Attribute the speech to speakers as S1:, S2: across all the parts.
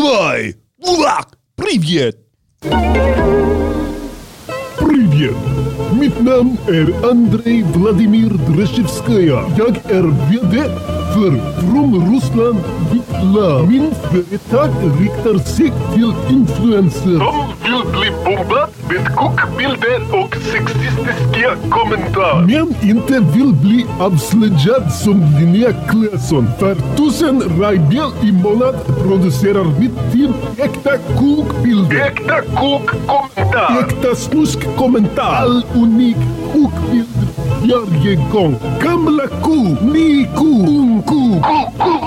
S1: Давай! Привет!
S2: Привет! Mitt namn är Andrei Vladimir Dreshevskaja. Jag är VD för Från Ryssland ditt land. Min företag riktar sig till influencers.
S3: Som vill bli bombad med kokbilder och sexistiska kommentarer.
S2: Men inte vill bli avslöjad som Linnea Claesson. För tusen rajbel i månad producerar mitt team äkta kokbilder.
S3: Äkta kokkommentar.
S2: Äkta snuskkommentar. All unik kokbild varje gång. Gamla ko, ny ko, ung ko.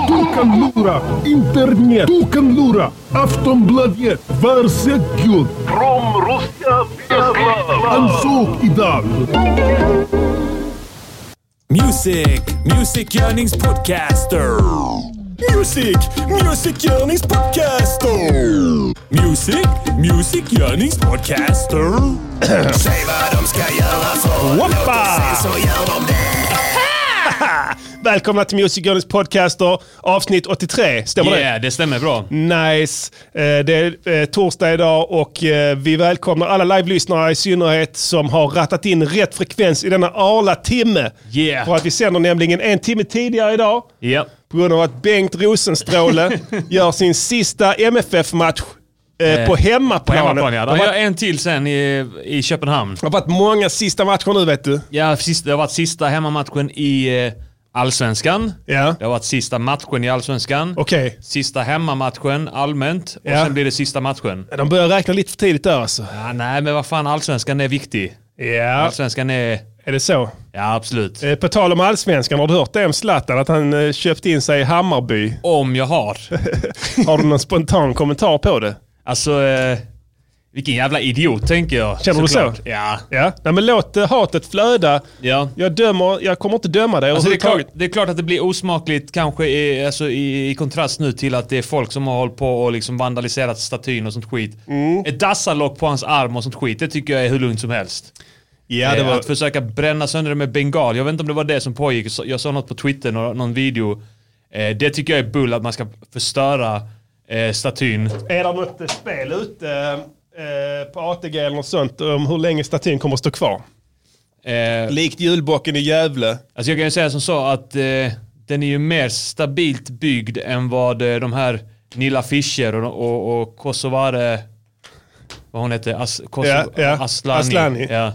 S2: Du kan lura internet. Du kan lura Aftonbladet. Varsågod.
S3: Från Ryssland Viaslav.
S2: Ansök idag.
S4: Music, musikgörningspodcaster. Music, musikgörningspodcaster. Music, musikgörningspodcaster. Säg vad de ska göra för
S1: Woppa!
S4: så gör de det.
S1: Välkomna till Music Journeys podcaster, avsnitt 83. Stämmer
S5: Ja, det stämmer bra.
S1: det? Nice. Eh, Det är eh, torsdag idag och eh, vi välkomnar alla live-lyssnare i synnerhet som har rattat in rätt frekvens i denna arla timme.
S5: Yeah.
S1: För att vi sänder nämligen en timme tidigare idag
S5: Ja.
S1: på grund av att Bengt Rosenstråle gör sin sista MFF-match eh,
S5: Eh,
S1: på hemmaplan.
S5: På hemmaplan ja.
S1: Det
S5: Då
S1: har
S5: har
S1: varit-
S5: jag en till sen i, i Köpenhamn.
S1: det har varit många sista matcher nu vet du.
S5: Ja, sist, det har varit sista hemmamatchen i eh, Allsvenskan.
S1: Ja.
S5: Det har varit sista matchen i Allsvenskan.
S1: Okej.
S5: Sista hemmamatchen allmänt. Och
S1: Ja.
S5: sen blir det sista matchen.
S1: De börjar räkna lite för tidigt där alltså.
S5: Ja, nej, men vad fan. Allsvenskan är viktig.
S1: Ja,
S5: Allsvenskan är...
S1: är det så?
S5: Ja, absolut.
S1: Eh, På tal om allsvenskan, har du hört det om Zlatan? Att han eh, köpte in sig i Hammarby.
S5: Om jag har.
S1: Har du någon spontan kommentar på det?
S5: Alltså, eh, vilken jävla idiot tänker jag.
S1: Känner du så?
S5: såklart. Ja.
S1: Ja, Nej, men låt eh, hatet flöda.
S5: Ja.
S1: Jag, dömer, jag kommer inte döma dig
S5: Alltså det, är klart,
S1: överhuvudtaget.
S5: det är klart att det blir osmakligt kanske i, alltså i, i kontrast nu till att det är folk som har hållit på och liksom vandaliserat statyn och sånt skit.
S1: Mm.
S5: Ett dassalock på hans arm och sånt skit, det tycker jag är hur lugnt som helst.
S1: Ja, det
S5: Eh,
S1: var...
S5: Att försöka bränna sönder det med bengal, jag vet inte om det var det som pågick. Så- Jag såg något på Twitter, någon, någon video. Eh, det tycker jag är bull, att man ska förstöra eh, statyn.
S1: Är det något eh, spel ute eh, på ATG eller något sånt om hur länge statyn kommer att stå kvar?
S5: Eh,
S1: Likt julbocken i Gävle.
S5: Alltså jag kan ju säga som så att eh, den är ju mer stabilt byggd än vad eh, de här Nilla Fischer och, och, och Kosovare, vad hon hette, As, Kosovo,
S1: Ja, ja.
S5: Aslani.
S1: Aslani.
S5: Ja.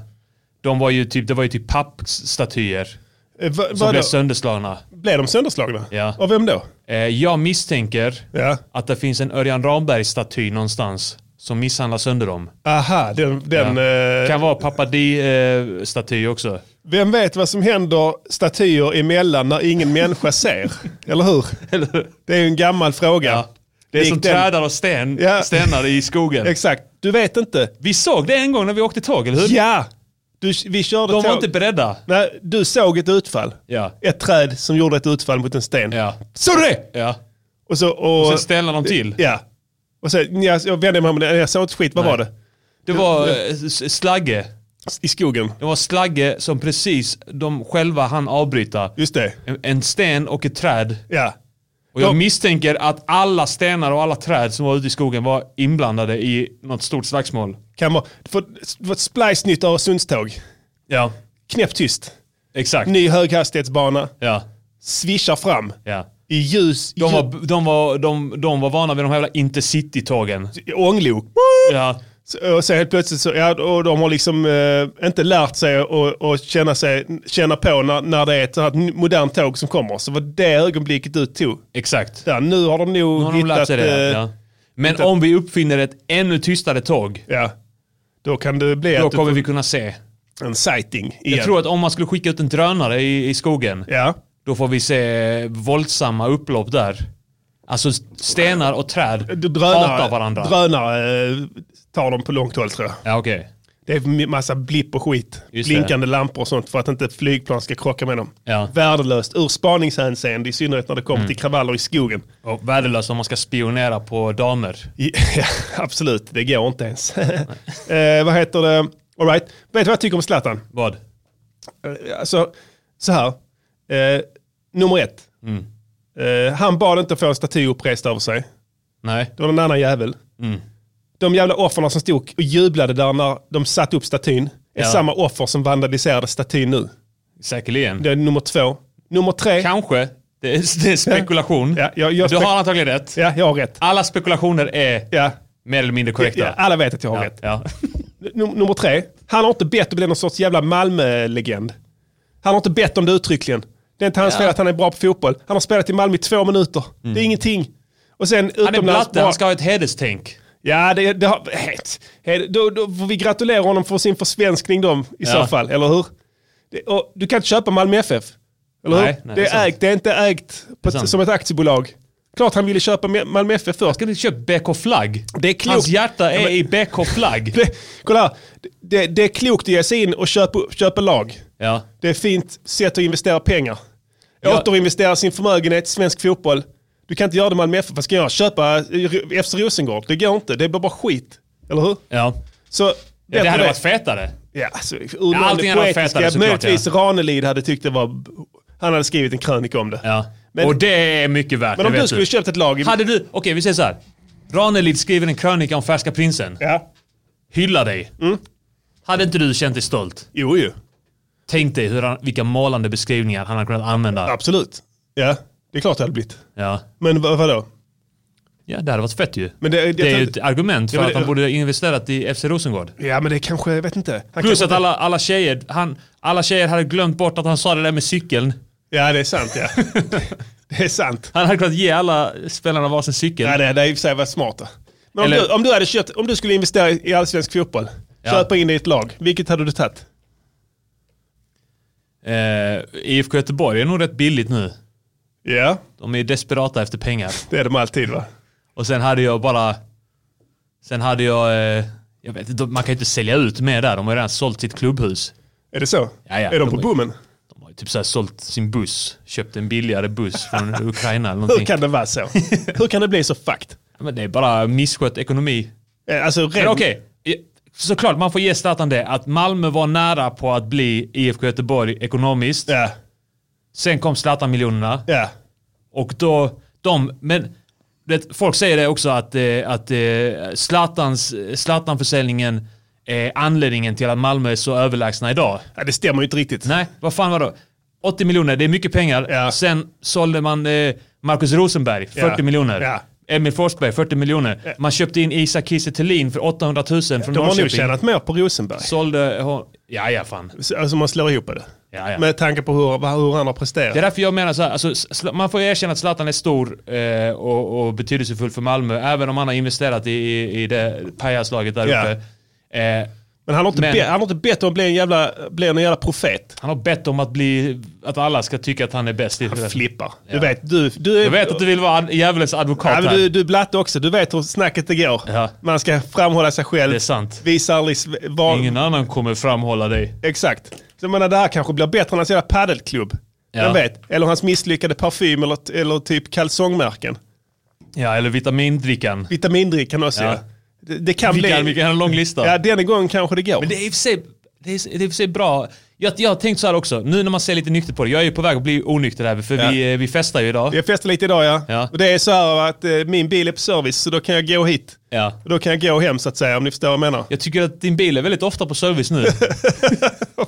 S5: De var ju typ, det var ju typ pappstatyer
S1: Eh, va,
S5: som
S1: vad
S5: blev
S1: blev,
S5: sönderslagna.
S1: blev de sönderslagna?
S5: Ja.
S1: Av vem då?
S5: Eh, jag misstänker
S1: Ja.
S5: att det finns en Örjan Ramberg-staty någonstans som misshandlar sönder dem.
S1: Aha, den... den eh,
S5: Kan vara Papadi-staty också.
S1: Vem vet vad som händer statyer emellan när ingen människa ser? Eller hur? Det är ju en gammal fråga.
S5: Ja. Det är
S1: Likt
S5: som
S1: den-
S5: trädar och sten,
S1: Ja.
S5: stenar i skogen.
S1: Exakt, du vet inte.
S5: Vi såg det en gång när vi åkte tåg, eller hur?
S1: Ja, du, vi körde
S5: De var
S1: tåg.
S5: inte beredda.
S1: Nej, du såg ett utfall.
S5: Ja.
S1: Ett träd som gjorde ett utfall mot en sten.
S5: Ja.
S1: Såg du det?
S5: Ja.
S1: Och så... Och,
S5: Sen ställde de till.
S1: ja. Och sen, jag, jag vände mig om, nej, jag såg inte skit, vad var det?
S5: Det var eh, s- slagge.
S1: I skogen.
S5: Det var slagge som precis de själva hann avbryta.
S1: Just det.
S5: En- En sten och ett träd.
S1: Ja.
S5: Och jag
S1: De-
S5: misstänker att alla stenar och alla träd som var ute i skogen var inblandade i något stort slagsmål.
S1: Kan vara... För, för ett splice-nytt Öresundståg.
S5: Ja.
S1: Knäpptyst.
S5: Exakt.
S1: Ny höghastighetsbana.
S5: Ja.
S1: Svischar fram.
S5: ja.
S1: I ljus.
S5: De var, de, var, de, de var vana vid de här jävla intercity-tågen.
S1: i ånglok.
S5: Ja.
S1: Så- Och så helt plötsligt så, ja, och de har liksom eh, inte lärt sig att att känna, sig, känna på när, när det är ett så här modernt tåg som kommer. Så var det ögonblicket du tog.
S5: Exakt.
S1: Där, nu har de nog
S5: Nu har de
S1: hittat...
S5: lärt sig det.
S1: eh,
S5: Ja. Men om vi uppfinner ett ännu tystare tåg,
S1: ja. Då kan det bli
S5: då
S1: att du
S5: kommer
S1: får
S5: vi kunna se.
S1: en sighting igen.
S5: Jag tror att om man skulle skicka ut en drönare i, i skogen,
S1: Ja.
S5: då får vi se våldsamma upplopp där. Alltså stenar och träd
S1: Du, Drönare,
S5: hatar varandra.
S1: drönare eh, tar dem på långt håll tror jag.
S5: ja, okej.
S1: Det är massa blipp och skit.
S5: Just det.
S1: Blinkande lampor och sånt för att inte flygplan ska krocka med dem.
S5: Ja. Mm.
S1: Värdelöst ur spaningshänseende i synnerhet när det kommer till kravaller i skogen.
S5: Och värdelöst om man ska spionera på damer.
S1: I- Ja, absolut, det går inte ens. eh, vad heter det? All right. Vet du vad jag tycker om Zlatan?
S5: Vad?
S1: Eh, Alltså, så här.
S5: Mm.
S1: Eh, nummer ett. Eh, han bad inte att få en staty upprest över sig.
S5: Nej.
S1: Det var en annan jävel.
S5: Mm.
S1: De jävla offren som stod och jublade där när de satte upp statyn är
S5: Ja.
S1: samma offer som vandaliserade statyn nu.
S5: Säkerligen.
S1: Det är nummer två. Nummer tre.
S5: Kanske. Det är, det är spekulation.
S1: Ja, jag- jag
S5: du
S1: spek-
S5: har antagligen rätt.
S1: Ja, jag har rätt.
S5: Alla spekulationer är
S1: Ja.
S5: mer eller mindre korrekta.
S1: Ja, alla vet att jag har
S5: Ja,
S1: rätt.
S5: ja.
S1: Num- nummer tre. Han har inte bett om det är någon sorts jävla Malmö-legend. Han har inte bett om det uttryckligen. Det är inte hans fel att han är bra på fotboll. Han har spelat i Malmö i två minuter. Det är ingenting. Och sen
S5: Mm. Han är
S1: utomlands...
S5: blatte,
S1: bara-
S5: han ska ha ett hederstänk.
S1: Ja, det, det har... Het, het, då, då får vi gratulera honom för sin försvenskning då, i så fall, eller hur? Det, och du kan inte köpa Malmö FF, eller
S5: Nej,
S1: hur?
S5: nej,
S1: det
S5: det är
S1: är
S5: sant.
S1: ägt, det är inte ägt på
S5: sant.
S1: ett, som ett aktiebolag. Klart han ville köpa Me- Malmö FF först.
S5: Ska du köpa BK Flagg?
S1: Det är klokt.
S5: Hans hjärta är
S1: Ja, men-
S5: i BK Flagg.
S1: Det, kolla här, det, det är klokt att ge sig in och köpa, köpa lag.
S5: ja.
S1: Det är ett fint sätt att investera pengar.
S5: Ja.
S1: Återinvestera sin förmögenhet i svensk fotboll. Du kan inte göra det med Malmö FF. Vad ska jag göra? Köpa eh, FC Rosengård? Det går inte. Det blir bara skit. Eller hur?
S5: Ja.
S1: Så,
S5: ja. Det
S1: bättre
S5: hade varit fetare.
S1: Ja, alltså, ur
S5: Ja,
S1: ja,
S5: allting hade varit fetare såklart,
S1: Möjligtvis Ranelid hade tyckt det var... Han hade skrivit en krönika om det.
S5: Ja.
S1: Men-
S5: och det är mycket värt,
S1: Men
S5: det
S1: om
S5: vet
S1: du skulle köpt ett lag... i-
S5: Hade du... Okej, vi säger så här. Ranelid skriver en krönika om Färska Prinsen.
S1: Ja.
S5: Hylla dig.
S1: Mm.
S5: Hade inte du känt dig stolt?
S1: Jo, ju.
S5: Tänk dig hur han, vilka målande beskrivningar han har kunnat använda.
S1: Absolut. Ja, det är klart det hade blivit.
S5: Ja.
S1: Men vad, vadå?
S5: ja, det hade varit fett ju.
S1: Men det- jag
S5: är
S1: tror-
S5: ju ett argument för
S1: Ja, men
S5: att han
S1: det-
S5: borde ha investerat i FC Rosengård.
S1: Ja, men det kanske... Jag vet inte. Han
S5: Plus
S1: kanske
S5: att
S1: inte-
S5: alla, alla, tjejer, han, alla tjejer hade glömt bort att han sa det där med cykeln.
S1: Ja, det är sant. Ja. det är sant.
S5: Han hade kunnat ge alla spelarna varsin cykel.
S1: Ja, det hade i och för sig varit smart. då. Men om,
S5: Eller-
S1: du, om, du hade köpt, om du skulle investera i allsvensk fotboll,
S5: Ja.
S1: köpa in i ett lag, vilket hade du tagit?
S5: Eh, IFK Göteborg är nog rätt billigt nu.
S1: Ja,
S5: De är desperata efter pengar.
S1: det är de alltid va?
S5: Och sen hade jag bara... Sen hade jag... Eh, jag vet inte, man kan ju inte sälja ut mer där. De har ju redan sålt sitt klubbhus.
S1: Är det så?
S5: Ja, ja.
S1: är de på bommen?
S5: De har ju typ så här sålt sin buss. Köpt en billigare buss från Ukraina eller
S1: Hur
S5: någonting.
S1: kan det vara så? Hur kan det bli så fucked?
S5: Men det är bara misskött ekonomi.
S1: Eh, Alltså, ren,
S5: Men okej. i- Såklart man får ge Zlatan det. Att Malmö var nära på att bli IFK Göteborg ekonomiskt.
S1: Ja,
S5: Sen kom Zlatan-miljonerna.
S1: ja.
S5: Och då, de, men du vet, folk säger det också att, eh, att eh, Zlatans, eh, Zlatan-försäljningen är anledningen till att Malmö är så överlägsna idag.
S1: ja det stämmer ju inte riktigt.
S5: Nej, vad fan var det? 80 miljoner, det är mycket pengar.
S1: Ja.
S5: Sen sålde man eh, Marcus Rosenberg, 40
S1: Ja.
S5: miljoner.
S1: Ja.
S5: Emil Forsberg, 40 miljoner. Man köpte in Isak Kiese Thelin för 800 000 från
S1: De har nog
S5: Norrköping.
S1: tjänat mer på Rosenberg.
S5: Sålde hon... Ja, ja, fan.
S1: Så- Alltså man slår ihop det.
S5: Ja, ja.
S1: Med tanke på hur, vad- hur han har
S5: Det är
S1: presterat.
S5: därför jag menar så här, alltså, Zla- man får ju erkänna att Zlatan är stor eh, och, och betydelsefull för Malmö, även om han har investerat i, i, i det pajaslaget där
S1: Ja.
S5: uppe. Eh,
S1: Men han har inte,
S5: Men-
S1: be, han har inte bett om att bli en jävla, bli en jävla profet.
S5: han har bett om att, bli, att alla ska tycka att han är bäst. i
S1: Han
S5: det.
S1: flippar. Du
S5: Ja.
S1: vet, du, du är...
S5: Jag vet att du vill vara ad- djävulens advokat
S1: Ja, men
S5: här.
S1: du, du blatte också, du vet hur snacket det går.
S5: Ja.
S1: Man ska framhålla sig själv.
S5: Det är sant.
S1: Visa aldrig sv- var...
S5: Ingen annan kommer framhålla dig.
S1: Exakt. Så jag menar, det här kanske blir bättre än hans jävla paddelklubb.
S5: Ja.
S1: Vem vet? Eller hans misslyckade parfym eller, eller typ kalsongmärken.
S5: Ja, eller vitamindrickan.
S1: Vitamindrickan också
S5: Ja.
S1: ja. Det, det kan
S5: Vilka,
S1: bli...
S5: vilka har en lång lista.
S1: Ja, denna gången kanske det går.
S5: Men det är i och för sig, det är, det är i och för sig bra. Jag, jag har tänkt så här också, nu när man ser lite nykter på det. Jag är ju på väg att bli onykter här, för
S1: Ja.
S5: vi, eh, vi festar ju idag.
S1: Jag festar lite idag ja.
S5: Ja.
S1: Och det är så här att eh, min bil är på service så då kan jag gå hit.
S5: Ja.
S1: Och då kan jag gå hem så att säga om ni förstår vad jag menar.
S5: Jag tycker att din bil är väldigt ofta på service nu.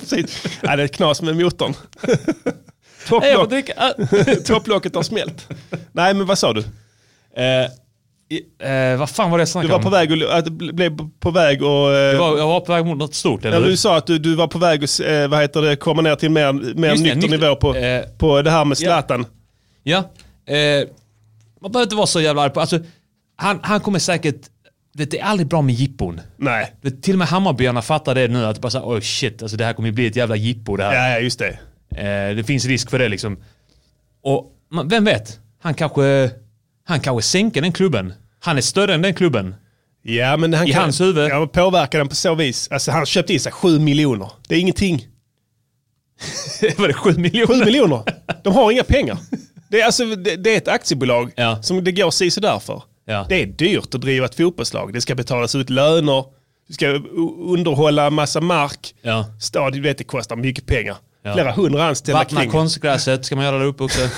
S1: Precis. ja, det är knas med motorn.
S5: Nej, jag får
S1: Topplock,
S5: dricka. Ah.
S1: topplocket har smält. Nej men vad sa du?
S5: Eh, i- eh, vad fan var det jag
S1: Du
S5: snackade
S1: var på
S5: om?
S1: väg och, att bli- blev på väg och... eh,
S5: Jag var, jag var på väg mot något stort, eller
S1: Ja,
S5: hur?
S1: du sa att du, du var på väg att eh, vad heter det, komma ner till mer, mer
S5: Just det,
S1: nykter
S5: nykter-
S1: nivå på,
S5: eh,
S1: på det här med Zlatan.
S5: Ja. Eh, man behöver inte vara så jävla arg på... Alltså, han, han kommer säkert... Vet, det är aldrig bra med jippon.
S1: Nej.
S5: Vet, till och med Hammarbyarna fattar det nu, att bara såhär, oh shit, alltså, det här kommer ju bli ett jävla jippo det här.
S1: Ja, ja, just det.
S5: Eh, det finns risk för det liksom. Och man, vem vet? Han kanske, han kanske sänker den klubben. Han är större än den klubben.
S1: Ja, men han
S5: I
S1: kan,
S5: hans huvud.
S1: Ja, men påverkar den på så vis. Alltså, han köpte in sig 7 miljoner. Det är ingenting.
S5: Var det sju miljoner?
S1: 7 miljoner. De har inga pengar. Det är, alltså, det, det är ett aktiebolag
S5: Ja.
S1: som det går sisådär för.
S5: Ja.
S1: Det är dyrt att driva ett fotbollslag. Det ska betalas ut löner. Du ska u- underhålla en massa mark.
S5: Ja.
S1: Stad, du vet, det kostar mycket pengar.
S5: Ja.
S1: Flera hundra anställda
S5: Vattna
S1: kring.
S5: konstgräset, ska man göra där uppe också?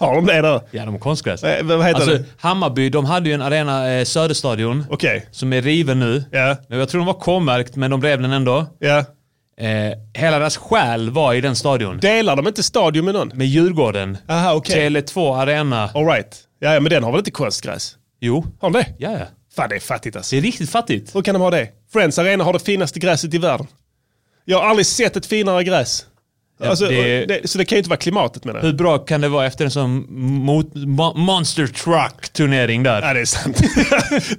S1: Har de det där?
S5: Ja, de har konstgräs.
S1: Eh, vad heter
S5: alltså,
S1: det?
S5: Hammarby, de hade ju en arena, eh, Söderstadion,
S1: Okej.
S5: som är riven nu.
S1: Ja.
S5: Men Jag tror den var K-märkt, men de rev den ändå.
S1: Ja.
S5: Eh, hela deras själ var i den stadion.
S1: Delar de inte stadion med någon?
S5: Med Djurgården.
S1: Aha, okej. Oh.
S5: Tele2 Arena.
S1: All right. Ja, ja, men den har väl inte konstgräs?
S5: Jo.
S1: Har de det?
S5: Ja, ja.
S1: Fan, det är fattigt alltså.
S5: Det är riktigt fattigt.
S1: Hur kan de ha det? Friends Arena har det finaste gräset i världen. Jag har aldrig sett ett finare gräs. alltså,
S5: det-
S1: och det, så det kan ju inte vara klimatet menar
S5: Hur
S1: jag.
S5: bra kan det vara efter en sån mot, mo, Monster Truck-turnering där?
S1: Ja, det är sant.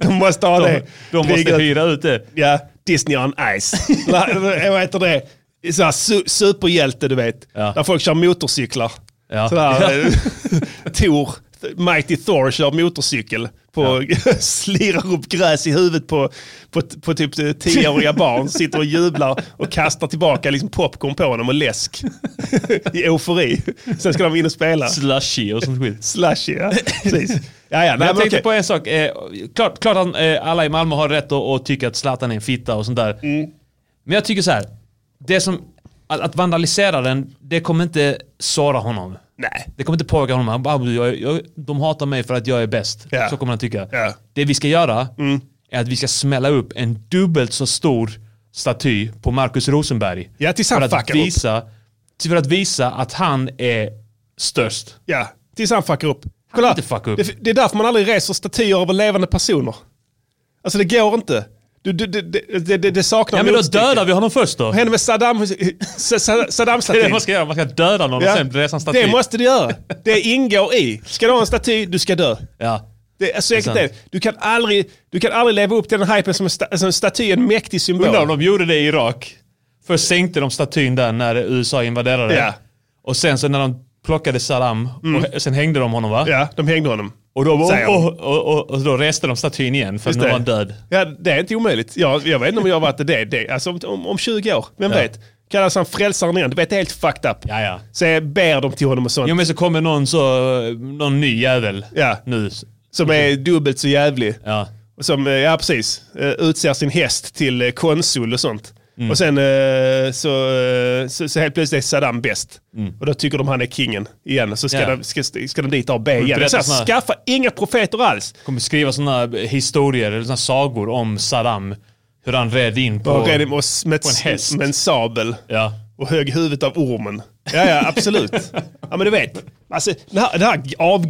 S1: de måste ha
S5: de,
S1: det.
S5: de
S1: Ligger-
S5: måste hyra ut det.
S1: Ja, Disney on Ice. La- eh, Vad heter det? Så här, su superhjälte, du vet.
S5: Ja.
S1: Där folk kör motorcyklar.
S5: Ja.
S1: Sådär, eh, Thor, Mighty Thor kör motorcykel. På, slirar upp gräs i huvudet på, på, på typ eh, tioåriga barn. Sitter och jublar och kastar tillbaka liksom popcorn på dem och läsk. I eufori. Sen ska de in och spela.
S5: Slushy och sånt skit.
S1: Slushy, ja. Precis. Ja, ja, nej,
S5: Men jag
S1: men
S5: tänkte
S1: okej.
S5: på en sak. Eh, klart klart att eh, alla i Malmö har rätt att, att tycka att Zlatan är en fitta och sånt där.
S1: Mm.
S5: Men jag tycker så här. Det som, att, att vandalisera den, det kommer inte såra honom.
S1: Nej.
S5: Det kommer inte påverka honom. Han bara, "Ah, jag, jag, de hatar mig för att jag är bäst.
S1: Ja.
S5: Så kommer han tycka.
S1: Ja. Mm.
S5: Det vi ska göra är att vi ska smälla upp en dubbelt så stor staty på Markus Rosenberg.
S1: Ja, tills han
S5: för att,
S1: fuckar upp.
S5: visa, för att visa att han är störst.
S1: Ja, tills han fuckar upp.
S5: kan inte fucka upp.
S1: Det, det är därför man aldrig reser statyer över levande personer. Alltså det går inte. Du, du, det, det, det, det saknar
S5: Ja men då
S1: motstycke.
S5: dödar vi honom först då.
S1: Vad händer med Saddam, Sa- Sa- Saddam
S5: Det är
S1: statyn?
S5: det man ska göra, man ska döda någon och sen resa en staty.
S1: det måste du göra. Det ingår i. Ska du ha en staty, du ska dö.
S5: Ja.
S1: Det är så enkelt
S5: sant.
S1: det. Du kan aldrig, du kan aldrig leva upp till den hypen som en, sta, alltså en staty är en mäktig symbol.
S5: Undrar om de gjorde det i Irak. Först sänkte de statyn där när USA invaderade.
S1: Ja. Mm.
S5: Och sen så när de plockade Saddam, och sen hängde de honom va?
S1: Ja, de hängde honom.
S5: Och, då,
S1: Säger
S5: och,
S1: de.
S5: och, och, och då reste de statyn igen för att
S1: Just
S5: nu var
S1: det.
S5: han död.
S1: Ja, det är inte omöjligt. Jag, jag vet inte om jag har varit det. det alltså om, om, om 20 år, vem
S5: Ja.
S1: vet? Kallas han frälsaren igen? Du vet, det är helt fucked up.
S5: Ja, ja.
S1: Så jag ber dem till honom och sånt.
S5: Jo men så kommer någon, så, någon ny jävel
S1: Ja.
S5: nu.
S1: som är dubbelt så jävlig.
S5: Ja.
S1: Och Som, eh, ja precis, Eh, utser sin häst till eh, konsul och sånt.
S5: Mm.
S1: Och sen eh, så, eh, så, så helt plötsligt är Saddam bäst. Och då tycker de han är kingen igen. Och så ska,
S5: Mm. Ja.
S1: de, ska, ska de dit och be igen.
S5: berätta
S1: Så här,
S5: såna här-
S1: skaffa inga profeter alls.
S5: Kommer skriva sådana historier, eller sådana sagor om Saddam. Hur han red in på...
S1: Och red med, oss med,
S5: på en häst.
S1: med en sabel.
S5: Ja.
S1: Och högg huvudet av ormen. Ja, ja absolut. ja, men du vet. Alltså, det, här, det här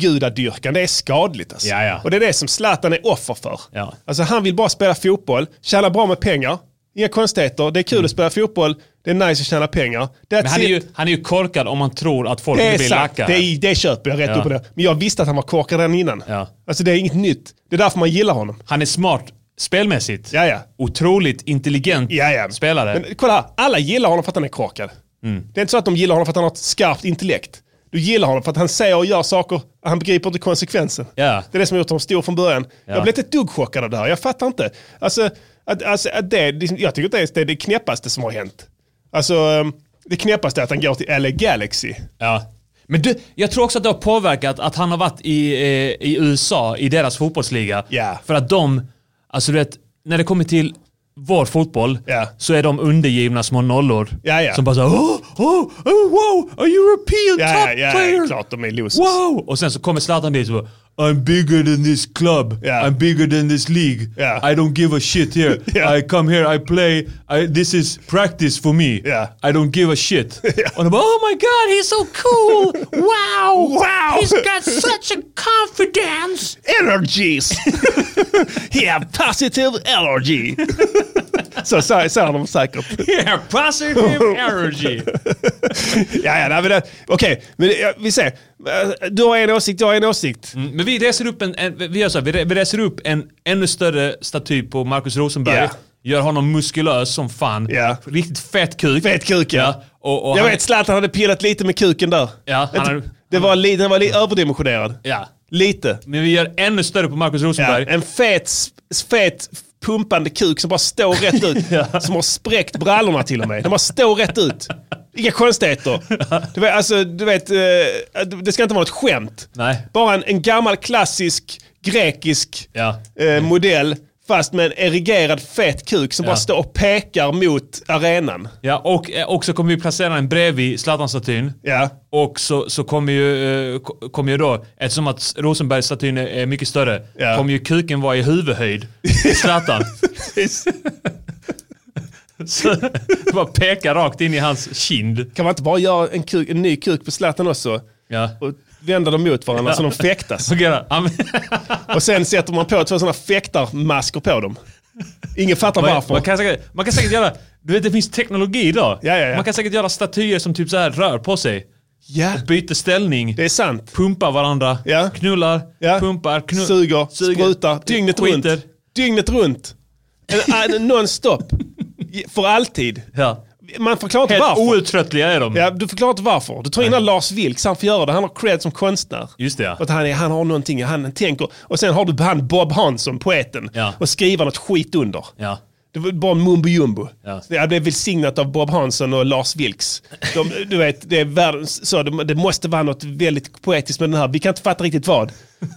S1: avgudadyrkan, det är skadligt. Alltså.
S5: Ja, ja.
S1: Och det är det som Zlatan är offer för.
S5: Ja.
S1: Alltså, han vill bara spela fotboll, tjäna bra med pengar. Inga konstigheter, det är kul att spela fotboll, det är nice att tjäna pengar. That's
S5: Mm. Men han är,
S1: it.
S5: ju, han är ju korkad om man tror att folk
S1: det
S5: inte
S1: är
S5: blir
S1: sant,
S5: lacka.
S1: det, är, det köper jag rätt
S5: Ja.
S1: upp och ner. Men jag visste att han var korkad redan innan.
S5: Ja.
S1: Alltså det är inget nytt. Det är därför man gillar honom.
S5: Han är smart spelmässigt.
S1: Ja, ja.
S5: Otroligt intelligent
S1: Ja, ja.
S5: spelare. Mm.
S1: Men kolla här, alla gillar honom för att han är korkad. Det är inte så att de gillar honom för att han har ett skarpt intellekt. Du gillar honom för att han säger och gör saker, han begriper inte konsekvensen.
S5: Ja.
S1: Det är det som har gjort honom stor från början.
S5: Ja.
S1: Jag blev inte ett dugg chockad av det här, jag fattar inte. Alltså, att, alltså, att det, det- jag tycker inte ens det är det knäppaste som har hänt. Alltså, ehm, det knäppaste är att han går till LA Galaxy.
S5: ja. Men du, jag tror också att det har påverkat att han har varit i, eh, i USA, i deras fotbollsliga.
S1: Ja.
S5: För att de, alltså du vet, när det kommer till vår fotboll
S1: Ja.
S5: så är de undergivna små nollor.
S1: Ja, ja.
S5: Som bara såhär oh, oh, oh, wow, a European
S1: Ja,
S5: top
S1: ja, ja,
S5: player!
S1: klart de är losers.
S5: Wow! Och sen så kommer Zlatan dit och bara I'm bigger than this club.
S1: Ja.
S5: I'm bigger than this league.
S1: Ja.
S5: I don't give a shit here.
S1: Ja.
S5: I come here, I play. I, this is practice for me.
S1: Ja.
S5: I don't give a shit. Och de bara Oh my god, he's so cool! Wow!
S1: Wow!
S5: He's got such a confidence!
S1: Energies! He have positive energy! så säger så, de säkert.
S5: Yeah, positive energy!
S1: Ja, ja, nej, men det, okej, men det- ja, vi ser. Eh, Du har en åsikt, jag har en åsikt.
S5: Mm, Men vi reser upp en, en vi gör så här, vi, re, vi reser upp en ännu större staty på Markus Rosenberg.
S1: Ja.
S5: Gör honom muskulös som fan.
S1: Ja.
S5: Riktigt fett kuk.
S1: Fet kuk, ja.
S5: ja. Och, och
S1: jag
S5: han,
S1: vet, Zlatan hade pillat lite med kuken där.
S5: Ja, han
S1: Ett-
S5: hade-
S1: det var, li, den var li, överdimensionerad.
S5: Ja.
S1: Lite.
S5: Men vi gör ännu större på Markus
S1: Ja,
S5: Rosenberg.
S1: en fet, s- fet pumpande kuk som bara står rätt ut. Som har spräckt brallorna till och med. Den bara står rätt ut. Inga konstigheter. Du vet, alltså, du vet, eh, det ska inte vara något skämt.
S5: Nej.
S1: Bara en, en gammal klassisk grekisk
S5: Ja.
S1: eh, modell. Fast med en erigerad fet kuk som
S5: Ja.
S1: bara står och pekar mot arenan.
S5: Ja, och, eh, och så kommer vi placera den bredvid Zlatan-statyn.
S1: Ja.
S5: Och så, så kommer ju, eh, ko- kommer ju då, eftersom att Rosenbergs-statyn är- är mycket större,
S1: Ja.
S5: kommer ju kuken vara i huvudhöjd. Zlatan. så, bara peka rakt in i hans kind.
S1: Kan man inte bara göra en, kuk, en ny kuk på Zlatan också?
S5: Ja.
S1: Och vända dem mot varandra så de fäktas.
S5: Fungerar. Ja, men-
S1: Och sen sätter man på två sådana fäktarmasker på dem. Ingen fattar
S5: Man-
S1: varför.
S5: Man kan, säkert, man kan säkert göra, du vet det finns teknologi idag.
S1: Ja, ja, ja.
S5: Man kan säkert göra statyer som typ så här rör på sig.
S1: Ja,
S5: Byter ställning,
S1: det är sant.
S5: pumpar varandra,
S1: Ja.
S5: knullar,
S1: Ja.
S5: pumpar, knu-
S1: Suger, sprutar, dygnet
S5: skiter.
S1: runt. Dygnet runt. En- en- Non-stop. För alltid.
S5: Ja.
S1: Man förklarar inte
S5: Helt
S1: varför.
S5: outtröttliga är de.
S1: Ja, du förklarar inte varför. Du tar in Lars Vilks, han får göra det. Han har cred som konstnär.
S5: Just det ja.
S1: För Att han, är, han har någonting, han tänker. Och sen har du han Bob Hansson, poeten,
S5: Ja.
S1: och skriver något skit under.
S5: ja.
S1: Det var bara mumbo jumbo.
S5: Ja.
S1: Det här blev välsignat av Bob Hansson och Lars Vilks. De, du vet, det, är världens, så, de, det måste vara något väldigt poetiskt med den här. Vi kan inte fatta riktigt vad.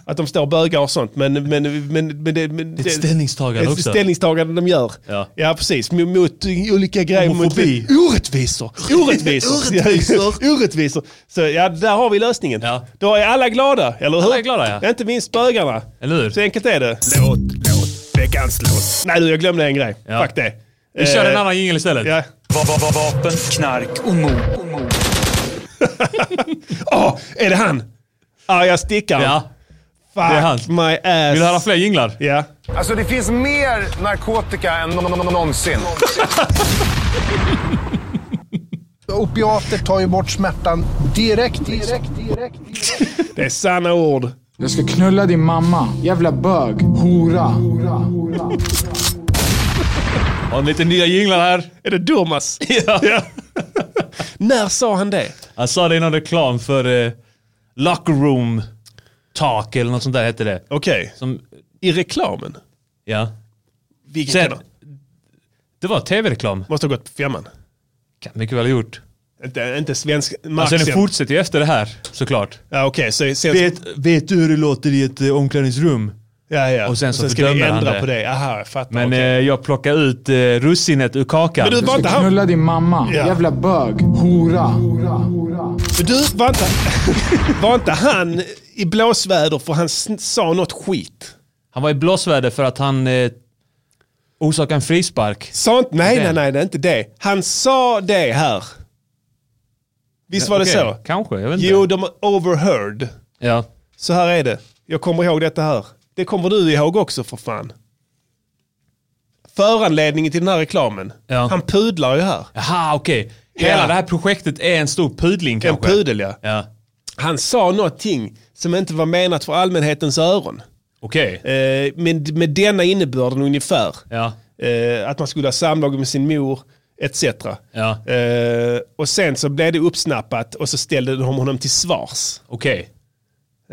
S1: Att de står och bögar och sånt. Men, men, men, men, det, men
S5: Ett ställningstagande
S1: ett
S5: också.
S1: ställningstagande de gör.
S5: Ja.
S1: precis. Mot, mot olika grejer.
S5: Homofobi.
S1: Mot, orättvisor. Orättvisor.
S5: Orättvisor.
S1: Ja, orättvisor. Så ja, där har vi lösningen.
S5: Ja.
S1: Då är alla glada, eller hur?
S5: Alla är glada, ja.
S1: Inte minst bögarna.
S5: Eller hur?
S1: Så enkelt är det.
S4: Låt, låt, veckans låt.
S1: Nej du, jag glömde en grej.
S5: Ja.
S1: Fuck det. Eh,
S5: Vi kör en annan jingel istället.
S1: Ja.
S6: Vapen, knark och mord.
S1: Åh, är det han? Arga stickaren?
S5: Ja.
S1: Fuck
S5: det är han.
S1: my ass.
S5: Vill du höra fler jinglar?
S1: Ja.
S7: Alltså det finns mer narkotika än nå- nå- nå- någonsin.
S2: Opiater tar ju bort smärtan direkt. liksom. direkt.
S1: Det är sanna ord.
S8: Jag ska knulla din mamma. Jävla bög. Hora.
S5: Har ni lite nya jinglar här?
S1: Är det Durmaz?
S5: Ja.
S1: När sa han det?
S5: Jag sa det i någon reklam för eh, Locker Room Talk eller något sånt där hette det.
S1: Okej.
S5: Som,
S1: I reklamen?
S5: ja.
S1: Vilken
S5: Sen,
S1: kanal?
S5: det var tv-reklam.
S1: Måste ha gått på femman.
S5: Kan mycket väl ha gjort.
S1: Inte, inte svensk mark.
S5: Alltså den
S1: sen.
S5: fortsätter ju efter det här, såklart.
S1: ja, okej. Så sen,
S5: vet du hur det låter i ett eh, omklädningsrum?
S1: ja, ja.
S5: och sen så
S1: ska vi
S5: fördömer han
S1: ändra
S5: det.
S1: på det. Aha, jag fattar.
S5: Men
S1: Men,
S5: eh, jag plockar ut eh, russinet ur kakan.
S1: Men du, var
S8: Jag
S1: inte
S8: ska
S1: han...
S8: knulla din mamma.
S1: Ja.
S8: Jävla bög. Hora. Hora.
S1: Du, var inte, var inte han i blåsväder för han sn- sa något skit?
S5: Han var i blåsväder för att han eh, orsakade en frispark.
S1: Sa inte, nej,
S5: Det.
S1: nej, nej, det är inte det. Han sa det här. Visst var det
S5: Okej,
S1: så?
S5: Kanske, jag vet inte.
S1: Jo, de overheard.
S5: Ja.
S1: Så här är det. Jag kommer ihåg detta här. Det kommer du ihåg också för fan. Föranledningen till den här reklamen.
S5: Ja.
S1: Han pudlar ju här.
S5: Jaha, okej. Hela
S1: Ja.
S5: det här projektet är en stor pudling
S1: En
S5: kanske?
S1: pudel ja.
S5: Ja.
S1: Han sa någonting som inte var menat för allmänhetens öron.
S5: Okej.
S1: Eh, med, med denna innebörden ungefär.
S5: Ja.
S1: Eh, att man skulle ha samlag med sin mor etc.
S5: Ja.
S1: Eh, och sen så blev det uppsnappat och så ställde de honom till svars
S5: Okej.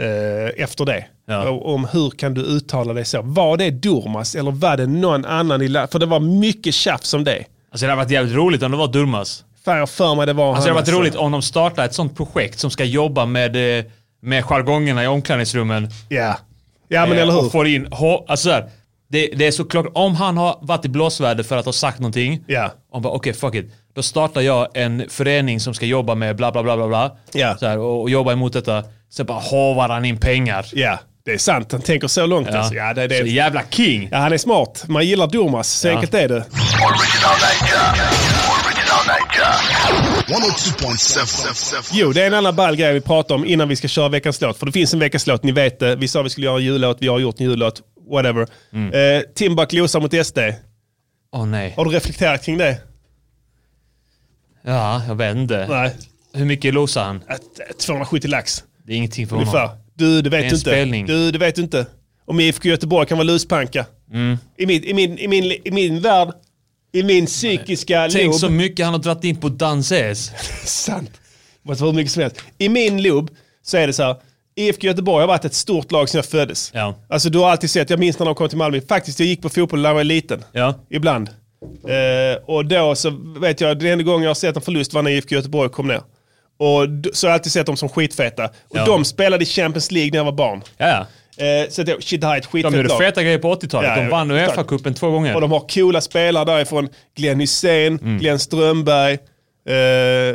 S1: eh, efter det.
S5: Ja.
S1: Och, om hur kan du uttala dig så? Var det Durmaz eller var det någon annan i landet? För det var mycket tjafs om det.
S5: Alltså det hade varit jävligt roligt om det var Durmaz.
S1: Fan jag har för mig det var
S5: Alltså det
S1: han.
S5: hade varit roligt om de startade ett sånt projekt som ska jobba med, eh, med jargongerna i omklädningsrummen.
S1: Ja. Ja men
S5: Eh,
S1: eller hur.
S5: Och får in, hå- alltså så här, det, det är såklart, om han har varit i blåsväder för att ha sagt någonting.
S1: Ja.
S5: och han bara okej fuck it. Då startar jag en förening som ska jobba med bla bla bla bla bla.
S1: Ja.
S5: Så här, och, och jobba emot detta. Sen bara hovar han in pengar.
S1: Ja det är sant. Han tänker så långt alltså. Ja, det,
S5: Så
S1: det.
S5: jävla king.
S1: ja han är smart. Man gillar Durmaz. Så
S5: Ja.
S1: enkelt är det.
S9: 102.7.
S1: Jo, det är en annan ball grej vi pratar om innan vi ska köra veckans låt. För det finns en veckans låt, ni vet det. Vi sa vi skulle göra en jullåt, vi har gjort en jullåt. Whatever.
S5: Mm.
S1: Eh, Timbuk losar mot SD.
S5: Åh nej.
S1: Har du reflekterat kring det?
S5: Ja, jag vet inte.
S1: Nej.
S5: Hur mycket losar han?
S1: Att, eh, 270 lax
S5: Det är ingenting för honom.
S1: ungefär. Du, det vet
S5: en
S1: du inte.
S5: spelning.
S1: Du, det vet du inte. Om IFK Göteborg kan vara luspanka.
S5: Mm.
S1: I, min, i, min, i, min, I min värld, i min psykiska
S5: Tänk
S1: lob.
S5: så mycket han har dragit in på Danses.
S1: Sant. Måste vara hur mycket som helst. I min lob så är det så här. IFK Göteborg har varit ett stort lag sedan jag föddes.
S5: Ja.
S1: Alltså du har alltid sett, jag minns när de kom till Malmö. Faktiskt, jag gick på fotboll när jag var liten.
S5: Ja.
S1: Ibland. Eh, och då så vet jag, den enda gången jag har sett en förlust var när IFK Göteborg kom ner. Och d- så har jag alltid sett dem som skitfeta. Och
S5: Ja.
S1: de spelade i Champions League när jag var barn.
S5: Ja, ja.
S1: Eh, så att jag, shit, det här är ett skitfett
S5: De gjorde
S1: lag.
S5: feta grejer på 80-talet.
S1: Ja,
S5: de
S1: ja,
S5: vann
S1: exakt.
S5: Uefa-cupen två gånger.
S1: Och de har coola spelare därifrån. Glenn Hysén,
S5: Mm.
S1: Glenn Strömberg. Eh,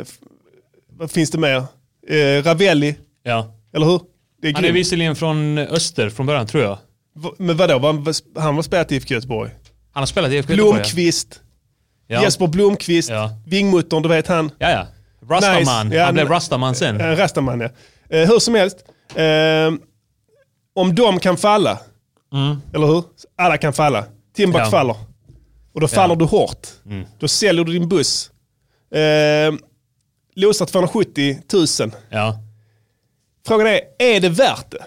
S1: f- vad finns det mer? Eh, Ravelli,
S5: ja.
S1: eller hur? Det är
S5: Han är
S1: grymt.
S5: visserligen från öster från början, tror jag.
S1: V- Men vadå, Var han- var- han var spelat i IFK Göteborg?
S5: Han har spelat i IFK Göteborg, ja.
S1: Blomqvist,
S5: ja.
S1: Jesper Blomqvist,
S5: Ja.
S1: vingmuttern, du vet han.
S5: Ja, ja. Rastaman.
S1: Nice. Ja,
S5: han blev
S1: men-
S5: Rastaman sen.
S1: En rastaman ja. Eh, hur som helst. Eh, om de kan falla, eller hur? Alla kan falla. Timbuk
S5: Ja.
S1: faller. Och då faller du hårt. Då säljer du din buss. Eh, Losar 270 000.
S5: Ja.
S1: Frågan är, är det värt det?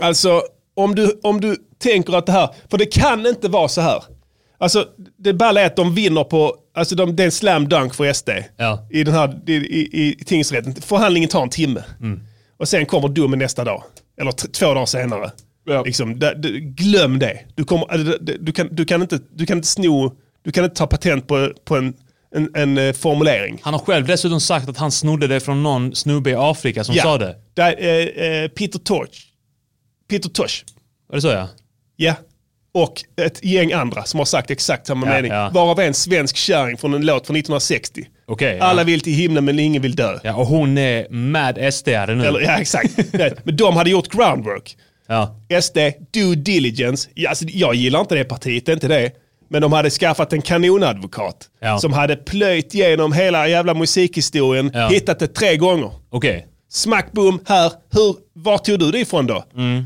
S1: Alltså, om du, om du tänker att det här, för det kan inte vara så här. Alltså, det balla är att de vinner på, alltså de, det är en slam dunk för SD
S5: Ja.
S1: i, den här, i, i, i tingsrätten. Förhandlingen tar en timme. Och sen kommer domen nästa dag, eller t- två dagar senare.
S5: Ja.
S1: Liksom, det- det- glöm det. Du, kommer, äh, det- det- du, kan, du, kan inte, du kan inte sno, du kan inte ta patent på, på en, en, en eh, formulering.
S5: Han har själv dessutom sagt att han snodde det från någon snubbe i Afrika som sa det.
S1: Där, eh, eh, Peter Torch. Peter Tosh.
S5: Var det så ja?
S1: Ja. Och ett gäng andra som har sagt exakt samma
S5: Ja,
S1: mening.
S5: ja.
S1: Varav en svensk kärring från en låt från 1960.
S5: Okej.
S1: Alla
S5: ja.
S1: vill till himlen men ingen vill dö.
S5: ja, och hon är mad sd nu.
S1: Eller, ja exakt. Nej, men de hade gjort groundwork.
S5: Ja.
S1: SD, due diligence. Ja, alltså, jag gillar inte det partiet, det är inte det. Men de hade skaffat en kanonadvokat.
S5: Ja.
S1: Som hade plöjt igenom hela jävla musikhistorien.
S5: Ja.
S1: Hittat det tre gånger.
S5: Okej.
S1: Smack, boom, här. Hur, var tog du det ifrån då?
S5: Mm.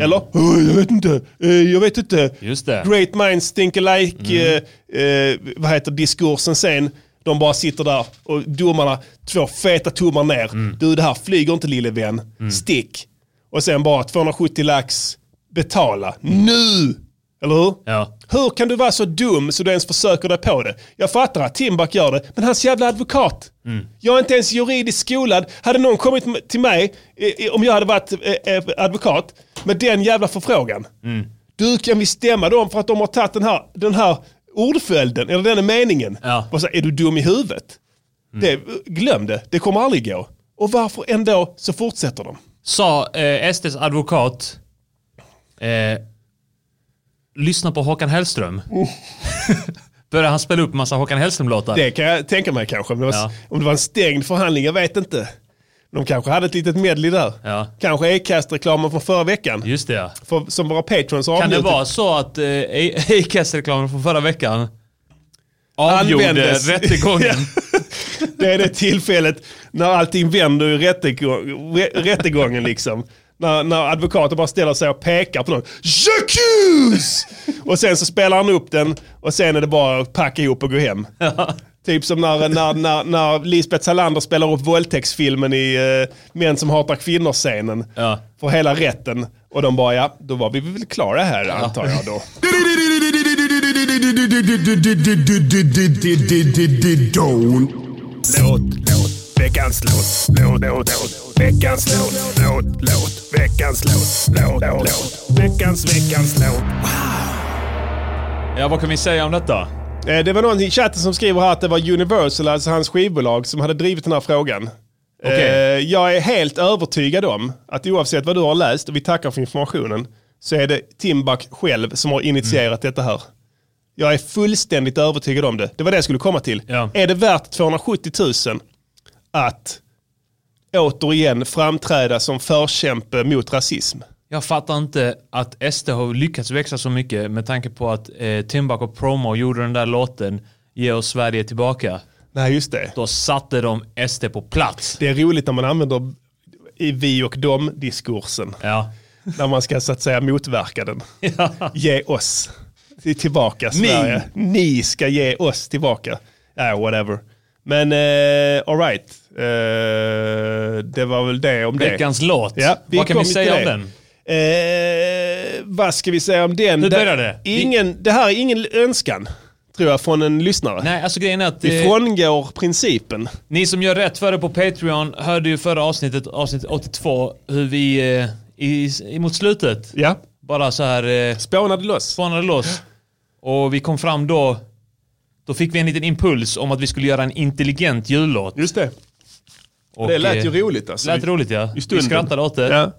S1: Eller? "Åh, jag vet inte. Eh, jag vet inte.
S5: Just det.
S1: Great minds think alike. Eh, eh, vad heter diskursen sen? De bara sitter där och domarna, två feta tummar ner. Du, det här flyger inte lille vän. Stick. Och sen bara 270 lax. Betala. Nu! Eller hur?
S5: Ja.
S1: Hur kan du vara så dum så du ens försöker dig på det? Jag fattar att Timbuk gör det, men hans jävla advokat. Jag är inte ens juridiskt skolad. Hade någon kommit m- till mig, eh, eh, om jag hade varit eh, eh, advokat, med den jävla förfrågan. Du, kan vi stämma dem för att de har tagit den här, den här ordföljden, eller den här meningen?
S5: Ja. Mm.
S1: Och så, är du dum i huvudet? Det, glöm det, det kommer aldrig gå. Och varför ändå så fortsätter de?
S5: Sa eh, SDs advokat, eh, lyssna på Håkan Hellström.
S1: Oh.
S5: Började han spela upp massa Håkan Hellström-låtar?
S1: Det kan jag tänka mig kanske. Om det, var,
S5: Ja.
S1: om det var en stängd förhandling, jag vet inte. De kanske hade ett litet medley där.
S5: Ja.
S1: Kanske Acast-reklamen från förra veckan.
S5: Just det ja.
S1: För, som våra patrons har
S5: Kan det
S1: avnjutit.
S5: vara så att eh, Acast-reklamen från förra veckan avgjorde
S1: Användes.
S5: rättegången?
S1: Det är det tillfället när allting vänder i rättegång, rä- rättegången liksom. När, när advokaten bara ställer sig och pekar på någon. J'accuse! Och sen så spelar han upp den och sen är det bara att packa ihop och gå hem. Typ som när, när, när, när Lisbeth Salander spelar upp våldtäktsfilmen i eh, Män som hatar kvinnor-scenen.
S5: Ja.
S1: För hela rätten. Och de bara, ja, då var vi väl klara här antar jag då.
S4: Låt, låt, veckans låt. Låt, låt, låt, veckans låt. Låt, låt, veckans låt. Låt, låt, låt, veckans, veckans låt.
S5: Ja, vad kan vi säga om detta?
S1: Eh, Det var någon i chatten som skriver här att det var Universal, alltså hans skivbolag, som hade drivit den här frågan.
S5: Okej.
S1: Eh, Jag är helt övertygad om att oavsett vad du har läst, och vi tackar för informationen, så är det Timbuk själv som har initierat detta här. Jag är fullständigt övertygad om det. Det var det jag skulle komma till.
S5: Ja.
S1: Är det värt 270 000 att återigen framträda som förkämpe mot rasism?
S5: Jag fattar inte att SD har lyckats växa så mycket med tanke på att eh, Timbuk och Promo gjorde den där låten Ge oss Sverige tillbaka.
S1: Nej, just det.
S5: Då satte de SD på plats.
S1: Det är roligt när man använder i vi och dem-diskursen.
S5: Ja.
S1: när man ska så att säga motverka den. Ge oss till- tillbaka Sverige. Ni ska ge oss tillbaka. Ja, whatever. Men eh, alright, eh, det var väl det om det.
S5: Veckans låt.
S1: Ja, vi
S5: vad kan vi
S1: kom
S5: säga om
S1: till det.
S5: den?
S1: Eh, vad ska vi säga om den?
S5: Nu börjar det.
S1: Ingen, det här är ingen önskan, tror jag, från en lyssnare.
S5: Nej, alltså grejen är att
S1: Vi
S5: eh,
S1: frångår principen.
S5: ni som gör rätt för det på Patreon hörde ju förra avsnittet, avsnitt 82, hur vi eh, i, i, mot slutet
S1: Ja,
S5: bara så här eh,
S1: spånade loss.
S5: spånade loss. Och vi kom fram då, då fick vi en liten impuls om att vi skulle göra en intelligent jullåt.
S1: Just det.
S5: Och,
S1: Det lät ju
S5: eh,
S1: roligt alltså.
S5: lät roligt ja.
S1: stunden.
S5: Vi skrattade åt det.
S1: Ja.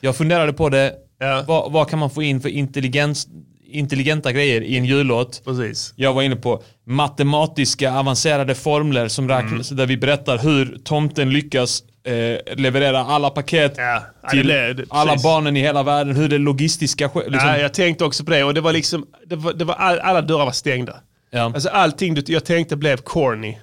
S5: Jag funderade på det.
S1: Ja.
S5: Vad, vad kan man få in för intelligens, intelligenta grejer i en jullåt?
S1: Precis.
S5: Jag var inne på matematiska avancerade formler som räknas,
S1: Mm.
S5: där vi berättar hur tomten lyckas eh, leverera alla paket
S1: Ja, ja,
S5: till
S1: det är det,
S5: alla
S1: precis.
S5: barnen i hela världen. Hur det logistiska sker. Liksom.
S1: Ja, jag tänkte också på det och det var liksom, det var, det var all, alla dörrar var stängda.
S5: Ja.
S1: Alltså allting du, jag tänkte blev corny.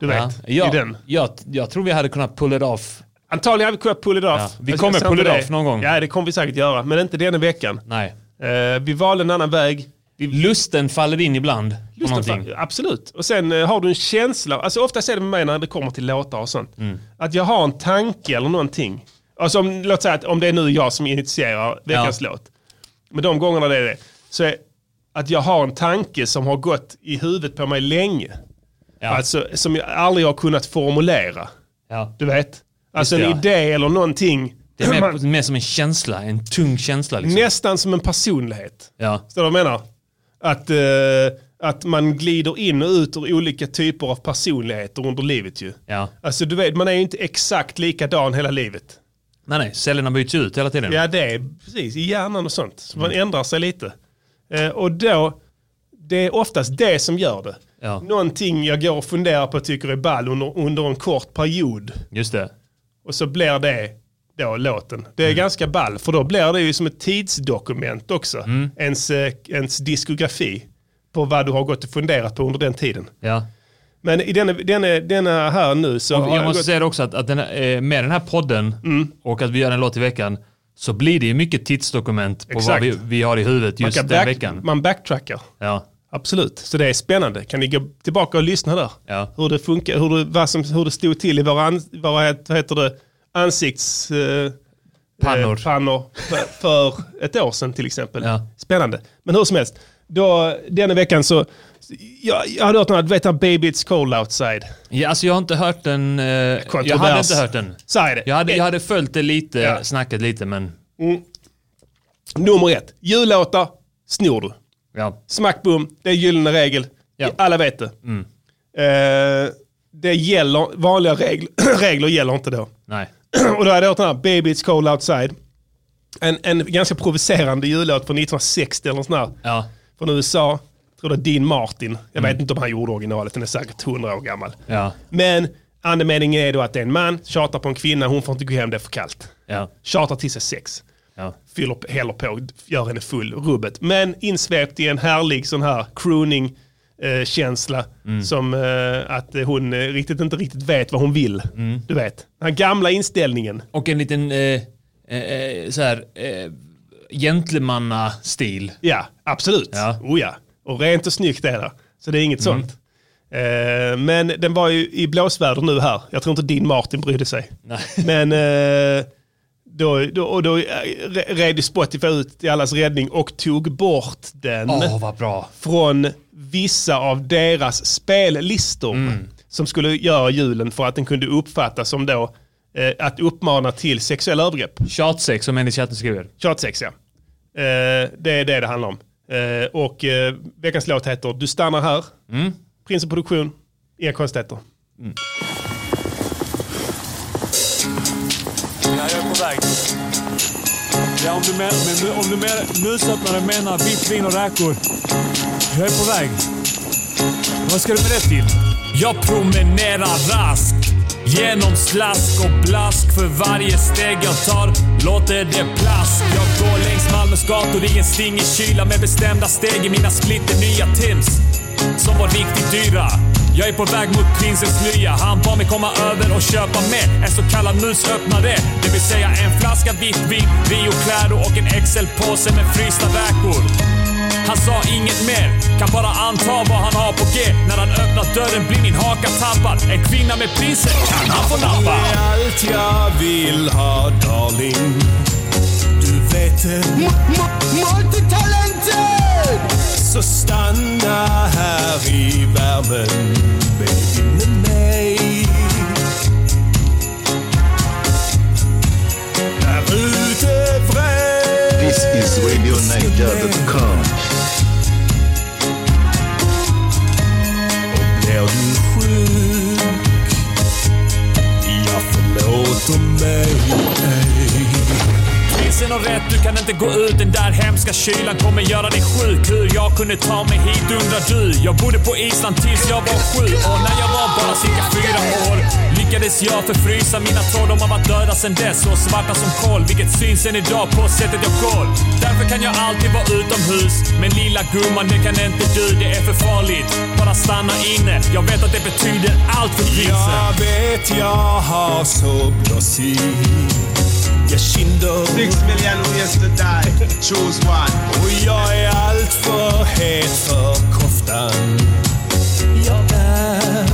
S1: Du
S5: Ja.
S1: vet,
S5: Ja,
S1: i den.
S5: Jag, jag tror vi hade kunnat pull it off.
S1: Antagligen hade vi kunnat pull it off. Alltså,
S5: Ja, vi kommer
S1: jag
S5: pull
S1: säger
S5: it
S1: inte
S5: off någon gång.
S1: Ja, det kommer vi säkert göra, men inte denna veckan.
S5: Nej.
S1: Eh, vi valde en annan väg.
S5: Lusten faller in ibland. på
S1: Lusten fa-
S5: någonting.
S1: Absolut. Och sen eh, har du en känsla, alltså ofta är det med mig när det kommer till låtar och sånt,
S5: Mm.
S1: att jag har en tanke eller någonting. Alltså om, låt säga att om det är nu jag som initierar veckans låt, men de gångerna det är det, så är att jag har en tanke som har gått i huvudet på mig länge.
S5: Ja.
S1: Alltså som jag aldrig har kunnat formulera.
S5: ja.
S1: Du vet? Alltså
S5: Just det,
S1: en
S5: ja.
S1: idé eller någonting.
S5: Det är
S1: Man-
S5: mer, mer som en känsla, en tung känsla. Liksom.
S1: nästan som en personlighet.
S5: Ja.
S1: Förstår du vad jag menar? Att, eh, att man glider in och ut ur olika typer av personligheter under livet ju.
S5: Ja.
S1: Alltså du vet, man är ju inte exakt likadan hela livet.
S5: Nej, nej, cellerna byts ju ut hela tiden.
S1: Ja, det är precis i hjärnan och sånt. Så
S5: Mm.
S1: man ändrar sig lite. Eh, och då, det är oftast det som gör det.
S5: Ja.
S1: Någonting jag går och funderar på och tycker är ball under, under en kort period.
S5: Just det.
S1: Och så blir det då låten. Det är
S5: Mm.
S1: ganska ball, för då blir det ju som ett tidsdokument också.
S5: Mm.
S1: Ens, eh, ens diskografi på vad du har gått och funderat på under den tiden.
S5: Ja.
S1: Men i denna, denna, denna här nu så har
S5: Jag måste
S1: gått...
S5: säga det också att, att den här, eh, med den här podden och att vi gör en låt i veckan så blir det ju mycket tidsdokument på vad
S1: Exakt.
S5: vi, vi har i huvudet
S1: man,
S5: just
S1: kan
S5: den
S1: back,
S5: veckan.
S1: man backtrackar.
S5: Ja.
S1: Absolut, så det är spännande. Kan ni gå tillbaka och lyssna där?
S5: Ja.
S1: Hur det funkar, hur det, vad som, hur det stod till i våra, an, våra vad heter det, ansikts... eh,
S5: Pannor.
S1: eh, pannor för, för ett år sedan till exempel.
S5: Ja.
S1: Spännande. Men hur som helst, då, denna veckan så... Jag, jag hade hört något, vet du, Baby It's Cold Outside.
S5: ja, alltså jag har inte hört den. Eh, jag hade inte hört den.
S1: Så är det.
S5: Jag hade, jag hade följt det lite,
S1: Ja.
S5: snackat lite men
S1: Nummer ett, jullåtar snor du.
S5: ja.
S1: Smack boom, det är gyllene regel.
S5: Ja. Mm.
S1: Alla vet det. Eh, det gäller, vanliga regler, regler gäller inte då.
S5: Nej.
S1: Och då hade jag hört den här Baby It's Cold Outside. En, en ganska provocerande jullåt från 1960 eller något sånt där.
S5: Ja. Mm.
S1: Från USA. Jag tror det är Dean Martin. Jag vet inte om han gjorde originalet, den är säkert 100 år gammal.
S5: Ja.
S1: Men andemeningen är då att det är en man, tjatar på en kvinna, hon får inte gå hem, det är för kallt.
S5: Ja.
S1: Tjatar till sig sex
S5: Ja.
S1: fyller, på- häller på, gör henne full, rubbet. Men insvept i en härlig sån här crooning-känsla.
S5: Mm.
S1: Som eh, att eh, hon eh, riktigt inte riktigt vet vad hon vill.
S5: Mm.
S1: Du vet, den här gamla inställningen.
S5: Och en liten eh, eh, eh, så här, eh, gentlemannastil.
S1: Ja, absolut.
S5: Ja. Mm.
S1: Oh, ja. Och rent och snyggt är det. Så det är inget sånt. Eh, men den var ju i blåsväder nu här. Jag tror inte din Martin brydde sig.
S5: Nej.
S1: Men eh, då, då, och då eh, re- red ju Spotify ut till allas räddning och tog bort den.
S5: Åh, vad bra.
S1: från vissa av deras spellistor som skulle göra julen för att den kunde uppfattas som då eh, att uppmana till sexuella övergrepp.
S5: Tjatsex som en i chatten skriver.
S1: Tjatsex ja. Eh, det är det det handlar om. Eh, och eh, veckans låt heter Du stannar här. Prins och produktion. Inga konstigheter.
S5: Jag är på väg. Ja, om du, men, men, om du men, musöppnare menar vitt vin och räkor. Jag är på väg. Vad ska du med det till?
S10: Jag promenerar rask Genom slask och blask För varje steg jag tar låter det plask Jag går längs Malmös gator i en stingig kyla Med bestämda steg i mina splitter nya Tims Som var riktigt dyra jag är på väg mot prinsens nya. Han bad mig komma över och köpa med en så kallad musöppnare. Det vill säga en flaska vitt vin, Rio Claro och en XL-påse med frysta räkor. Han sa inget mer, kan bara anta vad han har på G. När han öppnat dörren blir min haka tappad. En kvinna med prinsett kan han få nappa.
S4: Allt jag vill ha darling. Du vet det. Så stanna här i värmen. Baby med mig. Där ute vräks.
S9: This is RadioNiger.com.
S4: Blir du sjuk? Jag förlåter mig.
S10: polisen har rätt, du kan inte gå ut. Den där hemska kylan kommer göra dig sjuk. Hur jag kunde ta mig hit undrar du. Jag bodde på Island tills jag var sju och när jag var bara cirka fyra år lyckades jag förfrysa mina tår. De har varit döda sedan dess och svarta som kol. Vilket syns än idag på sättet jag går. Därför kan jag alltid vara utomhus. Men lilla gumman, det kan inte du. Det är för farligt. Bara stanna inne. Jag vet att det betyder allt för grisen.
S4: Jag vet jag har så blåsig Jag kinder
S11: Six million ways to die, choose one.
S4: och jag är allt för het för koftan Jag är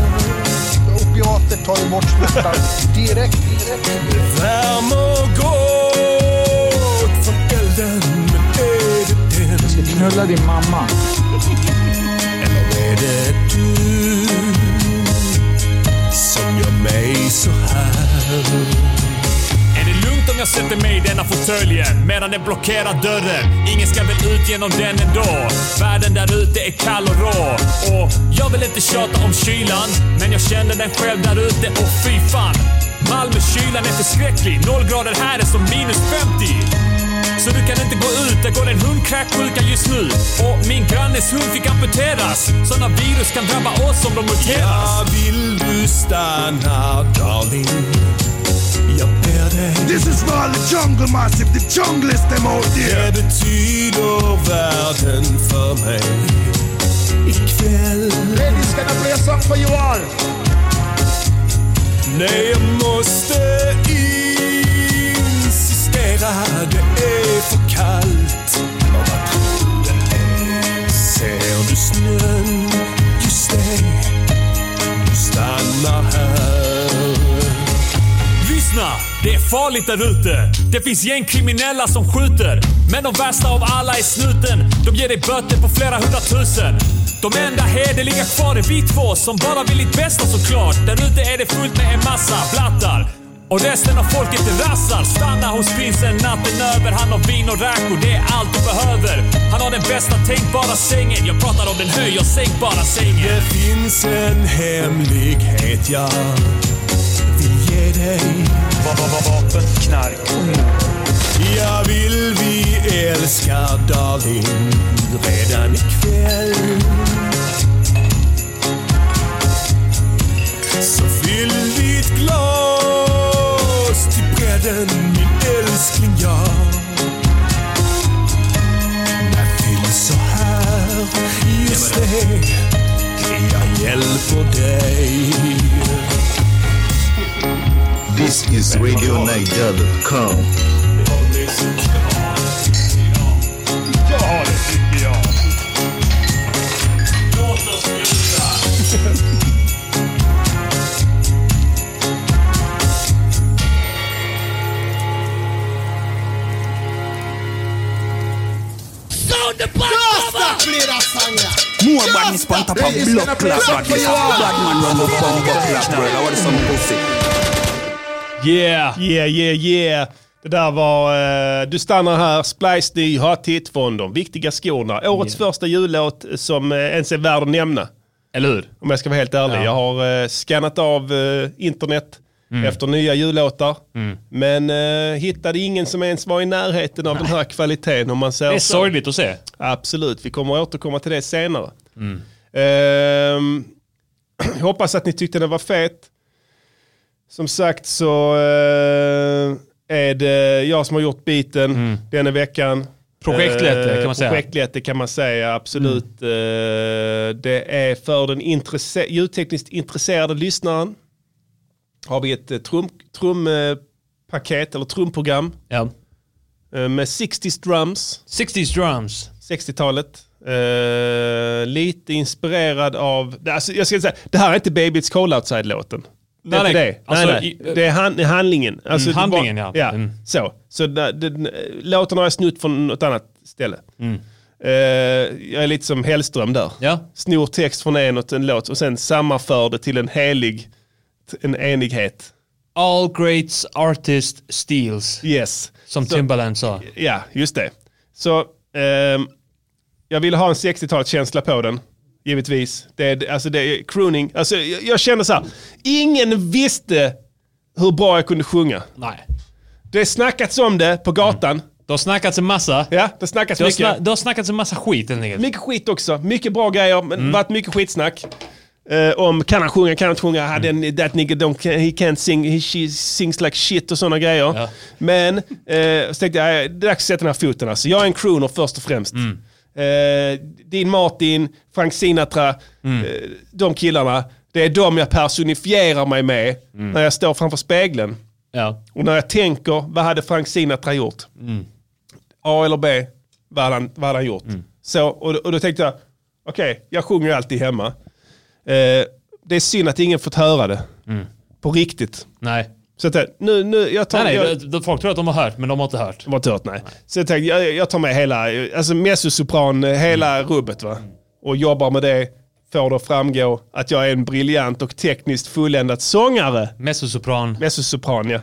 S12: Opiater tar ju bort smärtan direkt. direkt.
S4: varm och god från elden Men är det den
S8: Jag ska knulla din mamma.
S4: eller är det du som gör mig så här?
S10: Är det lugnt om jag sätter mig i denna fåtöljen medan den blockerar dörren? Ingen ska väl ut genom den ändå? Världen där ute är kall och rå. Och jag vill inte tjata om kylan, men jag känner den själv där ute och fy fan. Malmökylan är förskräcklig. Noll grader här är som minus 50. Så du kan inte gå ut, där går en hund kräksjuka just nu. Och min grannes hund fick amputeras. Såna virus kan drabba oss om de muteras.
S4: Ja, vill du stanna darling? Jag ber dig.
S9: This is for the jungle massive, the junglist them out there.
S4: Det betyder världen för mig. Ikväll.
S12: Ladies gonna play a song for you all.
S4: Nej, jag måste insistera. Det är för kallt. Och vad tror den är? Ser du snön? Just det. Du stannar här.
S10: Lyssna! Det är farligt där ute. Det finns gängkriminella som skjuter. Men de värsta av alla är snuten. De ger dig böter på flera hundratusen. De enda hederliga kvar är vi två som bara vill ditt bästa såklart. Där ute är det fullt med en massa blattar. Och resten av folket är rassar. Stanna hos prinsen natten över. Han har vin och räkor, det är allt du behöver. Han har den bästa tänkbara sängen. Jag pratar om den höj och sänkbara sängen.
S4: Det finns en hemlighet jag vill ge dig.
S6: Va- va- va- Vapen, knark och mord.
S4: Jag vill vi älskar darling redan ikväll. Så fyll ditt glas till bredden min älskling jag. När fyll så här, just det. Jag hjälper dig.
S9: This is RadioNiger.com.
S11: More badness on top of blood clot badness. Bad man run the bumper clot world. I want some pussy.
S5: Yeah!
S1: Yeah, yeah, yeah. Det där var eh, Du stannar här, Splice ny hot hit från De viktiga skorna. Årets första jullåt som eh, ens är värd att nämna.
S5: Eller hur?
S1: Om jag ska vara helt ärlig.
S5: Ja.
S1: Jag har eh, skannat av eh, internet
S5: Mm.
S1: efter nya jullåtar. Men eh, hittade ingen som ens var i närheten av den här kvaliteten om man säger
S5: Det är
S1: så.
S5: sorgligt att se.
S1: Absolut, vi kommer att återkomma till det senare.
S5: Mm.
S1: Ehm, jag hoppas att ni tyckte den var fet. Som sagt så eh, är det jag som har gjort biten denna veckan.
S5: Projektledare
S1: Eh,
S5: Mm. kan man säga. Mm.
S1: Projektledare kan man säga, absolut. Eh, det är för den intresse- ljudtekniskt intresserade lyssnaren. Har vi ett eh, trum- trumpaket eller trumprogram
S5: Ja.
S1: eh, med 60s drums.
S5: 60s drums.
S1: 60-talet. Eh, lite inspirerad av, alltså, jag ska säga, det här är inte Baby It's Cold Outside-låten. Det är
S5: Nej,
S1: inte
S5: nej.
S1: det.
S5: Alltså,
S1: nej, nej.
S5: i-
S1: det är han, handlingen. Alltså,
S5: Mm,
S1: det var-
S5: handlingen, ja. Mm.
S1: Så, så där- den, låten har jag snott från något annat ställe. Eh, jag är lite som Hellström där.
S5: Mm. Ja.
S1: Snor text från en och en låt och sen sammanför det till en helig, en enighet.
S5: All greats artist steals.
S1: Yes.
S5: Som Timbaland sa.
S1: Ja, just det. Så ehm, jag ville ha en 60-talskänsla på den, givetvis. Det, är- alltså det är crooning. Alltså, jag, jag känner så här, ingen visste hur bra jag kunde sjunga.
S5: Nej.
S1: Det snackats om det på gatan.
S5: Det har snackats en massa.
S1: Ja, det snackas
S5: det har,
S1: mycket.
S5: sna- det har snackats en massa skit helt enkelt.
S1: Mycket skit också. Mycket bra grejer, men varit mycket skitsnack. Eh, om kan han sjunga, kan han inte sjunga, hade en, that nigga don't, ca- he can't sing, he she sings like shit och sådana grejer. Men eh, så tänkte jag, eh, det är dags att sätta den här foten alltså. Jag är en crooner först och främst. Eh, din Martin, Frank Sinatra, eh, de killarna. Det är de jag personifierar mig med när jag står framför spegeln.
S5: Ja.
S1: Och när jag tänker, vad hade Frank Sinatra gjort?
S5: Mm.
S1: A eller B, vad hade han, vad hade han gjort? Så, och, då- och då tänkte jag, okej, jag sjunger ju alltid hemma. Eh, det är synd att ingen fått höra det. På riktigt.
S5: Nej.
S1: Så att jag, nu, nu, jag tar...
S5: Nej, nej,
S1: jag,
S5: det- det- folk tror att de har hört, men de har inte hört.
S1: De har inte hört, nej. Så jag tänkte, jag, jag tar med hela, alltså mezzosopran, eh, hela rubbet va. Och jobbar med det, får det att framgå att jag är en briljant och tekniskt fulländad sångare.
S5: Mezzosopran.
S1: Mezzosopran, ja.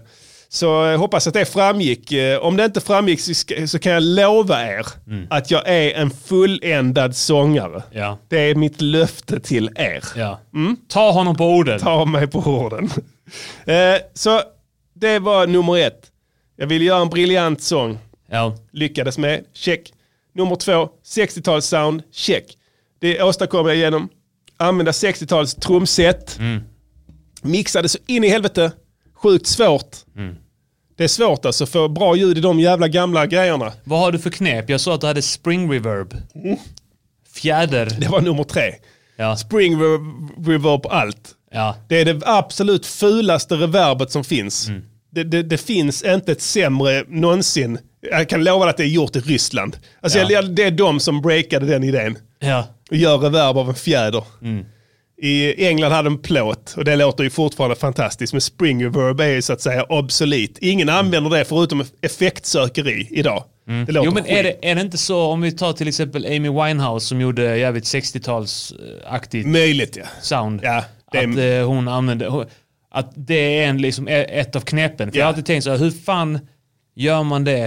S1: Så eh, hoppas att det framgick. Eh, Om det inte framgick så, ska, så kan jag lova er att jag är en fulländad sångare.
S5: Mm. Ja.
S1: Det är mitt löfte till er.
S5: Ja. Ta honom på orden.
S1: Mm. Ta mig på orden. Eh, så det var nummer ett. Jag ville göra en briljant sång.
S5: Ja.
S1: Lyckades med, check. Nummer två, 60-talssound, check. Det åstadkom jag genom att använda 60-tals trumset.
S5: Mm.
S1: Mixade så in i helvete. Sjukt svårt.
S5: Mm.
S1: Det är svårt alltså att få bra ljud i de jävla gamla grejerna.
S5: Vad har du för knep? Jag sa att du hade spring reverb. Fjäder.
S1: Mm. Det var nummer tre.
S5: Ja.
S1: Spring re- reverb på allt.
S5: Ja.
S1: Det är det absolut fulaste reverbet som finns.
S5: Mm.
S1: Det, det, det finns inte ett sämre någonsin. Jag kan lova att det är gjort i Ryssland. Alltså
S5: Ja.
S1: jag, det är de som breakade den idén.
S5: Ja.
S1: Och gör reverb av en fjäder.
S5: Mm.
S1: I England hade en plåt och det låter ju fortfarande fantastiskt. Men spring reverb är ju så att säga obsolet. Ingen
S5: Mm.
S1: använder det förutom effektsökeri idag. Det låter
S5: Jo men är
S1: skit.
S5: det, är det inte så om vi tar till exempel Amy Winehouse som gjorde jävligt 60-talsaktigt
S1: Möjligt ja.
S5: sound.
S1: Ja, det är-
S5: Att eh, hon använde... hon- Att det är en, liksom, e- ett av knepen. För jag har alltid tänkt så här, hur fan gör man det?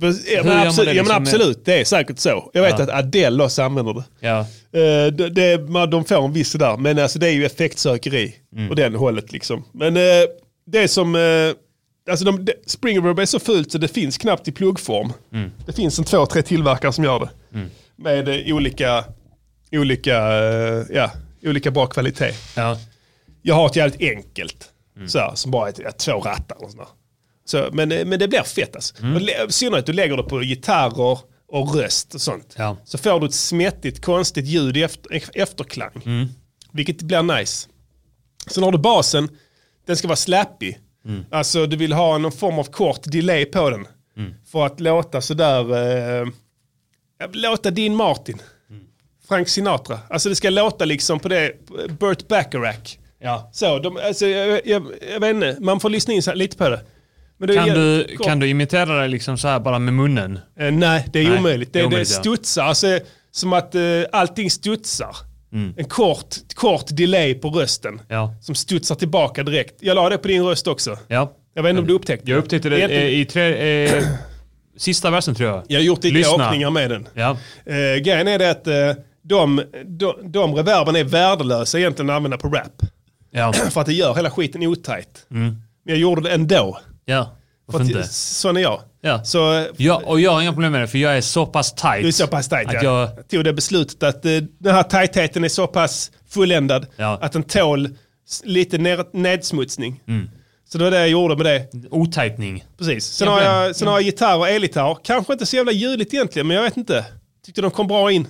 S1: Ja,
S5: Hur gör
S1: men
S5: man
S1: absolut,
S5: det
S1: ja, men
S5: liksom med-
S1: absolut. det är säkert så. Jag vet
S5: Ja.
S1: att Adele också använder det.
S5: Ja.
S1: Eh, det, det, man, de får en viss där, men alltså, det är ju effektsökeri och den hållet liksom. Men eh, det som, eh, alltså de, de, Spring Reverb är så fult så det finns knappt i pluggform. Det finns en två, tre tillverkare som gör det. Med eh, olika, olika, eh, ja, olika bra kvalitet.
S5: Ja.
S1: Jag har ett jävligt enkelt, så här, som bara är ett, två rattar och sådär. Så, men, eh, men det blir fett alltså. Och lä- I synnerhet du lägger det på gitarrer och röst och sånt.
S5: Ja.
S1: Så får du ett smättigt, konstigt ljud i efter, e-, efterklang. Vilket blir nice. Sen har du basen, den ska vara slappy. Alltså du vill ha någon form av kort delay på den. För att låta sådär, eh, ja, låta din Martin. Frank Sinatra. Alltså det ska låta liksom på det, Burt Bacharach.
S5: Ja.
S1: Så, de, alltså, jag, jag, jag vet inte, man får lyssna in så här, lite på det. Men det är
S5: Kan,
S1: jävligt
S5: du,
S1: kort.
S5: kan du imitera det liksom så här bara med munnen?
S1: Eh, nej, det är
S5: Nej,
S1: omöjligt. Det,
S5: det är
S1: det,
S5: omöjligt, ja.
S1: studsar, alltså, som att eh, allting studsar. En kort, kort delay på rösten
S5: Mm. Ja.
S1: som studsar tillbaka direkt. Jag la det på din röst också.
S5: ja.
S1: Jag vet inte om du upptäckte
S5: Jag upptäckte det
S1: Egentligen-
S5: eh, i tre, eh, sista versen tror jag.
S1: Jag har gjort lite
S5: Lyssna.
S1: åkningar med den.
S5: Ja.
S1: Eh, grejen är det att eh, de, de, de reverben är värdelösa egentligen att använda på rap.
S5: Ja.
S1: För att det gör hela skiten otajt.
S5: Mm.
S1: Men jag gjorde det ändå.
S5: ja.
S1: För
S5: Varför
S1: att,
S5: inte?
S1: sån är jag.
S5: Ja.
S1: Så eh,
S5: Ja, och jag har inga problem med det för jag är så pass tight.
S1: du är så pass tajt.
S5: Att
S1: ja.
S5: jag,
S1: jag tog det beslutet att eh, den här tajtheten är så pass fulländad
S5: Ja.
S1: att den tål s- lite ner, nedsmutsning.
S5: Mm.
S1: Så det var det jag gjorde med det.
S5: otajtning.
S1: Precis. Sen,
S5: Ja,
S1: har
S5: men-
S1: jag, sen har jag gitarr och elgitarr. Kanske inte så jävla ljudligt egentligen, men jag vet inte. Tyckte de kom bra in.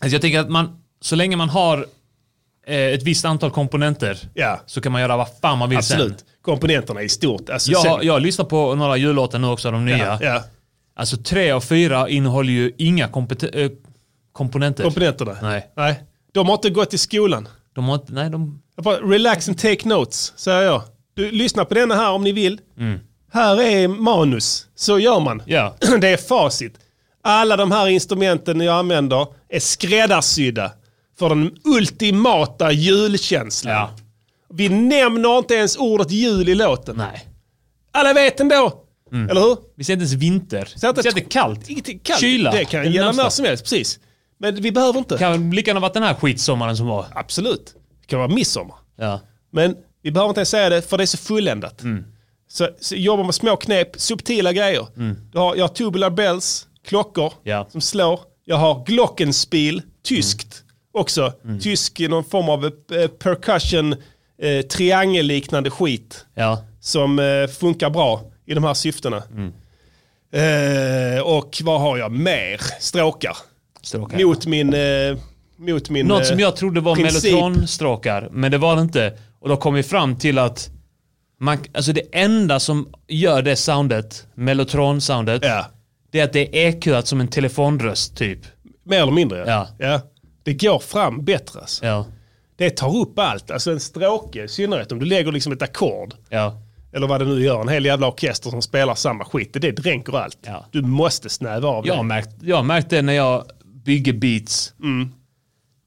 S5: Alltså jag tänker att man, så länge man har eh, ett visst antal komponenter
S1: Ja.
S5: så kan man göra vad fan man vill
S1: Absolut.
S5: sen.
S1: Komponenterna i stort. Alltså,
S5: Jag,
S1: sen-
S5: har- jag lyssnar på några jullåtar nu också, de nya.
S1: ja, ja.
S5: Alltså tre av fyra innehåller ju inga kompet- eh, komponenter.
S1: Komponenterna.
S5: Nej.
S1: Nej. De har inte gått i skolan.
S5: De har inte, nej de...
S1: Jag bara, relax and take notes, säger jag. Du, lyssna på denna här om ni vill. Här är manus. Så gör man.
S5: Mm. Ja.
S1: Det är facit. Alla de här instrumenten jag använder är skräddarsydda för den ultimata julkänslan.
S5: Ja.
S1: Vi nämner inte ens ordet jul i låten.
S5: Nej. Mm.
S1: Alla vet ändå. Eller hur?
S5: Vi ser inte ens vinter.
S1: Så att
S5: vi ser inte kallt.
S1: Ingenting kallt.
S5: Kyla.
S1: Det kan
S5: Den
S1: gälla
S5: närmsta.
S1: när som helst, precis. Men vi behöver inte.
S5: Kan lika gärna varit den här skitsommaren som var.
S1: Absolut. Det kan vara midsommar.
S5: Ja. Mm.
S1: Men vi behöver inte ens säga det för det är så fulländat. Så, så jobbar med små knep, subtila grejer.
S5: Mm.
S1: Jag, har, jag har tubular bells, klockor som slår. Jag har glockenspiel, tyskt
S5: Mm.
S1: också. Tysk i någon form av eh, percussion, eh, triangelliknande skit.
S5: Ja.
S1: Som eh, funkar bra i de här syftena.
S5: Mm.
S1: Eh, och vad har jag mer? Stråkar.
S5: Stråkar.
S1: Mot min... Eh, mot min
S5: Något
S1: eh,
S5: som jag trodde var
S1: princip.
S5: mellotronstråkar, men det var det inte. Och då kom vi fram till att man, alltså det enda som gör det soundet, mellotron-soundet, det är att det är EQat som en telefonröst typ.
S1: Mer eller mindre
S5: ja.
S1: Ja. Det går fram bättre. Alltså. Det tar upp allt. Alltså en stråke, i synnerhet om du lägger liksom ett ackord. Eller vad det nu gör, en hel jävla orkester som spelar samma skit. Det, det dränker allt. Du måste snäva av
S5: Jag har
S1: det.
S5: märkt, jag har märkt det när jag bygger beats.
S1: Mm.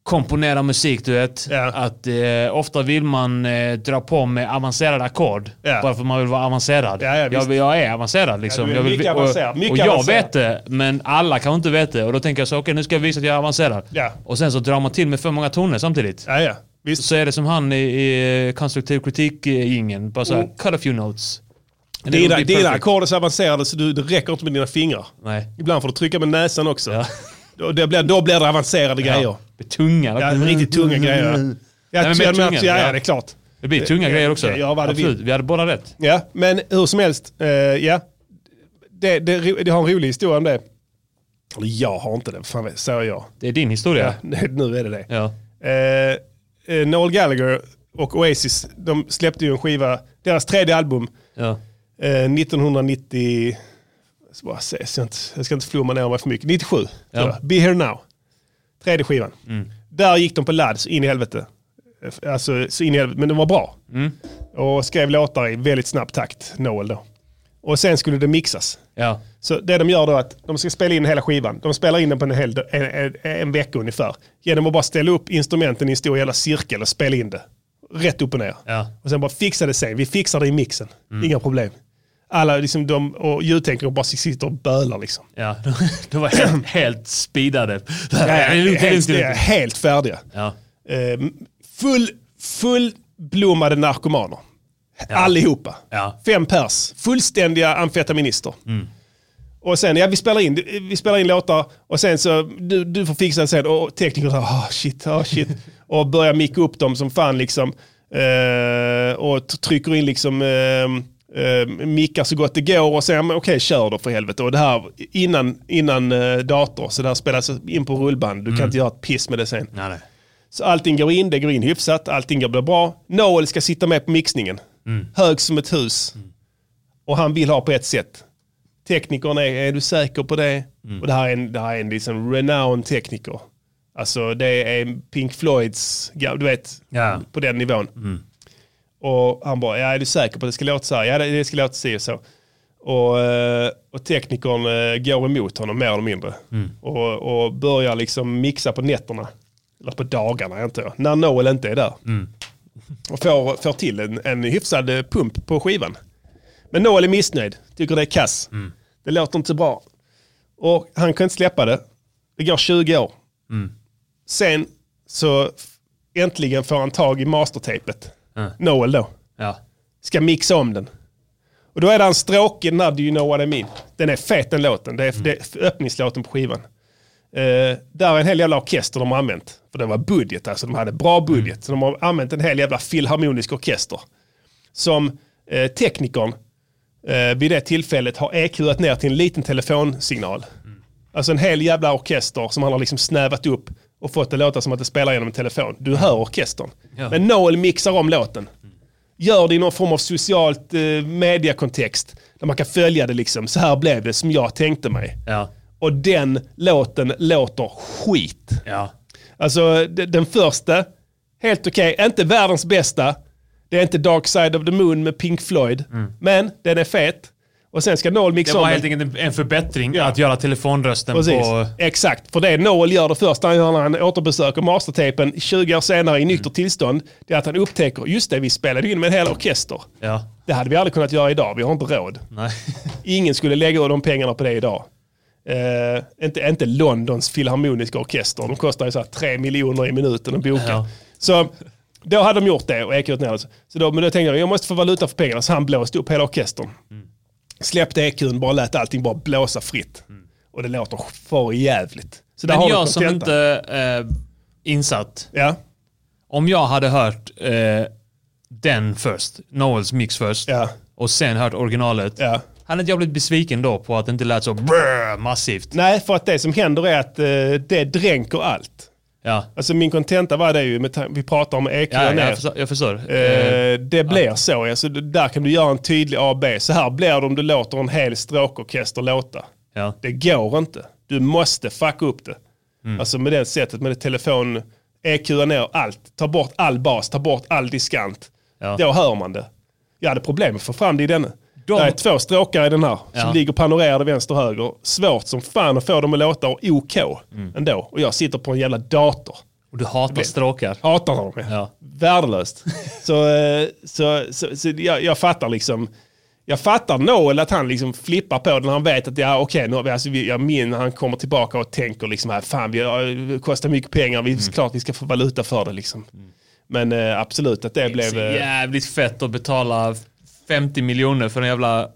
S5: Komponerar musik, du vet. Att eh, ofta vill man eh, dra på med avancerade ackord.
S1: Ja.
S5: Bara för att man vill vara avancerad. jag,
S1: visst.
S5: jag är avancerad liksom.
S1: Ja, du är
S5: jag vill,
S1: mycket avancerad,
S5: Och,
S1: mycket
S5: och jag
S1: avancerad.
S5: vet det, men alla kan inte veta det. Och då tänker jag så, okej nu ska jag visa att jag är avancerad.
S1: Ja.
S5: Och sen så drar man till med för många toner samtidigt.
S1: Ja, ja.
S5: Så är det som han i, i eh, konstruktiv kritik gingen Bara såhär, cut a few notes. And it
S1: Mm. Dina,
S5: will be
S1: dina
S5: perfect.
S1: ackord är så avancerade så du, det räcker inte med dina fingrar.
S5: Nej.
S1: Ibland får du trycka med näsan också. Då, det blir, då blir det avancerade grejer.
S5: Tunga.
S1: Ja, riktigt tunga grejer. Ja,
S5: Mm. Nej, men
S1: jag menar,
S5: mer tunga,
S1: ja, ja,
S5: ja.
S1: det är klart.
S5: Det blir tunga grejer också.
S1: Eh, Ja, vad det vill.
S5: Absolut, vi hade båda rätt.
S1: Ja, men hur som helst. eh, ja. det, det, ro- det har en rolig historia om det. Eller jag har inte det, fan vet- säger jag.
S5: Det är din historia.
S1: Ja, nu är det det.
S5: Ja.
S1: Eh, eh, Noel Gallagher och Oasis, de släppte ju en skiva, deras tredje album,
S5: Ja.
S1: eh, 1990, jag ska, bara se, jag ska inte, jag ska inte flumma ner mig för mycket, 97. tror
S5: Ja.
S1: jag. Be Here Now, tredje skivan.
S5: Mm.
S1: Där gick de på ladd så in i helvete. Eh, Alltså så in i helvete, men de var bra.
S5: Mm.
S1: Och skrev låtar i väldigt snabb takt, Noel då. Och sen skulle det mixas.
S5: Ja.
S1: Så det de gör då är att de ska spela in hela skivan. De spelar in den på en, hel, en, en, en vecka ungefär. Genom att bara ställa upp instrumenten i en stor jävla cirkel och spela in det. Rätt upp och ner.
S5: Ja. Mm.
S1: Och sen bara fixa det sen. Vi fixar det i mixen. Inga problem. Alla liksom de, och ljudtekniker bara sitter och bölar liksom.
S5: Ja, de var helt, helt speedade.
S1: Ja,
S5: Det är lugnt, det är lugnt,
S1: helt,
S5: det är lugnt.
S1: helt färdiga.
S5: Ja.
S1: Eh, Full, fullblommade narkomaner. Allihopa.
S5: Ja.
S1: Fem pers. Fullständiga amfetaminister. Och sen, ja vi spelar in, vi spelar in låtar och sen så, du, du får fixa det sen. Och teknikerna säger, ah shit, ah shit. och börjar micka upp dem som fan liksom. Eh, och t- trycker in liksom eh, eh, mickar så gott det går och säger, men okej kör då för helvete. Och det här innan, innan eh, dator, så det här spelas in på rullband. Du kan inte göra ett piss med det sen.
S5: Nej, nej.
S1: Så allting går in, det går in hyfsat, allting går blir bra. Noel ska sitta med på mixningen. Hög som ett hus. Och han vill ha på ett sätt. Teknikern är, är du säker på det? Och det här är en, det här är en liksom renowned tekniker. Alltså det är Pink Floyds, ja, du vet,
S5: Ja.
S1: på den nivån. Och han bara, ja är du säker på att det ska låta så här? Ja det, det ska låta si och så. Och, eh, och teknikern eh, går emot honom mer eller mindre. Och, och börjar liksom mixa på nätterna. Eller på dagarna antar jag. När Noel inte är där. Och får, får till en, en hyfsad eh, pump på skivan. Men Noel är missnöjd. Tycker det är kass. Det låter inte så bra. Och han kan inte släppa det. Det går 20 år. Sen så f- äntligen får han tag i mastertapet.
S5: Ja.
S1: Noel då.
S5: Ja.
S1: Ska mixa om den. Och då är det en stråke, den här Do You Know What I Mean. Den är fet den låten. Det är, det är öppningslåten på skivan. Eh, där är en hel jävla orkester de har använt. För det var budget, alltså de hade bra budget. Så de har använt en hel jävla filharmonisk orkester. Som eh, teknikern eh, vid det tillfället har EQat ner till en liten telefonsignal. Alltså en hel jävla orkester som han har liksom snävat upp och fått det låta som att det spelar genom en telefon. Du hör orkestern.
S5: Ja.
S1: Men Noel mixar om låten. Gör det i någon form av socialt eh, mediekontext. Där man kan följa det liksom. Så här blev det som jag tänkte mig.
S5: Ja.
S1: Och den låten låter skit.
S5: Ja.
S1: Alltså d- den första, helt okej. Inte världens bästa. Det är inte Dark Side of the Moon med Pink Floyd. Men den är fet. Och sen ska Noel
S5: Mm. Det
S1: mixa
S5: var
S1: om den.
S5: helt enkelt en- en förbättring att göra telefonrösten
S1: Precis.
S5: på...
S1: Exakt, för det Noel gör det första han gör när han återbesöker mastertapen 20 år senare i
S5: Mm.
S1: nykter tillstånd, det är att han upptäcker, just det, vi spelade in med en hel orkester.
S5: Ja.
S1: Det hade vi aldrig kunnat göra idag, vi har inte råd.
S5: Nej.
S1: Ingen skulle lägga ur de pengarna på det idag. Eh, inte, inte Londons filharmoniska orkester, de kostar ju så här 3 miljoner i minuten att boka.
S5: Ja.
S1: Så Då hade de gjort det och EQ ner oss. Så då, men då tänkte jag, jag måste få valuta för pengarna. Så han blåste upp hela orkestern. Släppte EQn, bara lät allting bara blåsa fritt. Och det låter för jävligt. Så där
S5: Men
S1: har vi
S5: jag som
S1: kontentan.
S5: inte eh, insatt.
S1: Ja.
S5: Om jag hade hört eh, den först, Noels mix först, och sen hört originalet. Hade inte jag blivit besviken då på att det inte lät så brrr, massivt?
S1: Nej, för att det som händer är att eh, det dränker allt.
S5: Ja.
S1: Alltså min kontenta var det ju, med ta- vi pratar om EQ
S5: Ja,
S1: ner.
S5: jag, förstår, jag förstår.
S1: Eh, det blir så. Alltså, d- där kan du göra en tydlig AB. Så här blir det om du låter en hel stråkorkester låta. Det går inte. Du måste fucka upp det.
S5: Mm.
S1: Alltså med det sättet, med det telefon, EQ ner allt. Ta bort all bas, ta bort all diskant. Då hör man det. Jag hade problem med att få fram det i denna.
S5: De-
S1: Det är två stråkar i den här
S5: Ja.
S1: som ligger panorerade vänster och höger. Svårt som fan att få dem att låta och OK
S5: Mm.
S1: ändå. Och jag sitter på en jävla dator.
S5: Och du hatar stråkar?
S1: Hatar dem, ja. Värdelöst. så eh, så, så, så jag, jag fattar liksom. Jag fattar Noel att han liksom flippar på det när han vet att ja, okej, nu har vi, alltså, vi, jag minns han kommer tillbaka och tänker liksom här, fan vi har, det kostar mycket pengar, vi, klart vi ska få valuta för det liksom. Men eh, absolut att det,
S5: Det är
S1: blev...
S5: så
S1: eh,
S5: jävligt fett att betala 50 miljoner för en jävla eh,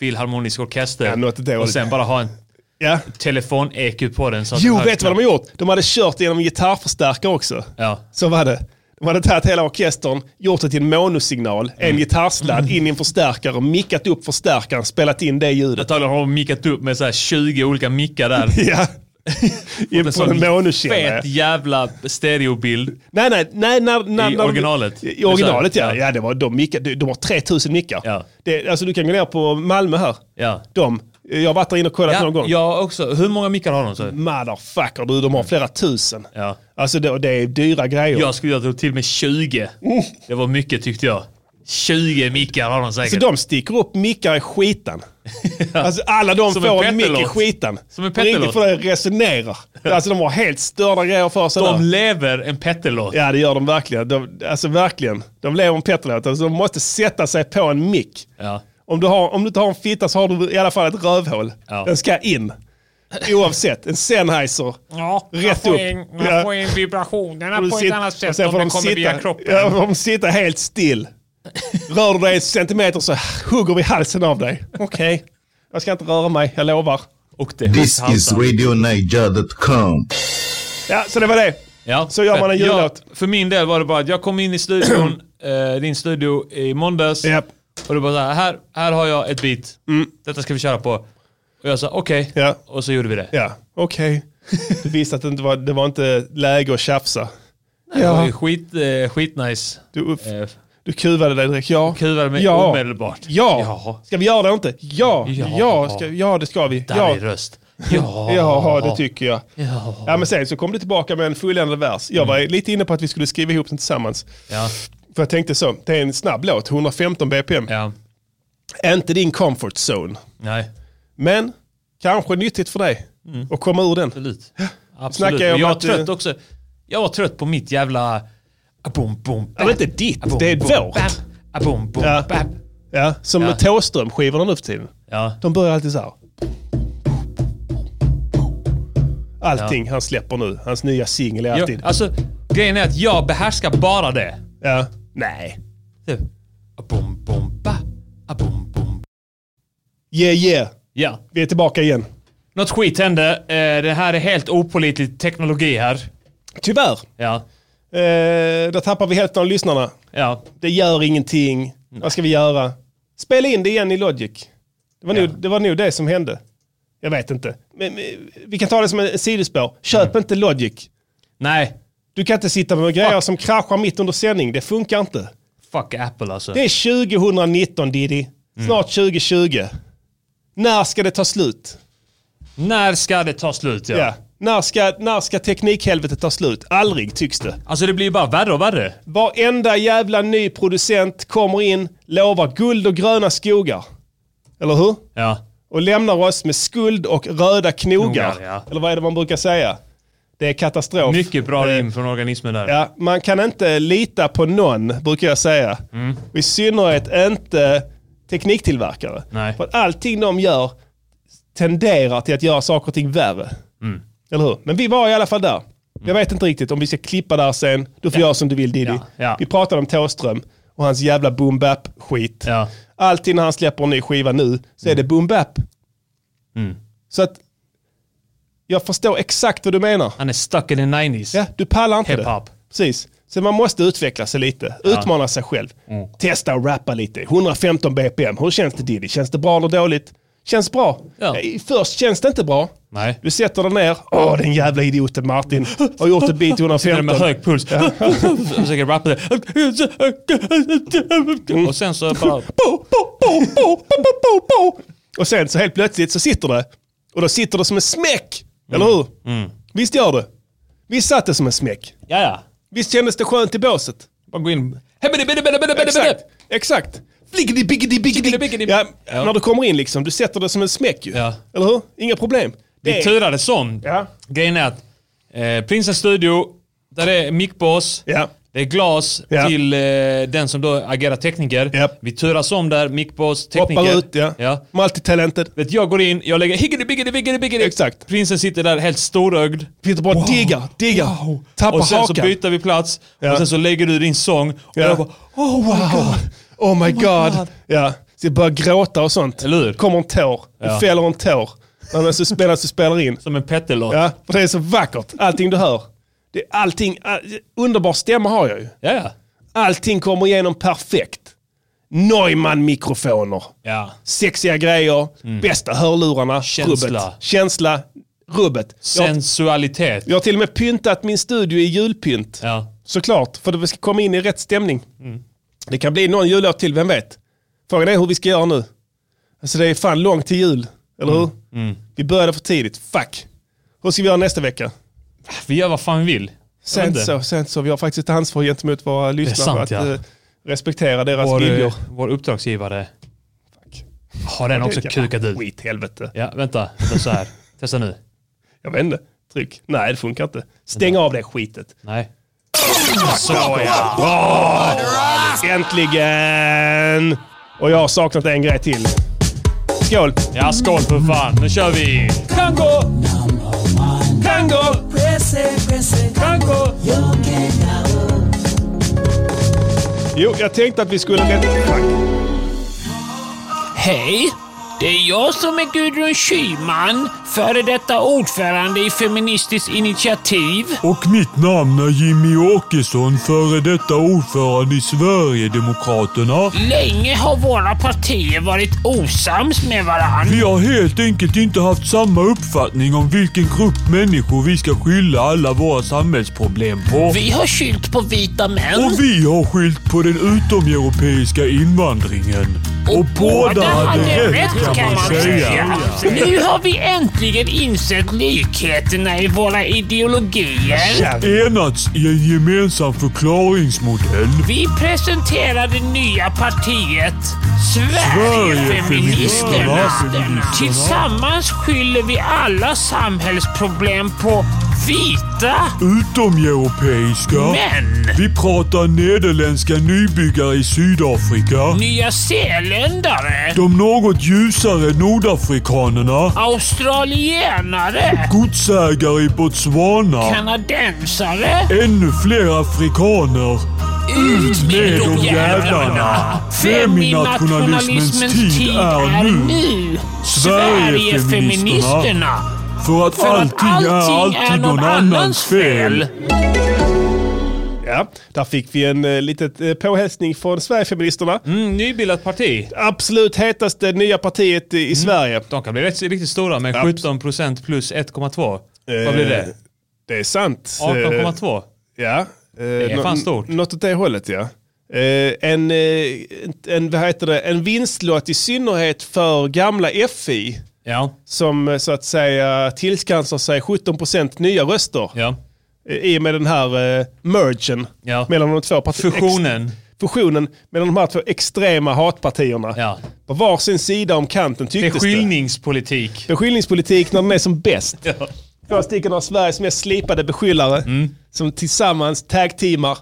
S5: filharmonisk orkester.
S1: Ja, något dåligt.
S5: och sen bara ha en
S1: Ja.
S5: telefon-EQ på den. Så att
S1: Jo,
S5: den här-
S1: vet du vad de har gjort? De hade kört genom en gitarrförstärkare också. Så var det. De hade tagit hela orkestern, gjort det till en monosignal, en gitarrsladd, in i en förstärkare, mickat upp förstärkaren, spelat in det ljudet.
S5: Antagligen har de mickat upp med så här 20 olika mickar där.
S1: ja.
S5: In
S1: på en monokilla, ja.
S5: fet jävla stereobild.
S1: Nej, nej, nej. När, när,
S5: I
S1: när,
S5: originalet.
S1: I originalet ja. ja det var, de, mickar, de, de har 3000 mickar. Det, alltså, du kan gå ner på Malmö här.
S5: Ja.
S1: De, jag har varit där inne och kollat
S5: Ja,
S1: någon gång.
S5: Jag också. Hur många mickar har de? Så?
S1: Motherfucker du, de har flera tusen.
S5: Ja.
S1: Alltså det, det är dyra grejer.
S5: Jag skulle göra till med 20.
S1: Mm.
S5: Det var mycket tyckte jag. 20 mickar har de säkert.
S1: Så de sticker upp mickar i skitan. Alltså alla de
S5: Som en
S1: får en mick i
S5: pettelåt.
S1: skitan.
S5: Som en
S1: På riktigt,
S5: pettelåt.
S1: för det resonerar. Alltså de har helt störda grejer för sig
S5: De
S1: där.
S5: lever en pettelåt.
S1: Ja det gör de verkligen. De, alltså verkligen. De lever en pettelåt. Alltså, de måste sätta sig på en mick. Om, du har, om du inte har en fitta så har du i alla fall ett rövhål. Den ska in. Oavsett, en Sennheiser.
S13: Ja,
S1: Rätt upp.
S13: man
S1: Ja.
S13: får in vibrationerna
S1: Och du
S13: på ett
S1: sit-
S13: annat
S1: och
S13: sätt
S1: sen
S13: om
S1: får
S13: den
S1: de
S13: kommer
S1: sitta-
S13: via kroppen.
S1: Ja, får de sitta helt still. Rör du dig en centimeter så hugger vi halsen av dig. Okej, jag ska inte röra mig, jag lovar.
S14: This is RadioNiger.com.
S1: Ja, så det var det.
S5: Ja,
S1: Så gör man en
S5: fett. Jag-
S1: jullåt.
S5: För min del var det bara att jag kom in i studion, eh, din studio i måndags. Och du bara så här, här, här har jag ett beat. Detta ska vi köra på. Och jag sa okej. Och så gjorde vi det.
S1: Mm. Ja, okej. Du visste att det inte var, det var inte läge att tjafsa.
S5: Det var ju skit, eh, skitnice. eh,
S1: Du, du kuvade dig direkt. Ja.
S5: Kuvade mig
S1: Ja.
S5: omedelbart.
S1: Ja. Ska vi göra det eller inte? Ja, ja,
S5: Ja.
S1: ska, ja det ska vi.
S5: Där
S1: ja.
S5: är röst. Ja.
S1: ja, det tycker jag.
S5: Ja.
S1: Ja, men sen så kom du tillbaka med en fulländad vers. Jag var lite inne på att vi skulle skriva ihop den tillsammans.
S5: Mm. Ja.
S1: För jag tänkte så, det är en snabb låt, 115 bpm. Inte din comfort zone.
S5: Nej.
S1: Men kanske nyttigt för dig
S5: Mm.
S1: att komma ur den.
S5: Absolut.
S1: Snackar
S5: Absolut.
S1: jag
S5: Jag,
S1: om
S5: var
S1: att,
S5: trött
S1: eh,
S5: också. Jag var trött på mitt jävla... Boom, boom,
S1: Ja, men inte ditt, det är vårt.
S5: Boom, boom,
S1: Ja. Ja, som
S5: Ja.
S1: ja. Thåström-skivorna nu för tiden. De börjar alltid så här. Allting han släpper nu, hans nya singel är
S5: Jag-
S1: alltid...
S5: alltså, grejen är att jag behärskar bara det.
S1: Ja. Nej.
S5: Typ. Boom, boom, ba, a boom, boom.
S1: Yeah yeah.
S5: Ja.
S1: Vi är tillbaka igen.
S5: Något skit hände. Eh, Det här är helt opolitlig teknologi här.
S1: Tyvärr.
S5: Ja.
S1: Eh, då tappar vi hälften av lyssnarna.
S5: Ja.
S1: Det gör ingenting. Vad ska vi göra? Spela in det igen i Logic. Det var, nog, det var nog det som hände. Jag vet inte. Men, men, vi kan ta det som en sidospår. Köp inte Logic.
S5: Nej.
S1: Du kan inte sitta med grejer som kraschar mitt under sändning. Det funkar inte.
S5: Fuck Apple alltså.
S1: Det är 2019 Diddy. Snart 2020. När ska det ta slut?
S5: När ska det ta slut? Ja.
S1: Ja. När, ska, när ska teknikhelvetet ta slut? Aldrig tycks det.
S5: Alltså det blir ju bara värre och värre.
S1: Varenda jävla ny producent kommer in, lovar guld och gröna skogar. Eller hur?
S5: Ja.
S1: Och lämnar oss med skuld och röda knogar.
S5: Knogar, ja.
S1: Eller vad är det man brukar säga? Det är katastrof.
S5: Mycket bra rim från organismen där.
S1: Ja, man kan inte lita på någon, brukar jag säga.
S5: Mm.
S1: Och I synnerhet inte tekniktillverkare.
S5: Nej.
S1: För att allting de gör tenderar till att göra saker och ting värre.
S5: Mm.
S1: Eller hur? Men vi var i alla fall där. Jag vet inte riktigt om vi ska klippa där sen. Du får
S5: Ja.
S1: göra som du vill Diddy.
S5: Ja, ja.
S1: Vi pratade om Thåström och hans jävla boom bap skit
S5: Ja.
S1: Alltid när han släpper en ny skiva nu så är det boom bap.
S5: Mm.
S1: Så att jag förstår exakt vad du menar.
S5: Han är stuck in the 90s.
S1: Ja, du pallar inte
S5: Hip-hop.
S1: det. Precis. Så man måste utveckla sig lite,
S5: Ja. Mm.
S1: utmana sig själv. Testa att rappa lite. 115 BPM, hur känns det Diddy? Känns det bra eller dåligt? Känns bra. I- Först känns det inte bra.
S5: Nej.
S1: Du sätter dig ner. Åh, den jävla idioten Martin. Har gjort ett beat i 115.
S5: Sitter med hög puls.
S1: Ja.
S5: Försöker rappa det. Och sen så bara...
S1: Och sen så helt plötsligt så sitter det. Och då sitter det som en smäck.
S5: Mm.
S1: Eller hur? Visst gör det? Visst satt det som en smäck?
S5: Ja, ja.
S1: Visst kändes det skönt i båset?
S5: Bara gå in. Hebidi, bidi, bidi, bidi, bidi, bidi.
S1: Exakt. Exakt. Fliggidi, biggidi, biggidi. Ja, När du kommer in liksom, du sätter det som en smäck ju.
S5: Ja.
S1: Eller hur? Inga problem.
S5: Vi turades om. Grejen är att eh, Prinsens studio, där är mickbås, det är glas
S1: Ja.
S5: till eh, den som då agerar tekniker. Vi turas om där, mickbås, tekniker.
S1: Hoppar ut, ja.
S5: ja.
S1: Multitalented.
S5: Vet, jag går in, jag lägger higgity, biggity, biggity, biggity. Exakt. Prinsen sitter där helt storögd.
S1: Peter bara diggar, diggar. Tappar
S5: Och sen så
S1: hakan.
S5: byter vi plats
S1: Ja.
S5: och sen så lägger du din sång. Och
S1: Ja.
S5: jag bara,
S1: Oh wow! Oh my god! Ja, så jag börjar gråta och sånt. Eller Kommer en tår, det
S5: Ja.
S1: fäller en tår. När man så spelar, så spelar in. Som
S5: en pettelåt.
S1: Ja, för det är så vackert, allting du hör. Det är allting, all, underbar stämma har jag ju.
S5: Ja.
S1: Allting kommer igenom perfekt. Neumann-mikrofoner.
S5: Ja.
S1: Sexiga grejer, bästa hörlurarna,
S5: Mm. Känsla.
S1: rubbet. Känsla, rubbet.
S5: Sensualitet.
S1: Jag har till och med pyntat min studio i julpynt. Såklart, för att vi ska komma in i rätt stämning.
S5: Mm.
S1: Det kan bli någon jullåt till, vem vet? Frågan är hur vi ska göra nu. Alltså det är fan långt till jul, eller hur?
S5: Mm.
S1: Vi började för tidigt, fuck. Hur ska vi göra nästa vecka?
S5: Vi gör vad fan vi vill. Jag vet
S1: Sen
S5: inte.
S1: så, sen så, vi har faktiskt ett ansvar gentemot våra lyssnare
S5: sant,
S1: att
S5: ja.
S1: eh, respektera deras
S5: vår, eh,
S1: viljor.
S5: vår uppdragsgivare. Har den
S1: Ja, det
S5: också
S1: kan-
S5: kukat ut?
S1: Skit helvete.
S5: Ja, vänta. vänta så här. Testa nu.
S1: Jag vet inte, tryck. Nej, det funkar inte. Stäng av det skitet.
S5: Nej.
S1: Så ja. Bra! Äntligen! Och jag har saknat en grej till. Skål!
S5: Ja, skål för fan. Nu kör vi! Tango!
S1: Tango!
S5: Tango!
S1: Jo, jag tänkte att vi skulle... rätt- Fuck.
S13: Hej! Det är jag som är Gudrun Schyman, före detta ordförande i Feministiskt initiativ.
S15: Och mitt namn är Jimmy Åkesson, före detta ordförande i Sverigedemokraterna.
S13: Länge har våra partier varit osams med varandra.
S15: Vi har helt enkelt inte haft samma uppfattning om vilken grupp människor vi ska skylla alla våra samhällsproblem på.
S13: Vi har skylt på vita män.
S15: Och vi har skyllt på den utomeuropeiska invandringen. Och, båda hade rätt kan man säga.
S13: Nu har vi äntligen insett likheterna i våra ideologier.
S15: Enats i en gemensam förklaringsmodell.
S13: Vi presenterar det nya partiet
S15: Sverigefeministerna.
S13: Sverigefeministerna. Tillsammans skyller vi alla samhällsproblem på vita.
S15: Utomeuropeiska.
S13: Men-
S15: Vi pratar nederländska nybyggare i Sydafrika.
S13: Nya Zeeländare.
S15: De något ljusare nordafrikanerna.
S13: Australienare.
S15: Godsägare i Botswana.
S13: Kanadensare.
S15: Ännu fler afrikaner. Ut med de jävlarna! Feminationalismens tid är nu. Sverigefeministerna. För att allting är alltid någon annans fel.
S1: Ja, där fick vi en eh, litet eh, påhälsning från Sverigefeministerna.
S5: Mm, nybildat parti.
S1: Absolut hetaste nya partiet i, i Sverige.
S5: De kan bli rätt, riktigt stora med
S1: Ja.
S5: 17% plus 1,2. Vad blir
S1: Eh,
S5: det?
S1: Det är sant. Eh,
S5: 18,2.
S1: Ja. Det
S5: är fan stort.
S1: Något åt det hållet ja. Eh, En, eh, en, en, vad heter det? en vinstlåt i synnerhet för gamla FI. Som eh, så att säga tillskansar sig 17% nya röster. Eh, I och med den här eh, mergen mellan de två partierna.
S5: Fusionen.
S1: Fusionen mellan de här två extrema hatpartierna. På varsin sida om kanten tycktes
S5: Beskyllningspolitik.
S1: det. Beskyllningspolitik när den är som bäst. Två stycken av Sveriges mest slipade beskyllare som tillsammans tag-teamar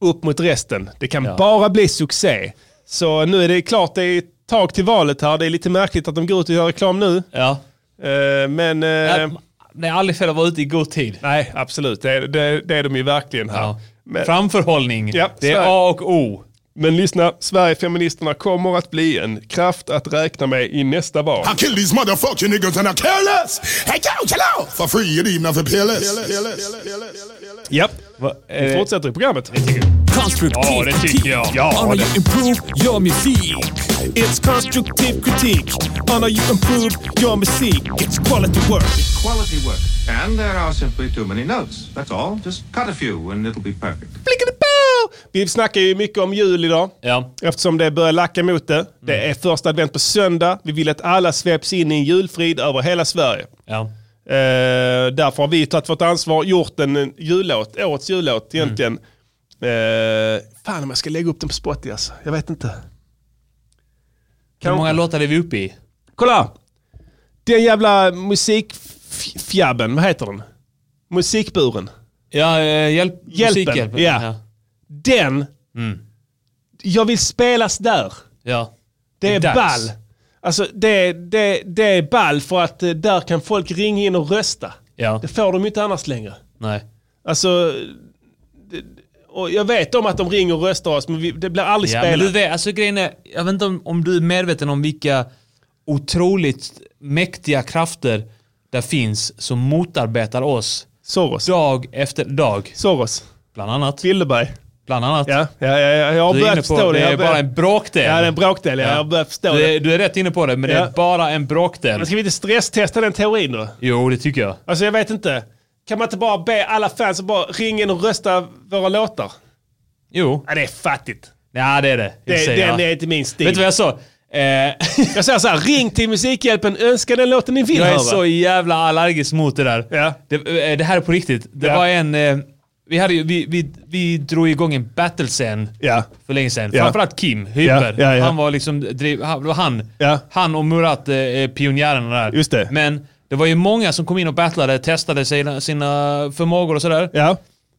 S1: upp mot resten. Det kan bara bli succé. Så nu är det klart, det är ett tag till valet här. Det är lite märkligt att de går ut och gör reklam nu.
S5: Ja.
S1: Eh, Men eh,
S5: det är aldrig fel att vara ute i god tid.
S1: Nej, absolut. Det, är- det, det är de ju verkligen här.
S5: Framförhållning.
S1: Ja,
S5: det är
S1: Sverige-
S5: A och O.
S1: Men lyssna, Sverigefeministerna kommer att bli en kraft att räkna med i nästa val.
S9: I kill these motherfucking niggas and I care less. Hey, yo, chill out! For free and even for peerless.
S1: Japp. Vi fortsätter i programmet.
S10: Konstruktiv
S1: Ja, det tycker jag.
S10: kritik.
S1: Ja,
S10: Anna,
S1: det-
S10: you improve your musik. It's constructive critique. Anna, you improve your musik. It's quality work.
S16: Quality work. And there are simply too many notes. That's all. Just cut a few and it'll be perfect.
S1: Vi snackar ju mycket om jul idag. Eftersom det börjar lacka mot det. Det är första advent på söndag. Vi vill att alla sveps in i en julfrid över hela Sverige.
S5: Ja.
S1: Eh, därför har vi tagit vårt ansvar, gjort en en jullåt, årets jullåt egentligen. Eh, fan om jag ska lägga upp den på Spotify alltså. Jag vet inte.
S5: Hur många låtar är vi uppe i?
S1: Kolla! Den jävla musikfjabben, vad heter den? Musikburen.
S5: Ja, eh, hjälp,
S1: Hjälpen,
S5: musikhjälpen.
S1: ja. Den, jag vill spelas där.
S5: Ja.
S1: Det är,
S5: Det är dags.
S1: ball. Alltså det, det, det är ball för att eh, där kan folk ringa in och rösta.
S5: Ja.
S1: Det får de ju inte annars längre.
S5: Nej.
S1: Alltså, det- och jag vet om att de ringer och röstar oss, men vi, det blir aldrig
S5: Ja, men
S1: spelat.
S5: du vet, alltså grejen är, jag vet inte om, om du är medveten om vilka otroligt mäktiga krafter där finns som motarbetar oss.
S1: Soros.
S5: Dag efter dag.
S1: Soros.
S5: Bland annat.
S1: Bilderberg.
S5: Bland annat.
S1: Ja, ja, ja, jag har
S5: Du är
S1: börjat
S5: inne på-
S1: förstå det.
S5: det
S1: Jag
S5: är
S1: börjar-
S5: bara en bråkdel.
S1: Ja, det är en bråkdel. Ja.
S5: Ja.
S1: Jag har börjat förstå
S5: Du,
S1: det.
S5: är- du är rätt inne på det, men det
S1: Ja. Alltså-
S5: är bara en bråkdel.
S1: Men ska vi inte stresstesta den teorin då?
S5: Jo, det tycker jag.
S1: Alltså jag vet inte. Kan man inte bara be alla fans att bara ringa in och rösta våra låtar?
S5: Jo.
S1: Ja, det är fattigt.
S5: Ja, det är det. Jag
S1: Det,
S5: säger,
S1: den
S5: ja.
S1: är inte min stil.
S5: Vet du vad jag sa? Eh,
S1: jag säger så här, ring till Musikhjälpen, önska den låten ni vill
S5: jag är
S1: höra.
S5: så jävla allergisk mot det där. Det, eh, det här är på riktigt. Det
S1: Ja.
S5: var en... eh, Vi, hade ju, vi, vi, vi drog igång en battlescen för länge sedan.
S1: Ja.
S5: Framförallt Kim Hyper.
S1: Ja, ja, ja.
S5: Han var liksom... Driv, han, det var han, han och Murat, eh, eh, pionjärerna där.
S1: Just det.
S5: Men det var ju många som kom in och battlade, testade sina, sina förmågor och sådär.
S1: Ja.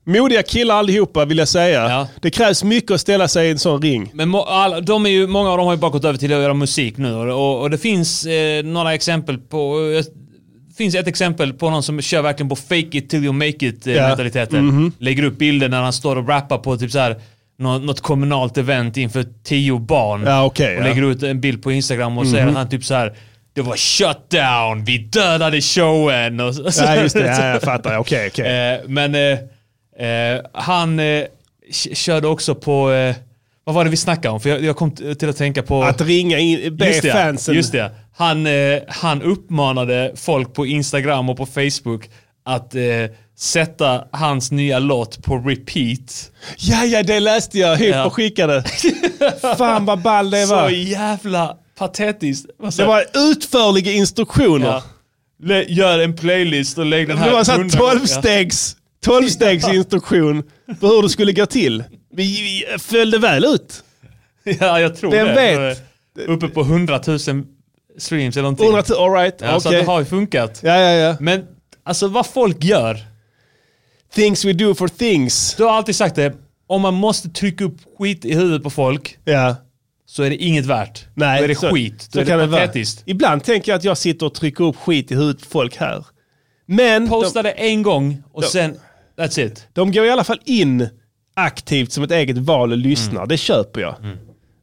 S1: Modiga killar allihopa vill jag säga. Det krävs mycket att ställa sig i en sån ring.
S5: Men må, alla, de är ju, många av dem har ju bara gått över till att göra musik nu och, och, och det finns eh, några exempel på... eh, Det finns ett exempel på någon som kör verkligen på fake it till you make it eh,
S1: Ja.
S5: mentaliteten.
S1: Mhm.
S5: Lägger upp bilder när han står och rappar på typ så här, nå- något kommunalt event inför tio barn.
S1: Ja, okej,
S5: och
S1: ja.
S5: lägger ut en bild på Instagram och säger
S1: Mhm.
S5: att han typ så här. Det var shutdown, vi dödade showen. Och så,
S1: Ja, just det. Ja, jag fattar. Okej, okej.
S5: Eh, men eh, eh, han eh, k- körde också på... Eh, vad var det vi snackade om? För jag, jag kom t- till att tänka på...
S1: Att ringa in, be
S5: Just det,
S1: fansen.
S5: Just det. Han, eh, han uppmanade folk på Instagram och på Facebook att eh, sätta hans nya låt på repeat.
S1: Ja, ja, det läste jag. Hypp
S5: Ja.
S1: och skickade. Fan vad ball det
S5: Så
S1: var.
S5: jävla patetiskt.
S1: Det var utförliga instruktioner.
S5: Ja. Lä- Gör en playlist och lägg den här
S1: Det var så här
S5: hundra gånger.
S1: 12 stegs, 12 stegs instruktion på hur det skulle gå till. Vi, vi följde väl ut.
S5: Ja, jag tror
S1: Vem
S5: det.
S1: vet?
S5: Uppe på 100 000 streams eller någonting.
S1: 100 000, all right,
S5: ja, Så att
S1: okej.
S5: det har ju funkat.
S1: Ja, ja, ja.
S5: Men alltså vad folk gör.
S1: Things we do for things.
S5: Du har alltid sagt det. Om man måste trycka upp skit i huvudet på folk
S1: ja.
S5: så är det inget värt.
S1: Nej,
S5: då är det skit. Då är det patetiskt.
S1: Vara. Ibland tänker jag att jag sitter och trycker upp skit i huvudet på folk här. Men...
S5: Posta det en gång och
S1: de,
S5: sen, that's it.
S1: De går i alla fall in aktivt som ett eget val och lyssnar.
S5: Mm.
S1: Det köper jag.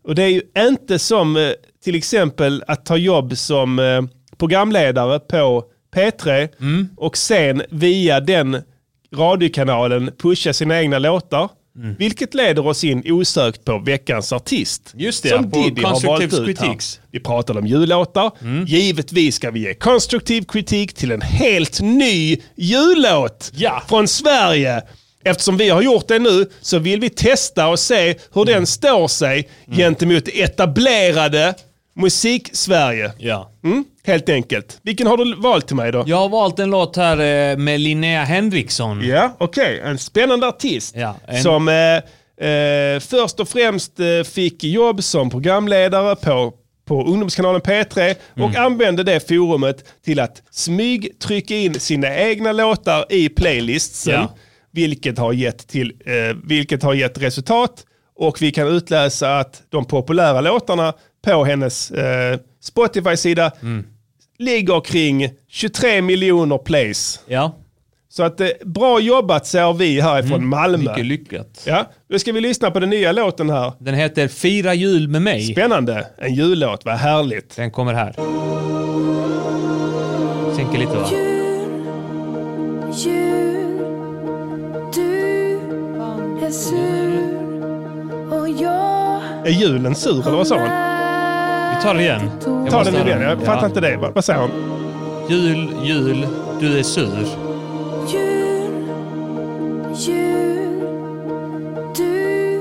S1: Och det är ju inte som eh, till exempel att ta jobb som eh, programledare på P3
S5: Mm.
S1: och sen via den radiokanalen pusha sina egna låtar.
S5: Mm.
S1: Vilket leder oss in osökt på veckans artist.
S5: Just det,
S1: som
S5: ja, på
S1: Diddy har valt
S5: Constructive
S1: ut här.
S5: Critiques.
S1: Vi pratade om jullåtar. Givetvis ska vi ge konstruktiv kritik till en helt ny jullåt från Sverige. Eftersom vi har gjort det nu så vill vi testa och se hur den står sig gentemot etablerade musik-Sverige. Mm, helt enkelt. Vilken har du valt till mig då?
S5: Jag har valt en låt här eh, med Linnea Henriksson.
S1: Ja, okej. En spännande artist.
S5: Mm. Ja, en,
S1: Som eh, eh, först och främst eh, fick jobb som programledare på, på ungdomskanalen P3 och
S5: Mm.
S1: använde det forumet till att smygtrycka in sina egna låtar i playlistsen.
S5: Ja.
S1: Vilket, har gett till, eh, vilket har gett resultat och vi kan
S5: Mm.
S1: utläsa att de populära låtarna på hennes eh, Spotify-sida ligger kring 23 miljoner plays.
S5: Ja.
S1: Så att eh, bra jobbat ser vi härifrån Malmö.
S5: Mm, Mycket lyckat.
S1: Ja, nu ska vi lyssna på den nya låten här.
S5: Den heter Fira jul med mig.
S1: Spännande. En jullåt, vad härligt.
S5: Den kommer här. Sänker lite va?
S17: Jul, du är sur och jag
S1: Är julen sur eller vad sa hon?
S5: Vi tar det igen. Jag
S1: Ta
S5: måste
S1: den
S5: ha
S1: igen, jag fattar inte det. Vad, vad säger hon?
S5: Jul, jul, du är sur.
S17: Jul, jul, du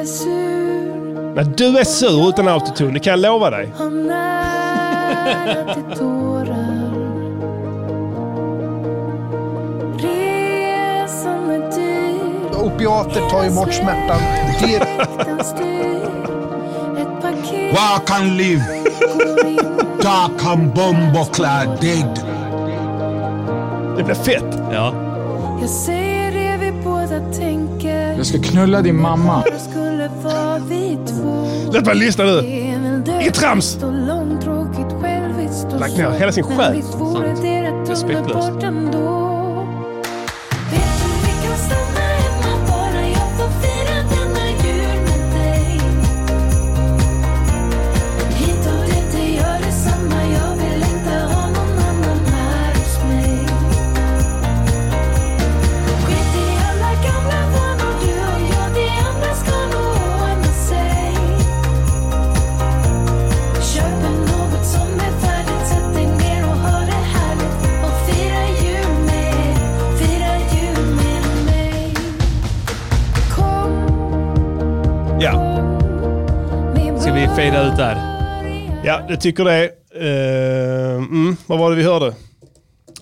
S17: är sur
S1: Men du är sur utan autotune, det kan jag lova dig.
S17: och nära till tårar Resan är dyr
S12: Opiater tar ju bort smärtan direkt.
S17: Ett paket
S9: Walk and live. Dark and bombo clad dead.
S1: Det blir fett.
S5: Ja.
S17: Jag säger det vi båda tänker
S8: Jag ska knulla din mamma.
S17: Det skulle vara vi två
S1: Låt mig lyssna nu.
S17: Det är väl död.
S1: Inget trams.
S17: Så långtråkigt själviskt och
S1: Lagt ner
S17: så.
S1: hela sin
S17: Men
S1: själ.
S17: visst vore det rätt
S5: Respektlöst.
S17: underbart ändå. Vet du, vi kan stanna hemma bara jag får fira denna jul med dig. Hit och dit, det gör detsamma. Jag vill inte ha någon annan här hos mig. Skit i alla gamla vanor, du och jag, det andra ska nog ordna sig. Köp något som är färdigt, sätt dig ner och ha det härligt och fira jul med, fira jul med mig. Kom
S1: Ja,
S17: med
S5: Ska vi fejda ut där?
S1: ja jag tycker det. Eh, mm, vad var det vi hörde?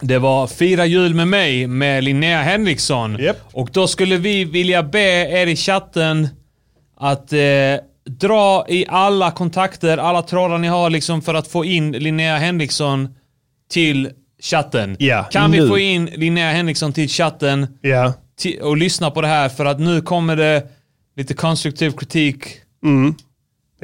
S5: Det var Fira jul med mig med Linnea Henriksson.
S1: Japp.
S5: Och då skulle vi vilja be er i chatten att eh, dra i alla kontakter, alla trådar ni har liksom för att få in Linnea Henriksson till chatten.
S1: Ja,
S5: kan vi
S1: nu.
S5: få in Linnea Henriksson till chatten
S1: Ja.
S5: ti- och lyssna på det här för att nu kommer det lite konstruktiv kritik
S1: Mm.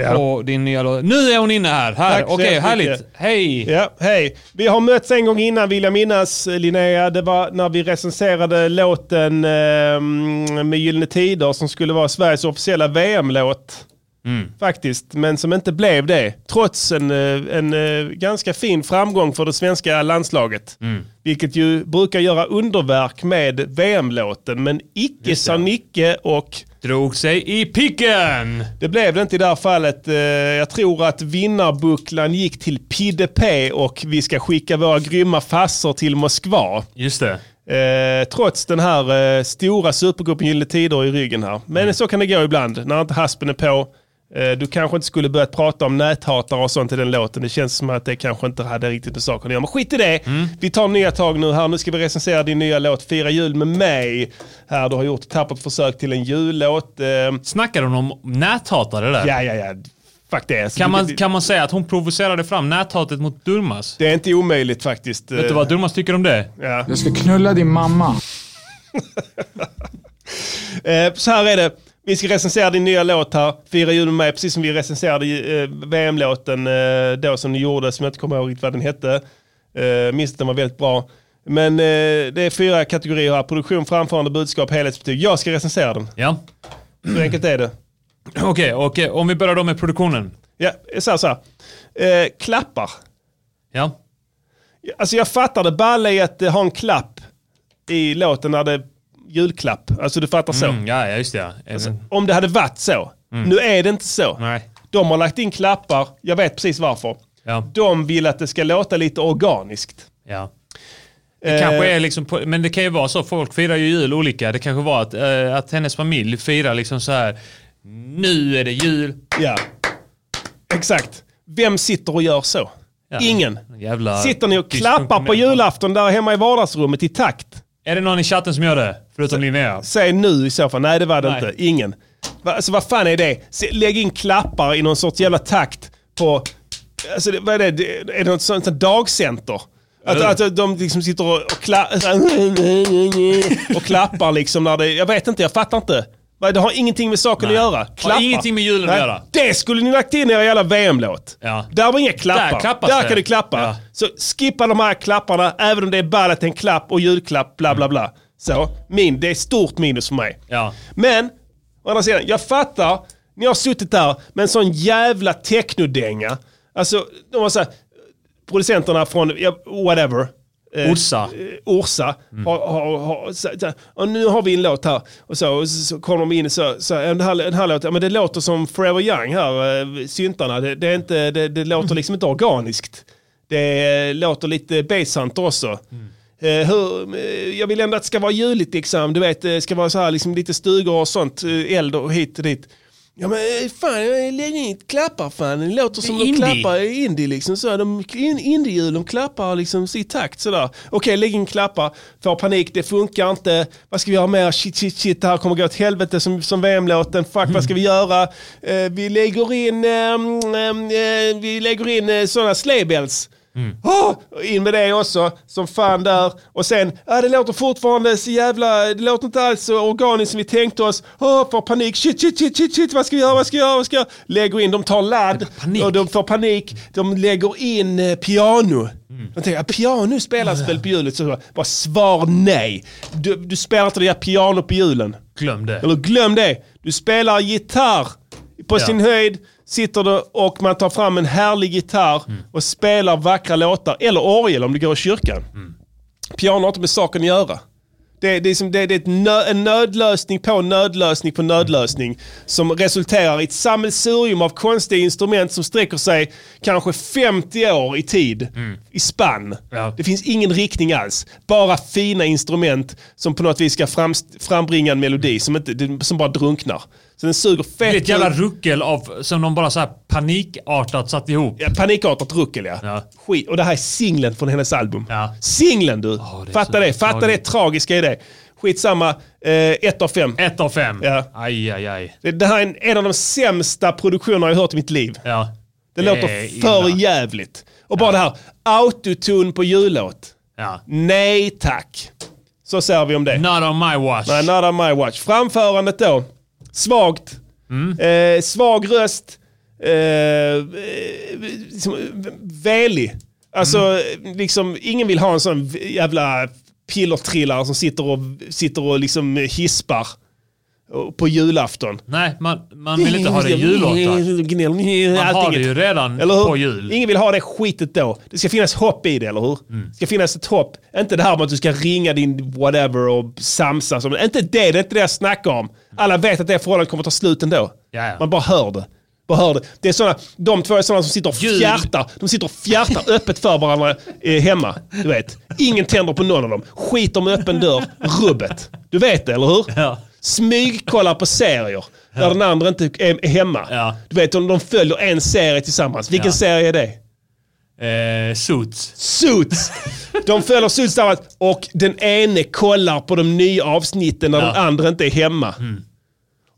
S1: Ja.
S5: på din nya låt. Nu är hon inne här! här.
S1: Tack så
S5: Okej,
S1: jättemycket.
S5: härligt. Hej!
S1: Ja, hej. Vi har mötts en gång innan vill jag minnas Linnea. Det var när vi recenserade låten eh, med Gyllene Tider som skulle vara Sveriges officiella VM-låt. Faktiskt, men som inte blev det. Trots en, eh, en eh, ganska fin framgång för det svenska landslaget. Vilket ju brukar göra underverk med VM-låten. Men icke sa Nicke och
S5: Drog sig i picken!
S1: det blev det inte i det här fallet. Eh, Jag tror att vinnarbucklan gick till Pidde P och vi ska skicka våra grymma fassor till Moskva.
S5: Just det.
S1: Eh, trots den här eh, stora supercupen Gyllene Tider i ryggen här. Men så kan det gå ibland när inte haspen är på. Eh, du kanske inte skulle börjat prata om näthatare och sånt i den låten. Det känns som att det kanske inte hade riktigt med saken att göra. Men skit i det. Vi tar nya tag nu här. Nu ska vi recensera din nya låt Fira Jul med mig. Här, du har gjort ett tappert försök till en jullåt. Eh,
S5: Snackar hon om näthatare där?
S1: ja, ja, ja. Fuck det. Alltså,
S5: Kan
S1: du-
S5: man, kan man säga att hon provocerade fram näthatet mot Durmas?
S1: Det är inte omöjligt faktiskt.
S5: Vet du vad Durmas tycker om det?
S1: Ja.
S8: Jag ska knulla din mamma.
S1: Eh, Så här är det. Vi ska recensera din nya låt här, Fira jul med mig, precis som vi recenserade eh, VM-låten eh, då som ni gjorde, som jag inte kommer ihåg riktigt vad den hette. Eh, Minns att den var väldigt bra. Men eh, det är fyra kategorier här, produktion, framförande, budskap, helhetsbetyg. Jag ska recensera den.
S5: Ja. Mm.
S1: Hur enkelt är det?
S5: Okej, och eh, om vi börjar då med produktionen.
S1: Ja, så här, så här. Eh, Klappar.
S5: Ja.
S1: Alltså jag fattar det balla i att eh, ha en klapp i låten när det är julklapp. Alltså du fattar så.
S5: Mm, ja, ja, just det. ja. Även-
S1: Om det hade varit så. Nu är det inte så.
S5: Mm. Nej.
S1: De har lagt in klappar, jag vet precis varför.
S5: Ja.
S1: De vill att det ska låta lite organiskt.
S5: ja. Det kanske är liksom, på, men det kan ju vara så, folk firar ju jul olika. Det kanske var att, eh, att hennes familj firar liksom så här. Nu är det jul.
S1: Ja. Exakt. Vem sitter och gör så?
S5: Ja.
S1: Ingen.
S5: Jävla
S1: Sitter ni och klappar på
S5: dysfunktionell-
S1: julafton där hemma i vardagsrummet i takt?
S5: Är det någon i chatten som gör det? Förutom Linnea?
S1: Säg nu i så fall. Nej, det var det
S5: Nej.
S1: inte. Ingen. Va, alltså vad fan är det? Se- Lägg in klappar i någon sorts jävla takt på... Alltså det, vad är det? det? Är det något sånt sånt dagcenter? Att,
S5: Mm.
S1: att de liksom sitter och, och, kla och klappar liksom när det... Jag vet inte, jag fattar inte. Va, Det har ingenting med saken att göra. Klappar.
S5: ingenting med julen att
S1: Nej,
S5: göra.
S1: Det skulle ni lagt in i er jävla VM-låt. Där var inga klappar.
S5: Där klappas det.
S1: kan du klappa. Så skippa de här klapparna, även om det är ball att det är en klapp och julklapp, bla bla bla. Så, min, det är stort minus för mig.
S5: Ja.
S1: Men, å andra sidan, jag fattar. Ni har suttit där med en sån jävla technodänga. Alltså, de var så här, producenterna från, ja, whatever. eh,
S5: Orsa.
S1: eh, Orsa. Har, har, har, så, så, och nu har vi en låt här. Och så, och så, så kommer de in så, så en här, en här låt, ja, men det låter som Forever Young här, eh, syntarna. Det, det, är inte, det, det låter liksom inte organiskt. Det eh, låter lite basshunter också. Eh, hur, eh, jag vill ändå att det ska vara juligt liksom. Du vet, det ska vara så här liksom lite stugor och sånt. eh, Eld och hit och dit. Ja men eh, fan, eh, lägg in klappar fan. Det låter som de
S5: Indie.
S1: klappar i indie liksom. Så de, in, indiehjul, de klappar liksom i takt sådär. Okej, lägg in klappar. Får panik, det funkar inte. Vad ska vi göra mer? Shit, shit, shit, det här kommer gå åt helvete som, som VM-låten. Fuck, vad ska vi göra? Eh, vi lägger in, ehm, ehm, eh, vi lägger in eh, sådana slaybells. Ah, in med det också, som fan där. Och sen, ah, det låter fortfarande så jävla, det låter inte alls så organiskt som vi tänkte oss. Ah, får panik, shit, shit, shit, shit, shit, vad ska vi göra, vad ska vi göra, vad ska vi göra? Lägger in, de tar ladd och de får panik. De lägger in eh, piano. De tänker, ah, piano spelas väl på hjulet? Så bara svar nej. Du, du spelar inte det där piano på hjulen.
S5: Glöm det.
S1: Eller glöm det. Du spelar gitarr. På
S5: Ja.
S1: sin höjd sitter du och man tar fram en härlig gitarr och spelar vackra låtar. Eller orgel om du går i kyrkan. Piano har inte med saken att göra. Det, det är, som, det, det är ett nö, en nödlösning på nödlösning på nödlösning som resulterar i ett sammelsurium av konstiga instrument som sträcker sig kanske 50 år i tid, i spann. Det finns ingen riktning alls. Bara fina instrument som på något vis ska framst- frambringa en melodi som, inte, det- som bara drunknar. Så den suger fett.
S5: Det är ett
S1: ur-
S5: jävla ruckel av, som de bara så här panikartat satt ihop.
S1: Ja, panikartat ruckel ja. Skit. Och det här är singeln från hennes album. Singeln du! fatta det, fatta det tragiska i det. Skitsamma, eh, ett av fem.
S5: Ett av fem.
S1: Ja.
S5: Aj, aj, aj.
S1: Det, det här är en, en av de sämsta produktionerna jag hört i mitt liv.
S5: Ja.
S1: Det,
S5: Det är
S1: låter för
S5: illa.
S1: jävligt. Och bara det här, autotune på jullåt.
S5: Ja.
S1: Nej tack. Så säger vi om det.
S5: Not on my watch.
S1: Nej, not on my watch. Framförandet då. Svagt.
S5: Mm.
S1: Eh, svag röst. Eh, eh, liksom, v- välig. Alltså,
S5: Mm.
S1: liksom, ingen vill ha en sån v- jävla pillertrillare som sitter och, sitter och liksom hispar eh, på julafton.
S5: Nej, man, man vill inte ha det i jullåtar. Man har det ju redan
S1: Eller hur?
S5: på jul. Mm.
S1: Ingen vill ha det skitet då. Det ska finnas hopp i det, eller hur? Det ska finnas ett hopp. Inte det här med att du ska ringa din whatever och samsas. om det. Inte det, det är inte det jag snackar om. Alla vet att det förhållandet kommer ta slut ändå.
S5: Ja, ja.
S1: Man bara hör det. Bara hör det. det är såna, de två är sådana som sitter och
S5: Jul.
S1: fjärtar. De sitter och fjärtar öppet för varandra eh, hemma. Du vet. Ingen tänder på någon av dem. Skiter med öppen dörr. Rubbet. Du vet det, eller hur? Ja. Smygkollar på serier. Där den andra inte är är hemma. Du vet, om de följer en serie tillsammans. Vilken
S5: Ja.
S1: serie är det?
S5: Eh, suits.
S1: Suits! De följer Suits tillsammans och den ene kollar på de nya avsnitten när
S5: Ja. Mm.
S1: den andra inte är hemma.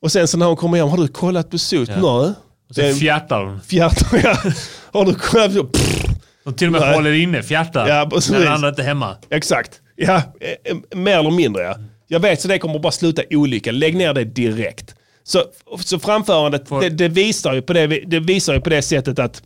S1: Och sen så när hon kommer hem, har du kollat på Suits? Nej.
S5: Och sen fjärtar de.
S1: Fjärtar, ja. Har du kollat på... Pff.
S5: De till och med
S1: Nej.
S5: håller inne, fjärtar.
S1: Ja, precis.
S5: när den andra inte är hemma.
S1: Exakt. Ja, eh, eh, mer eller mindre ja. Jag vet så det kommer bara sluta i olycka. Lägg ner det direkt. Så, så framförandet, det, det, visar ju på det, det visar ju på det sättet att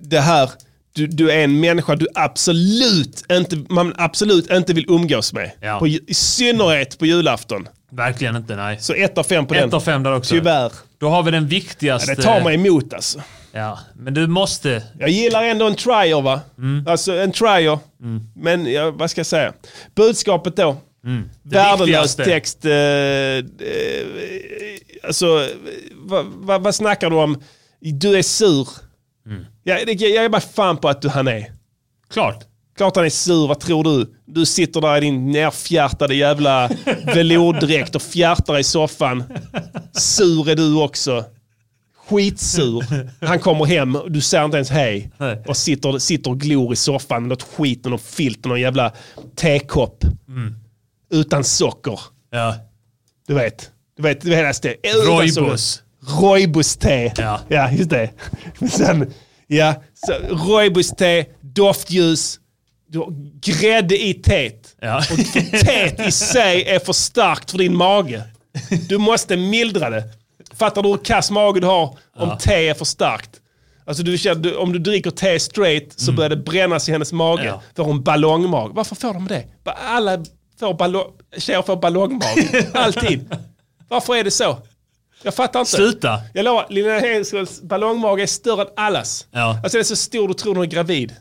S1: det här, du, du är en människa du absolut inte, man absolut inte vill umgås med.
S5: Ja.
S1: På, ju- I synnerhet på julafton.
S5: Verkligen inte, nej.
S1: Så ett av fem på den.
S5: Ett av fem där också.
S1: Tyvärr.
S5: Då har vi den
S1: Ja,
S5: viktigaste.
S1: det tar mig emot alltså.
S5: Ja, men du måste.
S1: Jag gillar ändå en trier va?
S5: Mm.
S1: Alltså en trier. Men ja, vad ska jag säga? Budskapet då.
S5: Mm. Det
S1: Värdelös
S5: viktigaste.
S1: text. Eh, eh, alltså, eh, vad, vad, vad snackar du om? Du är sur. Jag, det, jag är bara fan på att du, han är.
S5: Mm. Klart.
S1: Klart han är sur, vad tror du? Du sitter där i din nerfjärtade jävla velourdräkt och fjärtar i soffan. Sur är du också. Skitsur. Han kommer hem, och du säger inte ens hej. Och sitter, sitter och glor i soffan med något skit, någon filt, någon jävla tekopp.
S5: Mm.
S1: Utan socker.
S5: Ja.
S1: Du vet. Du vet, du vet det.
S5: Roibos.
S1: Roibos-te. Ja. just det. Men Sen, ja, så Roibos-te, doftljus, du har grädde i teet. Och tät i sig är för starkt för din mage. Du måste mildra det. Fattar du hur kass mage du har om
S5: Ja.
S1: te är för starkt? Alltså du känner, du, om du dricker te straight så börjar det brännas i hennes mage.
S5: Mm. Ja.
S1: Får hon ballongmage. Varför får de det? Ba- Alla får ballong, tjejer får ballongmage. Alltid. Varför är det så? Jag fattar inte.
S5: Sluta.
S1: Jag lovar, Linnea Henskölds ballongmage är större än allas.
S5: Ja.
S1: Alltså den är så stor du tror hon är gravid.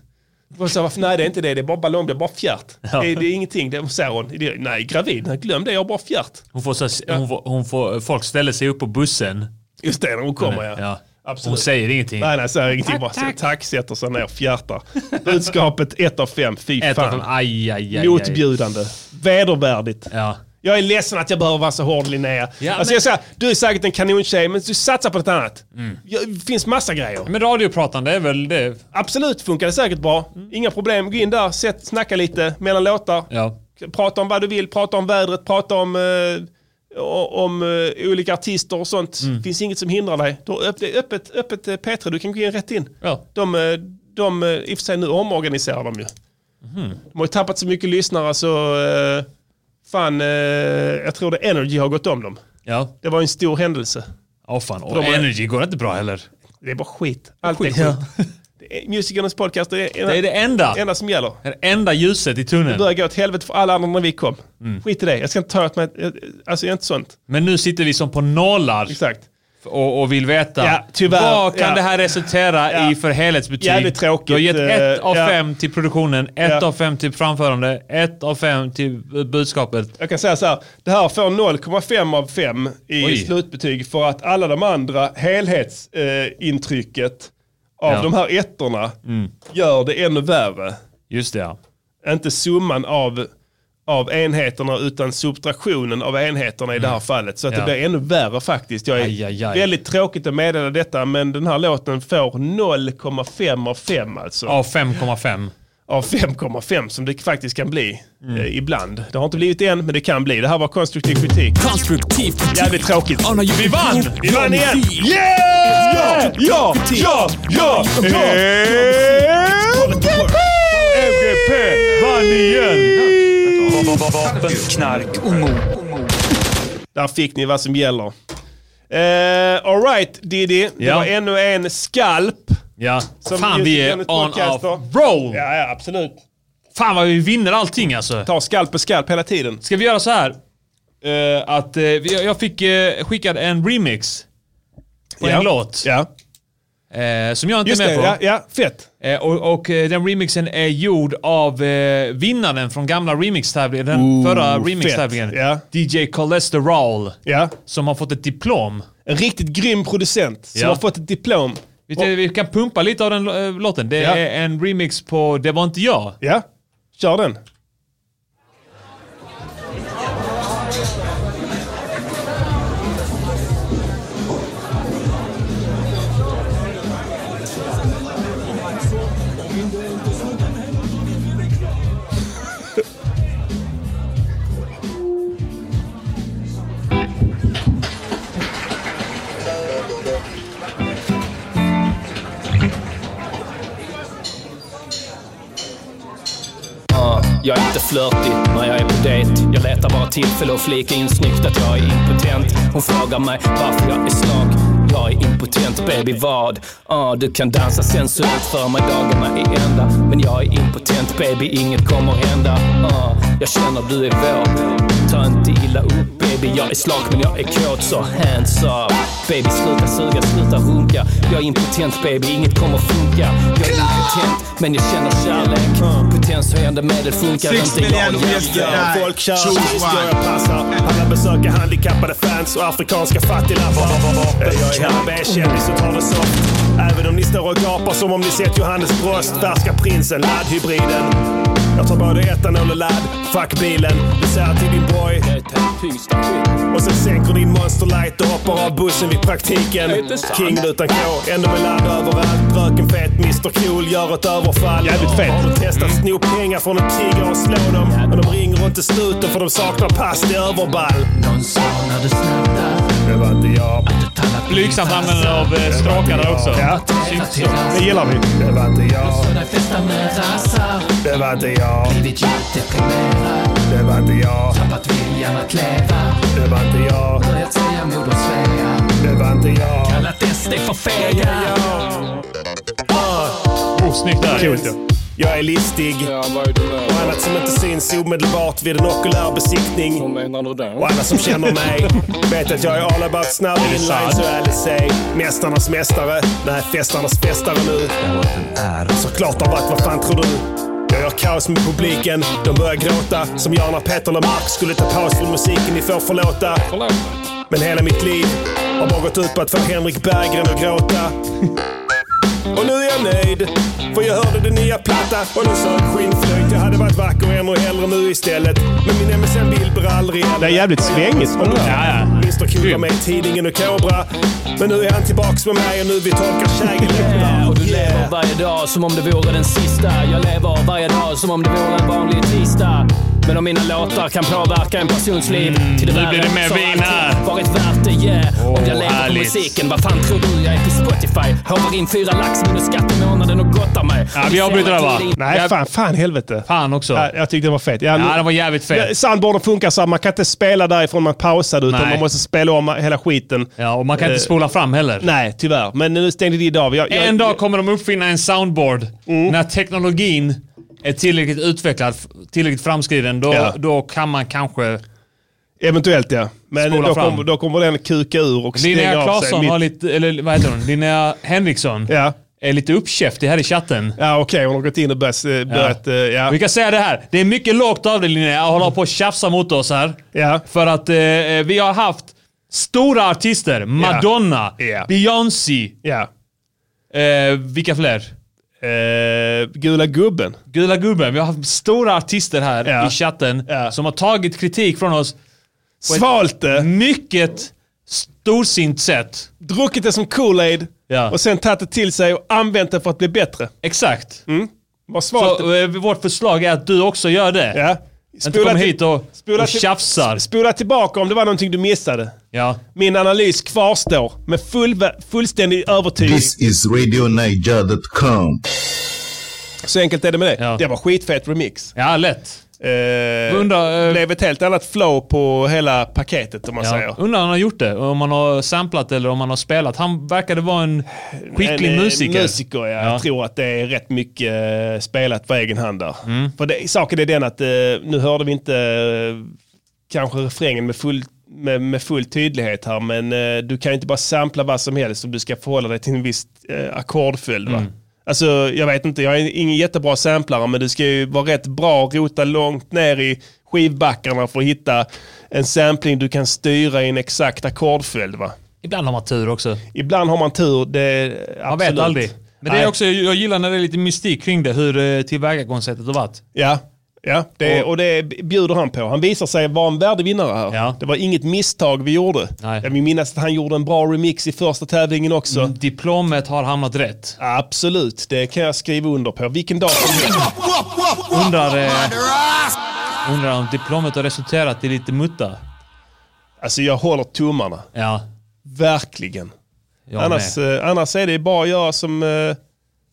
S1: Och så, varför, nej det är inte det, det är bara ballong, det är bara fjärt.
S5: Ja.
S1: Det, är, det är ingenting, det säger hon. Det är- Nej, gravid, nej, glöm det, jag har bara fjärt.
S5: Hon får, så, hon, får, hon får, folk ställer sig upp på bussen.
S1: Just det, när hon kommer ja. Absolut.
S5: Hon säger ingenting.
S1: Nej, nej, säger ingenting. Bara tack, tack sätter sig ner, fjärtar. Budskapet 1 av 5, fy
S5: Ett av
S1: fan.
S5: dem, aj, aj, aj,
S1: Motbjudande, vedervärdigt.
S5: Ja.
S1: Jag är ledsen att jag behöver vara så hård Linnea.
S5: Ja,
S1: alltså,
S5: men-
S1: jag säger, du är säkert en kanontjej, men du satsar på något annat.
S5: Mm.
S1: Ja, Det finns massa grejer.
S5: Men radiopratande är väl det?
S1: Absolut, funkar det säkert bra. Inga problem, gå in där, sätt, snacka lite mellan låtar.
S5: Mm. Ja.
S1: Prata om vad du vill, prata om vädret, prata om, eh, o- om eh, olika artister och sånt.
S5: Mm.
S1: finns inget som hindrar dig. Du har öpp- det är öppet, öppet eh, P3, du kan gå in rätt in. De, eh, de, eh, I och för sig nu omorganiserar de ju.
S5: Mhm.
S1: De har ju tappat så mycket lyssnare så eh, fan, eh, jag tror det Energy har gått om dem.
S5: Ja.
S1: Det var ju en stor händelse.
S5: Ja fan, och
S1: De är-
S5: Energy går inte bra heller.
S1: Det är bara skit. Allt är
S5: Skit,
S1: skit.
S5: ja.
S1: Det är- Musikernas podcast det är,
S5: Det är det enda.
S1: det enda som gäller.
S5: Det enda ljuset i
S1: Det
S5: tunneln.
S1: börjar gå åt helvete för alla andra när vi kom.
S5: Mm.
S1: Skit i det, jag ska inte ta åt mig, alltså jag är inte sånt.
S5: Men nu sitter vi som på nollar.
S1: Exakt.
S5: Och, och vill veta.
S1: Ja, tyvärr.
S5: Vad kan
S1: Ja.
S5: det här resultera i för helhetsbetyg?
S1: Jävligt tråkigt.
S5: Du har gett ett
S1: Eh,
S5: av
S1: ja.
S5: fem till produktionen, ett
S1: Ja.
S5: av fem till framförande, ett av fem till eh, budskapet.
S1: Jag kan säga så här, det här får 0,5 av 5 i
S5: Oj.
S1: slutbetyg för att alla de andra helhetsintrycket eh, intrycket av
S5: Ja. Mm.
S1: de här ettorna gör det ännu värre.
S5: Just det ja.
S1: Inte summan av, av enheterna utan subtraktionen av enheterna i det här fallet. Så att
S5: Mm. Ja.
S1: det blir ännu värre faktiskt. Jag är väldigt tråkigt att meddela detta men den här låten får 0,5 av 5 alltså.
S5: Av 5,5.
S1: Av 5,5 som det faktiskt kan bli eh, ibland. Det har inte blivit än men det kan bli. Det här var konstruktiv kritik.
S4: Konstruktiv kritik.
S1: Jävligt tråkigt.
S4: Vi vann!
S1: Vi vann igen!
S4: Yeah!
S1: Ja! Ja! Ja! MGP vann igen!
S6: Vapen, knark och mord.
S1: Där fick ni vad som gäller. Uh, Alright Diddy, det
S5: Ja.
S1: var ännu en skalp.
S5: Ja.
S1: Som
S5: Fan vi är
S1: Music Planet
S5: on
S1: Podcast
S5: a
S1: då.
S5: roll!
S1: Ja, ja, absolut.
S5: Fan vad vi vinner allting alltså.
S1: Tar skalp på skalp hela tiden.
S5: Ska vi göra så här? Eh, att eh, vi- jag fick eh, skickad en remix på
S1: Ja.
S5: en låt. Eh, som jag inte
S1: Just
S5: är med
S1: det,
S5: på.
S1: ja, ja, fett.
S5: Eh, och och eh, den remixen är gjord av eh, vinnaren från gamla remixtävlingen, den
S1: Ooh,
S5: förra
S1: fett.
S5: remixtävlingen.
S1: Ja.
S5: DJ Cholesterol.
S1: Ja.
S5: Som har fått ett diplom.
S1: En riktigt grym producent som
S5: Ja.
S1: har fått ett diplom.
S5: Vi, vi kan pumpa lite av den eh, låten. Det
S1: Ja.
S5: är en remix på Det var inte jag.
S1: Ja, kör den.
S18: Ah, Jag är inte flörtig när jag är på dejt. Jag letar bara tillfälle att flika in snyggt att jag är impotent. Hon frågar mig varför jag är slak. Jag är impotent, baby vad? Ah, du kan dansa sensuellt för mig, dagarna är ända. Men jag är impotent, baby, inget kommer hända. Ah, jag känner du är vår. Ta inte illa upp, baby. Jag är slak, men jag är kåt, så hands up. Baby, sluta suga, sluta runka. Jag är impotent, baby, inget kommer funka. Jag är impotent, men jag känner kärlek. Potenshöjande medel funkar
S19: Six
S18: inte.
S19: miljoner
S18: Jag
S19: gäster.
S18: jämför.
S19: Folk kör skridskor, jag passar. Alla besöker handikappade fans och afrikanska fattiglappar. Jag är här med en kändis och tar det soft. Även om ni står och gapar som om ni sett Johannes Brost. Färska prinsen, laddhybriden. Jag tar både etanol och ladd. Fuck bilen. Du säger till din boy. Och sen sänker din monster light och hoppar av bussen vid praktiken. King utan K, ändå med ladd överallt. Röken fet, Mr Cool gör ett överfall. Jävligt fet. Har du testat sno pengar från en tigger och slå dem? Men de ringer inte snuten för de saknar pass till överball. Någon sa när du snattade. Det var inte jag.
S5: Blygsamt användande av eh, stråkar där också.
S19: Ja. Det gillar vi. Det var inte jag. Det var inte jag. Det var inte jag. Det var inte jag.
S4: vem gjorde oss fega?
S19: Det var inte jag.
S4: Kallat SD för fega. Ah,
S5: Oh, snyggt där.
S19: Coolt, ja. Jag är listig. Och annat som inte syns omedelbart vid en okulär besiktning. Och alla som känner mig vet att jag är all about snabb inlines och LSA. Mästarnas mästare. Nej, festarnas festare nu. Såklart har varit, vad fan tror du? Jag gör kaos med publiken. De börjar gråta som jag när Peter Lemark skulle ta paus från musiken. Ni får förlåta. Men hela mitt liv har bara gått ut på att få Henrik Berggren att gråta. Och nu är jag nöjd, för jag hörde den nya platta och den sög skinnflöjt. Jag hade varit vacker ännu hellre nu istället. Men min MSN-bild blir aldrig äldre.
S1: Det är jävligt svängigt på den där.
S5: Ja,
S19: Mr Cool var med i tidningen och Kobra. Men nu är han tillbaks med mig och nu vi torkar kägelöppnar.
S18: Och du lever varje dag som om det vore den sista. Jag lever varje dag som om det vore en vanlig tisdag. Men om mina låtar kan påverka en persons liv till det
S5: Mm.
S18: värre
S5: nu blir det mer
S18: så har
S5: vin här.
S18: allting varit värt det, yeah. om jag
S5: Åh,
S18: lever på
S5: härligt.
S18: musiken, vad fan tror du jag är på Spotify? Håvar in fyra lax minus skatt i månaden och gottar mig.
S5: Ja, vi avbryter där va?
S1: Nej, fan, fan helvete.
S5: Fan också.
S1: Ja, jag tyckte den var fet. Ja, nu-
S5: Ja, den var jävligt fet.
S1: Ja, Soundboarden funkar så här, man kan inte spela därifrån man pausade utan
S5: Nej.
S1: man måste spela om hela skiten.
S5: Ja, och man kan inte spola fram heller.
S1: Eh, Nej, tyvärr. Men nu stängde det av. Jag, jag,
S5: En dag kommer de uppfinna en soundboard.
S1: Mm.
S5: När teknologin är tillräckligt utvecklad, f- tillräckligt framskriden, då,
S1: Ja.
S5: då kan man kanske...
S1: Eventuellt ja. Men
S5: Spola
S1: då
S5: fram.
S1: kommer, då kommer den kuka ur och stänga
S5: Linnea
S1: av sig.
S5: Claesson
S1: mitt-
S5: har lite, eller vad heter hon? Linnea Henriksson
S1: Ja.
S5: är lite uppkäftig här i chatten.
S1: Ja, okej. Hon har gått in och börjat... eh, börjat eh, ja.
S5: Vi kan säga det här. Det är mycket lågt av dig Linnea att hålla på och tjafsa mot oss här.
S1: Ja.
S5: För att eh, vi har haft stora artister. Madonna,
S1: Ja.
S5: Beyoncé.
S1: Ja.
S5: Eh, vilka fler?
S1: Eh, Gula gubben.
S5: Gula gubben. Vi har haft stora artister här
S1: Ja.
S5: i chatten som har tagit kritik från oss. på ett
S1: Svalt det.
S5: Mm. Mycket storsint sätt.
S1: Druckit det som Kool-Aid
S5: Ja.
S1: och sen tagit det till sig och använt det för att bli bättre.
S5: Exakt.
S1: Mm. Vad svalt
S5: Så, eh, vårt förslag är att du också gör det.
S1: Ja.
S5: Inte kom
S1: till-
S5: hit och,
S1: spola
S5: och
S1: till-
S5: tjafsar.
S1: Spola tillbaka om det var någonting du missade.
S5: Ja.
S1: Min analys kvarstår med full, fullständig övertygelse.
S14: This is RadioNiger.com.
S1: Så enkelt är det med det. Det var skitfet remix.
S5: Ja, lätt.
S1: Eh,
S5: Undrar, eh,
S1: blev ett helt annat flow på hela paketet om man
S5: Ja.
S1: säger.
S5: Undrar om han har gjort det. Om han har samplat eller om han har spelat. Han verkade vara en skicklig
S1: En, eh,
S5: musiker.
S1: musiker ja.
S5: Ja.
S1: Jag tror att det är rätt mycket eh, spelat på egen hand där.
S5: Mm.
S1: För det, saken är den att eh, nu hörde vi inte eh, kanske refrängen med full, med, med full tydlighet här, men eh, du kan ju inte bara sampla vad som helst om du ska förhålla dig till en viss eh, ackordföljd. Va?
S5: Mm.
S1: Alltså, jag vet inte, jag är ingen jättebra samplare, men du ska ju vara rätt bra, rota långt ner i skivbackarna för att hitta en sampling du kan styra i en exakt ackordföljd. Va?
S5: Ibland har man tur också.
S1: Ibland har man tur, det
S5: Man vet aldrig. Men det
S1: Nej.
S5: är också, jag gillar när det är lite mystik kring det, hur eh, tillvägagångssättet har varit.
S1: Ja, ja det,
S5: Och-
S1: och, det bjuder han på. Han visar sig vara en värdig vinnare här. Det var inget misstag vi gjorde.
S5: Nej.
S1: Jag vill minnas att han gjorde en bra remix i första tävlingen också.
S5: Mm, Diplomet har hamnat rätt.
S1: Absolut, det kan jag skriva under på. Vilken dag som helst.
S5: Undrar, eh, undrar om diplomet har resulterat i lite mutta.
S1: Alltså jag håller tummarna.
S5: Ja,
S1: Verkligen.
S5: jag
S1: Annars,
S5: med.
S1: eh, annars är det bara att göra som, eh,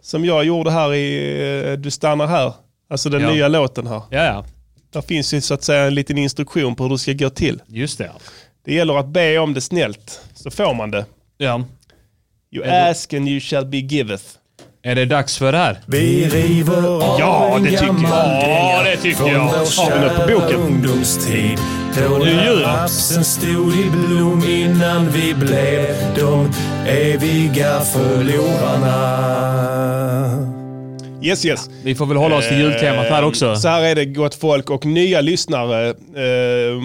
S1: som jag gjorde här i eh, Du stannar här. Alltså den
S5: Ja.
S1: nya låten här.
S5: Ja, ja.
S1: Där finns ju så att säga en liten instruktion på hur du ska gå till.
S5: Just det.
S1: Det gäller att be om det snällt, så får man det.
S5: Ja.
S1: You
S5: Eller-
S1: ask and you shall be giveth.
S5: Är det dags för det här?
S10: Vi river av
S1: Ja,
S10: en
S1: det tycker
S10: gammal
S1: jag.
S10: dänga
S5: Ja, det tycker
S10: från
S5: jag.
S10: vår
S1: Har vi något på
S10: kära
S1: boken?
S10: ungdomstid. Då
S1: Nu är jul.
S10: när rapsen stod i blom innan vi blev de eviga förlorarna.
S1: Yes, yes. Eh,
S5: Vi får väl hålla oss till jultemat här också.
S1: Så här är det gott folk och nya lyssnare. Eh,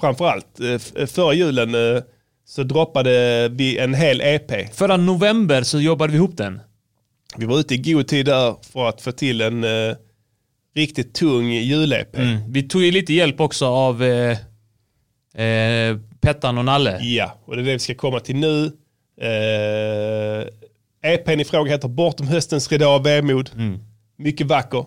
S1: framförallt eh, f- förra julen eh, så droppade vi en hel E EP.
S5: Förra november så jobbade vi ihop den.
S1: Vi var ute i god tid där för att få till en eh, riktigt tung jul-EP.
S5: Mm. Vi tog ju lite hjälp också av eh, eh, Pettan och Nalle.
S1: Ja, och det är det vi ska komma till nu. Eh, EPn i fråga heter Bortom höstens ridå av vemod.
S5: Mm.
S1: Mycket vacker.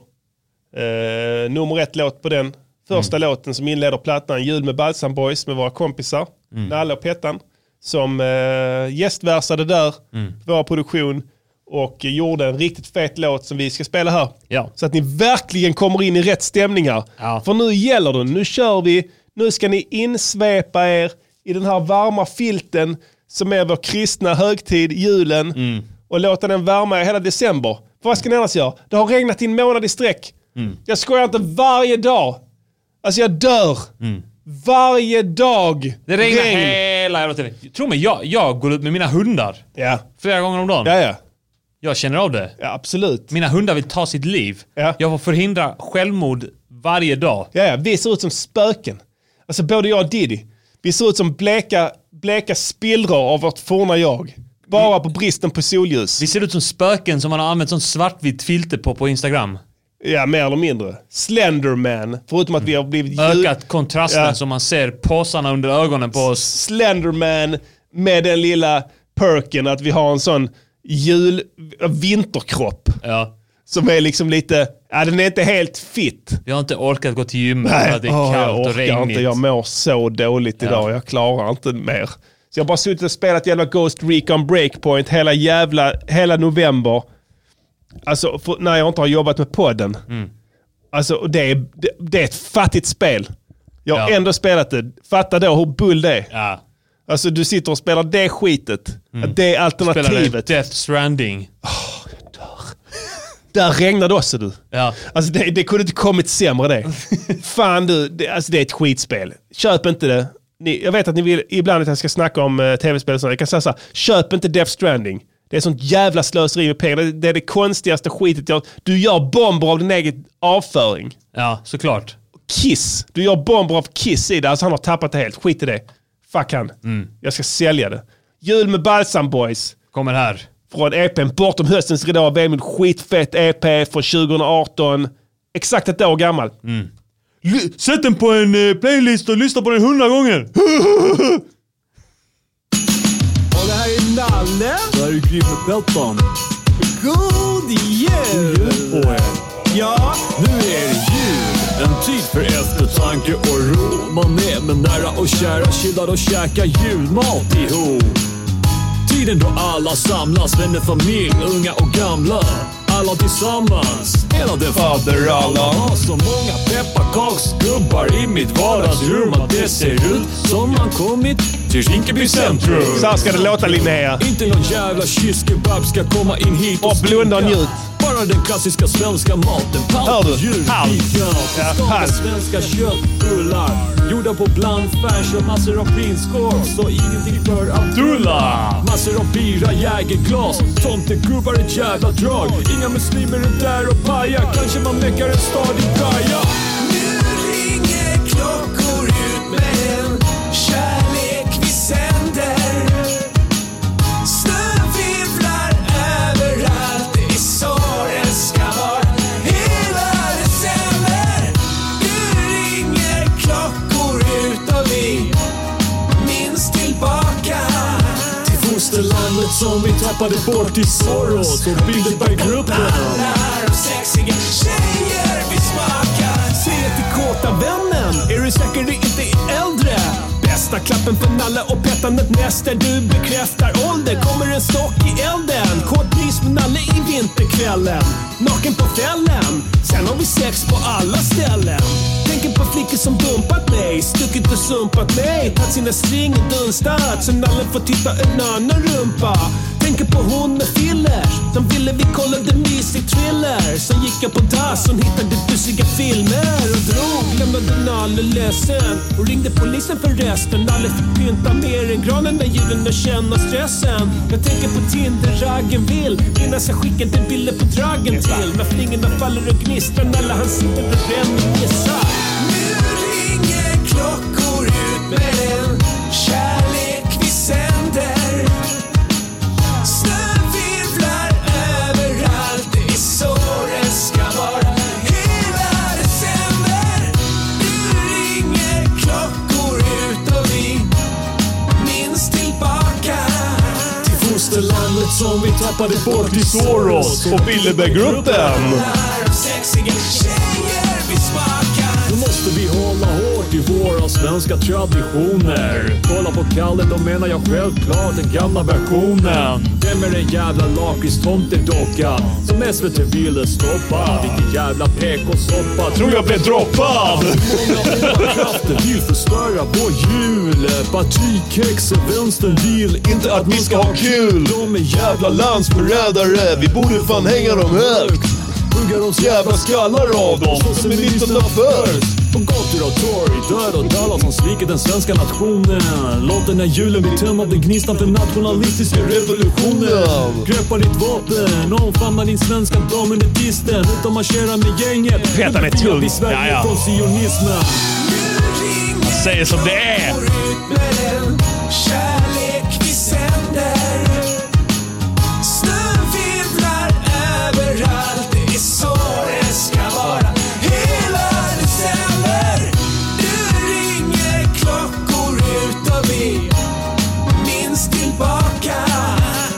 S1: Eh, nummer ett låt på den. Första
S5: Mm.
S1: låten som inleder plattan, Jul med Balsam Boys med våra kompisar,
S5: Mm.
S1: Nalle och Pettan, som eh, gästversade där,
S5: Mm.
S1: vår produktion, och gjorde en riktigt fet låt som vi ska spela här.
S5: Ja.
S1: Så att ni verkligen kommer in i rätt stämningar.
S5: Ja.
S1: För nu gäller det, nu kör vi, nu ska ni insvepa er i den här varma filten som är vår kristna högtid, julen,
S5: Mm.
S1: och låta den värma er hela december. För vad ska ni annars göra? Det har regnat i en månad i sträck.
S5: Mm.
S1: Jag skojar inte, varje dag. Alltså jag dör. Varje dag.
S5: Mm. Det regnar hela jävla tiden. Tro mig, jag, jag går ut med mina hundar.
S1: Ja.
S5: Flera gånger om dagen.
S1: Ja, ja.
S5: Jag känner av det.
S1: Ja, absolut.
S5: Mina hundar vill ta sitt liv. Jag får förhindra självmord varje dag.
S1: Ja, ja, vi ser ut som spöken. Alltså både jag och Diddy. Vi ser ut som bleka, bleka spillror av vårt forna jag. Bara på bristen på solljus.
S5: Vi ser ut som spöken som man har använt sånt svartvitt filter på på Instagram.
S1: Ja, mer eller mindre. Slenderman, förutom att vi har blivit... ljud-
S5: Ökat kontrasten
S1: Ja.
S5: som man ser påsarna under ögonen på oss.
S1: Slenderman med den lilla perken att vi har en sån jul... vinterkropp.
S5: Ja.
S1: Som är liksom lite... Ja, den är inte helt fit.
S5: Vi har inte orkat gå till gymmet för att det är
S1: åh, jag
S5: kallt och
S1: orkar
S5: regnigt.
S1: inte. Jag mår så dåligt idag. Jag klarar inte mer. Så jag har bara suttit och spelat jävla Ghost Recon Breakpoint hela jävla... Hela november. Alltså, för, när jag inte har jobbat med podden.
S5: Mm.
S1: Alltså, och det är, det, det är ett fattigt spel. Jag har
S5: Ja.
S1: ändå spelat det. Fatta då hur bull det är.
S5: Ja.
S1: Alltså du sitter och spelar det skitet.
S5: Mm.
S1: Att Det är alternativet.
S5: Spelade Death Stranding.
S1: Där regnar det också du.
S5: Ja.
S1: Alltså det, det kunde inte kommit sämre det. Fan du, det, alltså det är ett skitspel. Köp inte det. Ni, jag vet att ni vill ibland att jag ska snacka om eh, tv-spel och sånt. Jag kan säga så här, köp inte Death Stranding. Det är sånt jävla slöseri med pengar. Det, det är det konstigaste skitet jag... Du gör bomber av din egen avföring.
S5: Ja, såklart.
S1: Kiss. Du gör bomber av Kiss i det. Alltså han har tappat det helt. Skit i det. Fuck han.
S5: Mm.
S1: Jag ska sälja det. Jul med Balsam Boys.
S5: Kommer här.
S1: Från EPn Bortom höstens ridå. Vemod. Skitfett EP från 2018. Exakt ett år gammal.
S5: L- Sätt den på en eh, playlist och lyssna på den hundra gånger!
S10: Och det här är Nalle. Det här är Grimmer Peltman. God jul på er. Ja, nu är det jul. En tid för eftertanke och ro. Man är med nära och kära, chillar och käkar julmat ihop. Tiden då alla samlas, vänner, familj, unga och gamla. Alla tillsammans, hela den faderallan. Har så många pepparkaksgubbar i mitt vardagsrum att det ser ut som man kommit till Rinkeby
S5: Mm.
S10: centrum.
S1: Så här ska det låta Linnea.
S10: Inte någon jävla kysskebab ska komma in hit och, och
S1: blunda och njut.
S10: Bara den klassiska svenska maten.
S1: Hör
S10: Palt
S1: du?
S10: och djur.
S1: Palt. Ja,
S10: Ja,
S1: palt.
S10: svenska köttbullar. Gjorda på blandfärs och massor av prinskorv. Så ingenting för Abdullah. Massor av bira, jägerglas. Tomtegubbar, ett jävla drag. Inga muslimer är där och pajar. Kanske man meckar en stadig kaja.
S4: Klockor ut med en kärlek vi sänder. Snön virvlar överallt, det är så det ska vara. Hela december. Nu ringer klockor ut och vi minns tillbaka.
S10: Till fosterlandet som vi tappade bort i Soros och Bilderberggruppen.
S4: Alla de sexiga tjejer vi smakar.
S10: Säg till kåta vännen, är du säker du inte är äldre? Bästa klappen för nalle och petandet näster du bekräftar ålder. Kommer en stock i elden, kåt mys med nalle i vinterkvällen. Naken på fällen, sen har vi sex på alla ställen. Tänker på flickor som dumpat mig, stuckit och sumpat mig. Tagit sina string och dunstat, så nalle får titta en annan rumpa. Tänker på hon med fillers, som ville vi kollade mysig thriller. Sen gick jag på dass, hon hittade busiga filmer och drog. Lämnade Nalle ledsen och ringde polisen för resten. Nalle fick pynta mer än granen när julen och känna stressen. Jag tänker på Tinder-raggen vill minnas jag skickade bilder på dragen till. När flingorna faller och gnistrar, Nalle han sitter och bränner gässar.
S4: Nu ringer klockor ut med en kärlek vi sänder. Snön virvlar överallt, det är så det ska vara. Hela december. Nu ringer klockor ut och vi minns tillbaka.
S10: Till fosterlandet som vi tappade bort i Soros
S1: och Bilderberggruppen.
S4: Alla de sexiga tjejer vi smakar.
S10: Då måste vi hålla hårt i våra svenska traditioner. Kolla på Kalle, då menar jag självklart den gamla versionen. Vem är en jävla lakritstomtedocka som SVT ville stoppa? Vilken jävla PK-soppa. Tror jag blev droppad! Krafter vill förstöra vår jul. Partikexen, vänstern vill inte att vi ska ha kul. De är jävla landsförrädare. Vi borde fan hänga dem högt. Hugga de jävla skallar av dem. Slåss med 1940. På gator och torg, död och dallar som svikit den svenska nationen. Låt den här julen bli tömd av den gnistan för nationalistiska revolutionen. Greppa ditt vapen, omfamna din svenska dam under disteln. Ut och marschera med gänget.
S1: Peta med tung.
S10: Befria
S1: Ja,
S10: Sverige
S1: ja.
S10: från sionismen.
S1: Säger som det är.
S4: Kärlek vi sänder Snön virvlar överallt Det är så det ska vara Hela december Nu ringer klockor ut och vi minns tillbaka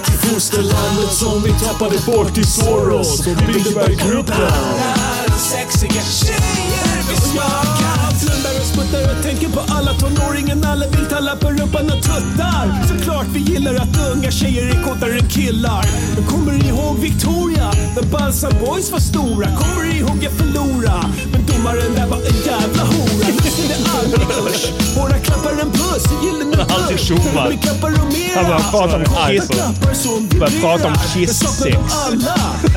S10: Till fosterlandet som vi tappade bort till Soros och Bilderberggruppen.
S4: Alla sexiga tjejer vi smakar
S20: Blundar och sputtar och tänker på alla tonåringen Alla vill talla på rumpan och tuttar Såklart vi gillar att unga tjejer är kåtare än killar Men kommer ni ihåg Victoria? När Balsa Boys var stora Kommer ni ihåg jag förlora? Men domaren där var en jävla hora Nu ser det aldrig usch Våra klappar en puss i gyllene
S1: Alltid tjommar.
S20: Vi klappar och mera
S1: Han bara pratar om
S10: Alltså,
S20: Korta
S1: kiss.
S20: klappar som
S1: Bara pratar om
S20: vibrerar.
S1: kiss
S20: Jag saknar dem
S1: sex.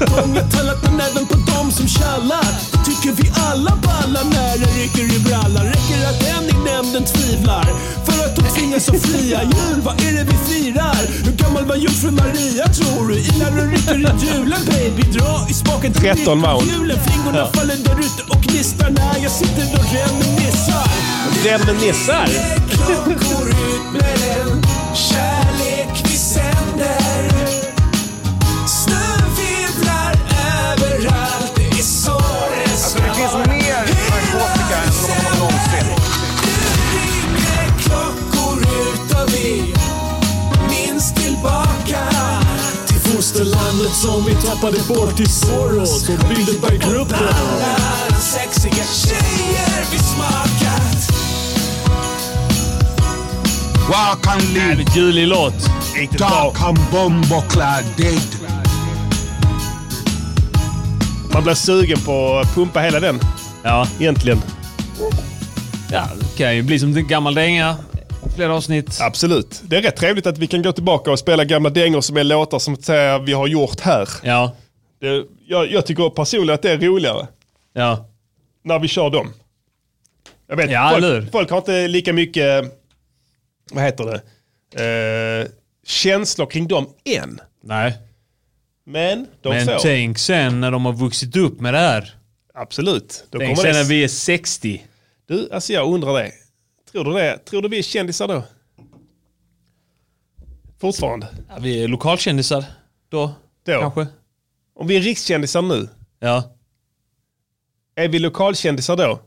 S20: alla. Gånger tallat men även på dem som tjallar. Tycker vi alla ballar när det rycker i brallan. Räcker att en i nämnden tvivlar. För att de tvingas att fria jul, vad är det vi firar? Hur gammal var jungfru Maria tror du? Ilar och rycker i julen baby, dra i spaken till
S1: 13
S20: mitten av
S1: mount.
S20: julen. Flingorna
S1: Ja.
S20: faller där ute och gnistrar när jag sitter och reminissar.
S1: Reminissar?
S4: Klockor ut med den kärlek vi sänder Snön virvlar överallt, det är så det ska vara Alltså det finns mer narkotika än någonsin Nu ringer klockor ut och vi minns tillbaka
S10: Till fosterlandet som vi tappade bort till Soros och Bilderberggruppen.
S4: Alla de sexiga tjejer vi smakat
S1: Walk and live. Julig låt. Riktigt bra.
S14: and bombo dead.
S1: Man blir sugen på att pumpa hela den.
S5: Ja.
S1: Egentligen.
S5: Ja, det kan ju bli som en gammal dänga. Flera avsnitt.
S1: Absolut. Det är rätt trevligt att vi kan gå tillbaka och spela gamla dängor som är låtar som så här, vi har gjort här.
S5: Ja.
S1: Det, jag, jag tycker personligen att det är roligare
S5: Ja.
S1: när vi kör dem. Jag vet,
S5: Ja, eller hur?
S1: folk, folk har inte lika mycket, vad heter det, eh, känslor kring dem än.
S5: Nej.
S1: Men de
S5: Men
S1: får.
S5: tänk sen när de har vuxit upp med det här.
S1: Absolut. Då
S5: tänk
S1: kommer
S5: sen
S1: det-
S5: när vi är 60.
S1: Du, alltså jag undrar det. Tror du det? Tror du vi är kändisar då? Fortfarande?
S5: Ja, vi är lokalkändisar då.
S1: Då?
S5: Kanske.
S1: Om vi är rikskändisar nu?
S5: Ja.
S1: Är vi lokalkändisar då?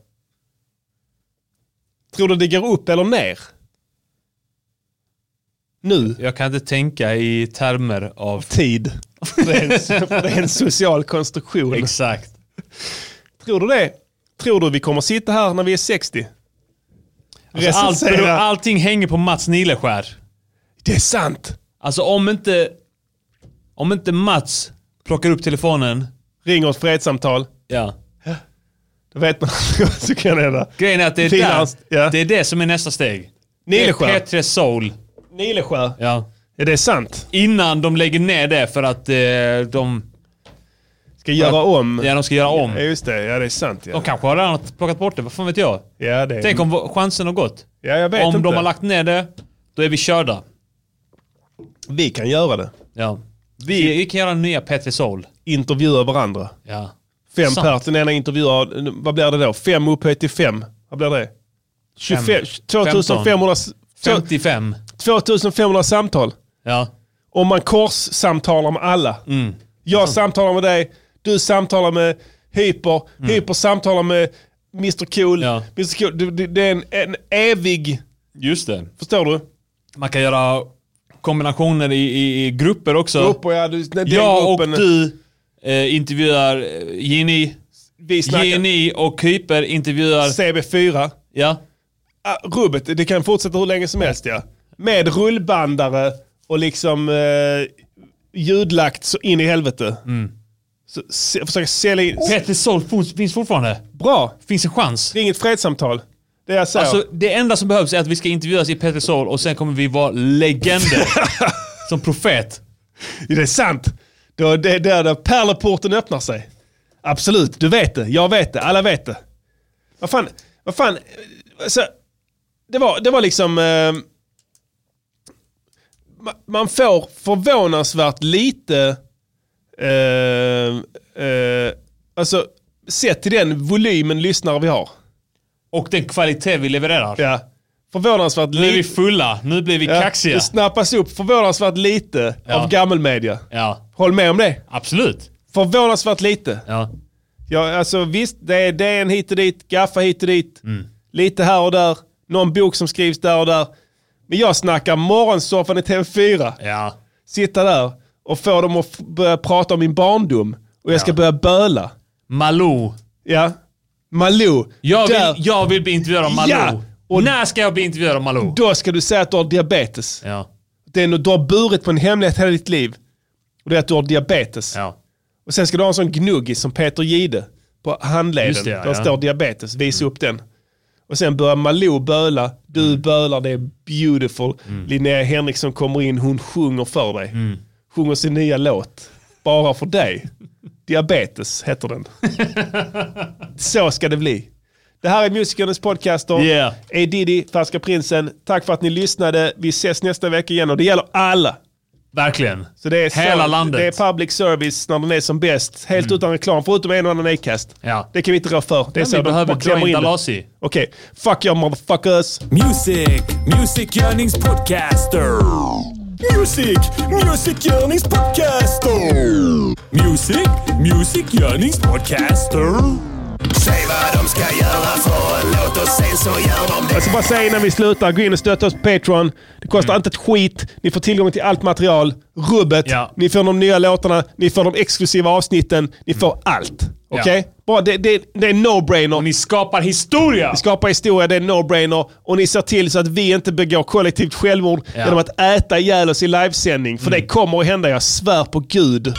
S1: Tror du det går upp eller ner? Nu?
S5: Jag kan inte tänka i termer av...
S1: Tid. Det är en, det är en social konstruktion.
S5: Exakt.
S1: Tror du det? Tror du vi kommer sitta här när vi är 60?
S5: Alltså, allt,
S1: Recensera.
S5: beror- allting hänger på Mats Nileskär.
S1: Det är sant.
S5: Alltså om inte, om inte Mats plockar upp telefonen.
S1: Ringer ett fredssamtal.
S5: Ja.
S1: Då vet man att så kan det hända.
S5: Grejen är att det är, där,
S1: Finlands- ja.
S5: det är det som är nästa steg.
S1: Nileskär.
S5: Det är P3 Soul.
S1: Nileskär.
S5: Ja.
S1: Är det sant?
S5: Innan de lägger ner det för att eh, de...
S1: Ska göra om.
S5: Ja, de ska göra om.
S1: Ja, just det. Ja, det är sant.
S5: De
S1: Ja,
S5: kanske har redan plockat bort det, vad fan vet jag?
S1: ja det är...
S5: Tänk om v- chansen har gått.
S1: Ja, jag vet
S5: Om
S1: inte.
S5: de har lagt ner det, då är vi körda.
S1: Vi kan göra det.
S5: Ja. Vi, vi kan göra nya P3 Soul.
S1: Intervjua varandra.
S5: Ja.
S1: Fem
S5: Sant.
S1: per till den ena intervjuar. Vad blir det då? Fem upphöjt till fem. Vad blir det? 25, 2500,
S5: 55.
S1: 2500 samtal.
S5: Ja.
S1: Om man korssamtalar med alla.
S5: Mm.
S1: Jag samtalar med dig, du samtalar med Hyper, Hyper samtalar med Mr Cool.
S5: Mm. Ja.
S1: Mr cool. Det, det, det är en, en evig...
S5: Just det.
S1: Förstår du?
S5: Man kan göra kombinationer i, i, i grupper också.
S1: Upp och ja, du, den
S5: Jag och
S1: gruppen-
S5: du eh, intervjuar eh, Gini.
S1: Vi snackar-
S5: Gini och Hyper intervjuar...
S1: CB4.
S5: Ja.
S1: Ah, rubbet, det kan fortsätta hur länge som helst ja. Med rullbandare och liksom eh, ljudlagt så in i helvete.
S5: Mm.
S1: Så, se, försöka sälja in...
S5: Petter Sol finns fortfarande.
S1: Bra.
S5: Finns en chans.
S1: Det är inget fredssamtal. Det är jag säger.
S5: Alltså, det enda som behövs är att vi ska intervjuas i Petter Sol och sen kommer vi vara legender. som profet.
S1: Det är sant. Då, det är där, där pärleporten öppnar sig. Absolut, du vet det. Jag vet det. Alla vet det. Vad fan, vad fan. Så, det, var, det var liksom... Eh, ma- man får förvånansvärt lite... Eh, eh, alltså, sett till den volymen lyssnare vi har.
S5: Och den kvalitet vi levererar.
S1: Ja. Förvånansvärt
S5: Nu är vi
S1: lite-
S5: fulla, nu blir vi kaxiga.
S1: Det snappas upp förvånansvärt lite
S5: Ja.
S1: av gammelmedia.
S5: Ja.
S1: Håll med om det.
S5: Absolut.
S1: Förvånansvärt lite.
S5: Ja.
S1: Ja, alltså visst, det är DN hit och dit, Gaffa hit och dit,
S5: Mm.
S1: lite här och där, någon bok som skrivs där och där. Men jag snackar morgonsoffan i TV4.
S5: Ja.
S1: Sitta där och få dem att f- börja prata om min barndom och jag ska börja böla.
S5: Malou.
S1: Ja, Malou.
S5: Jag
S1: Där.
S5: vill, jag vill bli intervjuad av Malou.
S1: Ja,
S5: När ska jag bli intervjuad av Malou?
S1: Då ska du säga att du har diabetes.
S5: Ja.
S1: Det är något du har burit på en hemlighet hela ditt liv. Och det är att du har diabetes. Och sen ska du ha en sån gnuggis som Peter Gide på handleden.
S5: Just det, ja, Mm.
S1: där
S5: ja.
S1: står diabetes. Visa upp den. Och sen börjar Malou böla. Du
S5: Mm.
S1: bölar, det är beautiful. Linnea Henriksson kommer in, hon sjunger för dig.
S5: Mm.
S1: Sjunger sin nya låt. Bara för dig. Diabetes heter den. Så ska det bli. Det här är Musikernas podcaster.
S5: Yeah.
S1: A Diddy, Färska Prinsen. Tack för att ni lyssnade. Vi ses nästa vecka igen och det gäller alla.
S5: Verkligen.
S1: Så det är
S5: Hela
S1: så,
S5: landet. Mm.
S1: Det är public service när den är som bäst. Helt utan reklam, förutom en och annan Acast.
S5: Ja.
S1: Det kan vi inte rå för. Det är
S5: Men
S1: så
S5: vi
S1: de
S5: behöver
S1: bara
S5: dra
S1: klämmer
S5: in
S1: det.
S5: Dalasi.
S1: Okej, fuck your motherfuckers.
S20: Music, musikgörningspodcaster. Music, musikgörningspodcaster. Music, musikgörningspodcaster.
S4: Säg vad de ska göra för en låt och sen så gör de det.
S1: Jag ska bara säga innan vi slutar, gå in och stötta oss på Patreon. Det
S5: Mm.
S1: kostar inte ett skit. Ni får tillgång till allt material. Rubbet.
S5: Ja.
S1: Ni får de nya låtarna. Ni får de exklusiva avsnitten. Ni får allt.
S5: Mm. Ja.
S1: Okej? Bra, det, det, det är no-brainer.
S5: Ni skapar historia!
S1: Vi skapar historia, det är en no-brainer. Och ni ser till så att vi inte begår kollektivt självmord
S5: Ja. Mm.
S1: genom att äta ihjäl oss i livesändning. För det kommer att hända, jag svär på gud.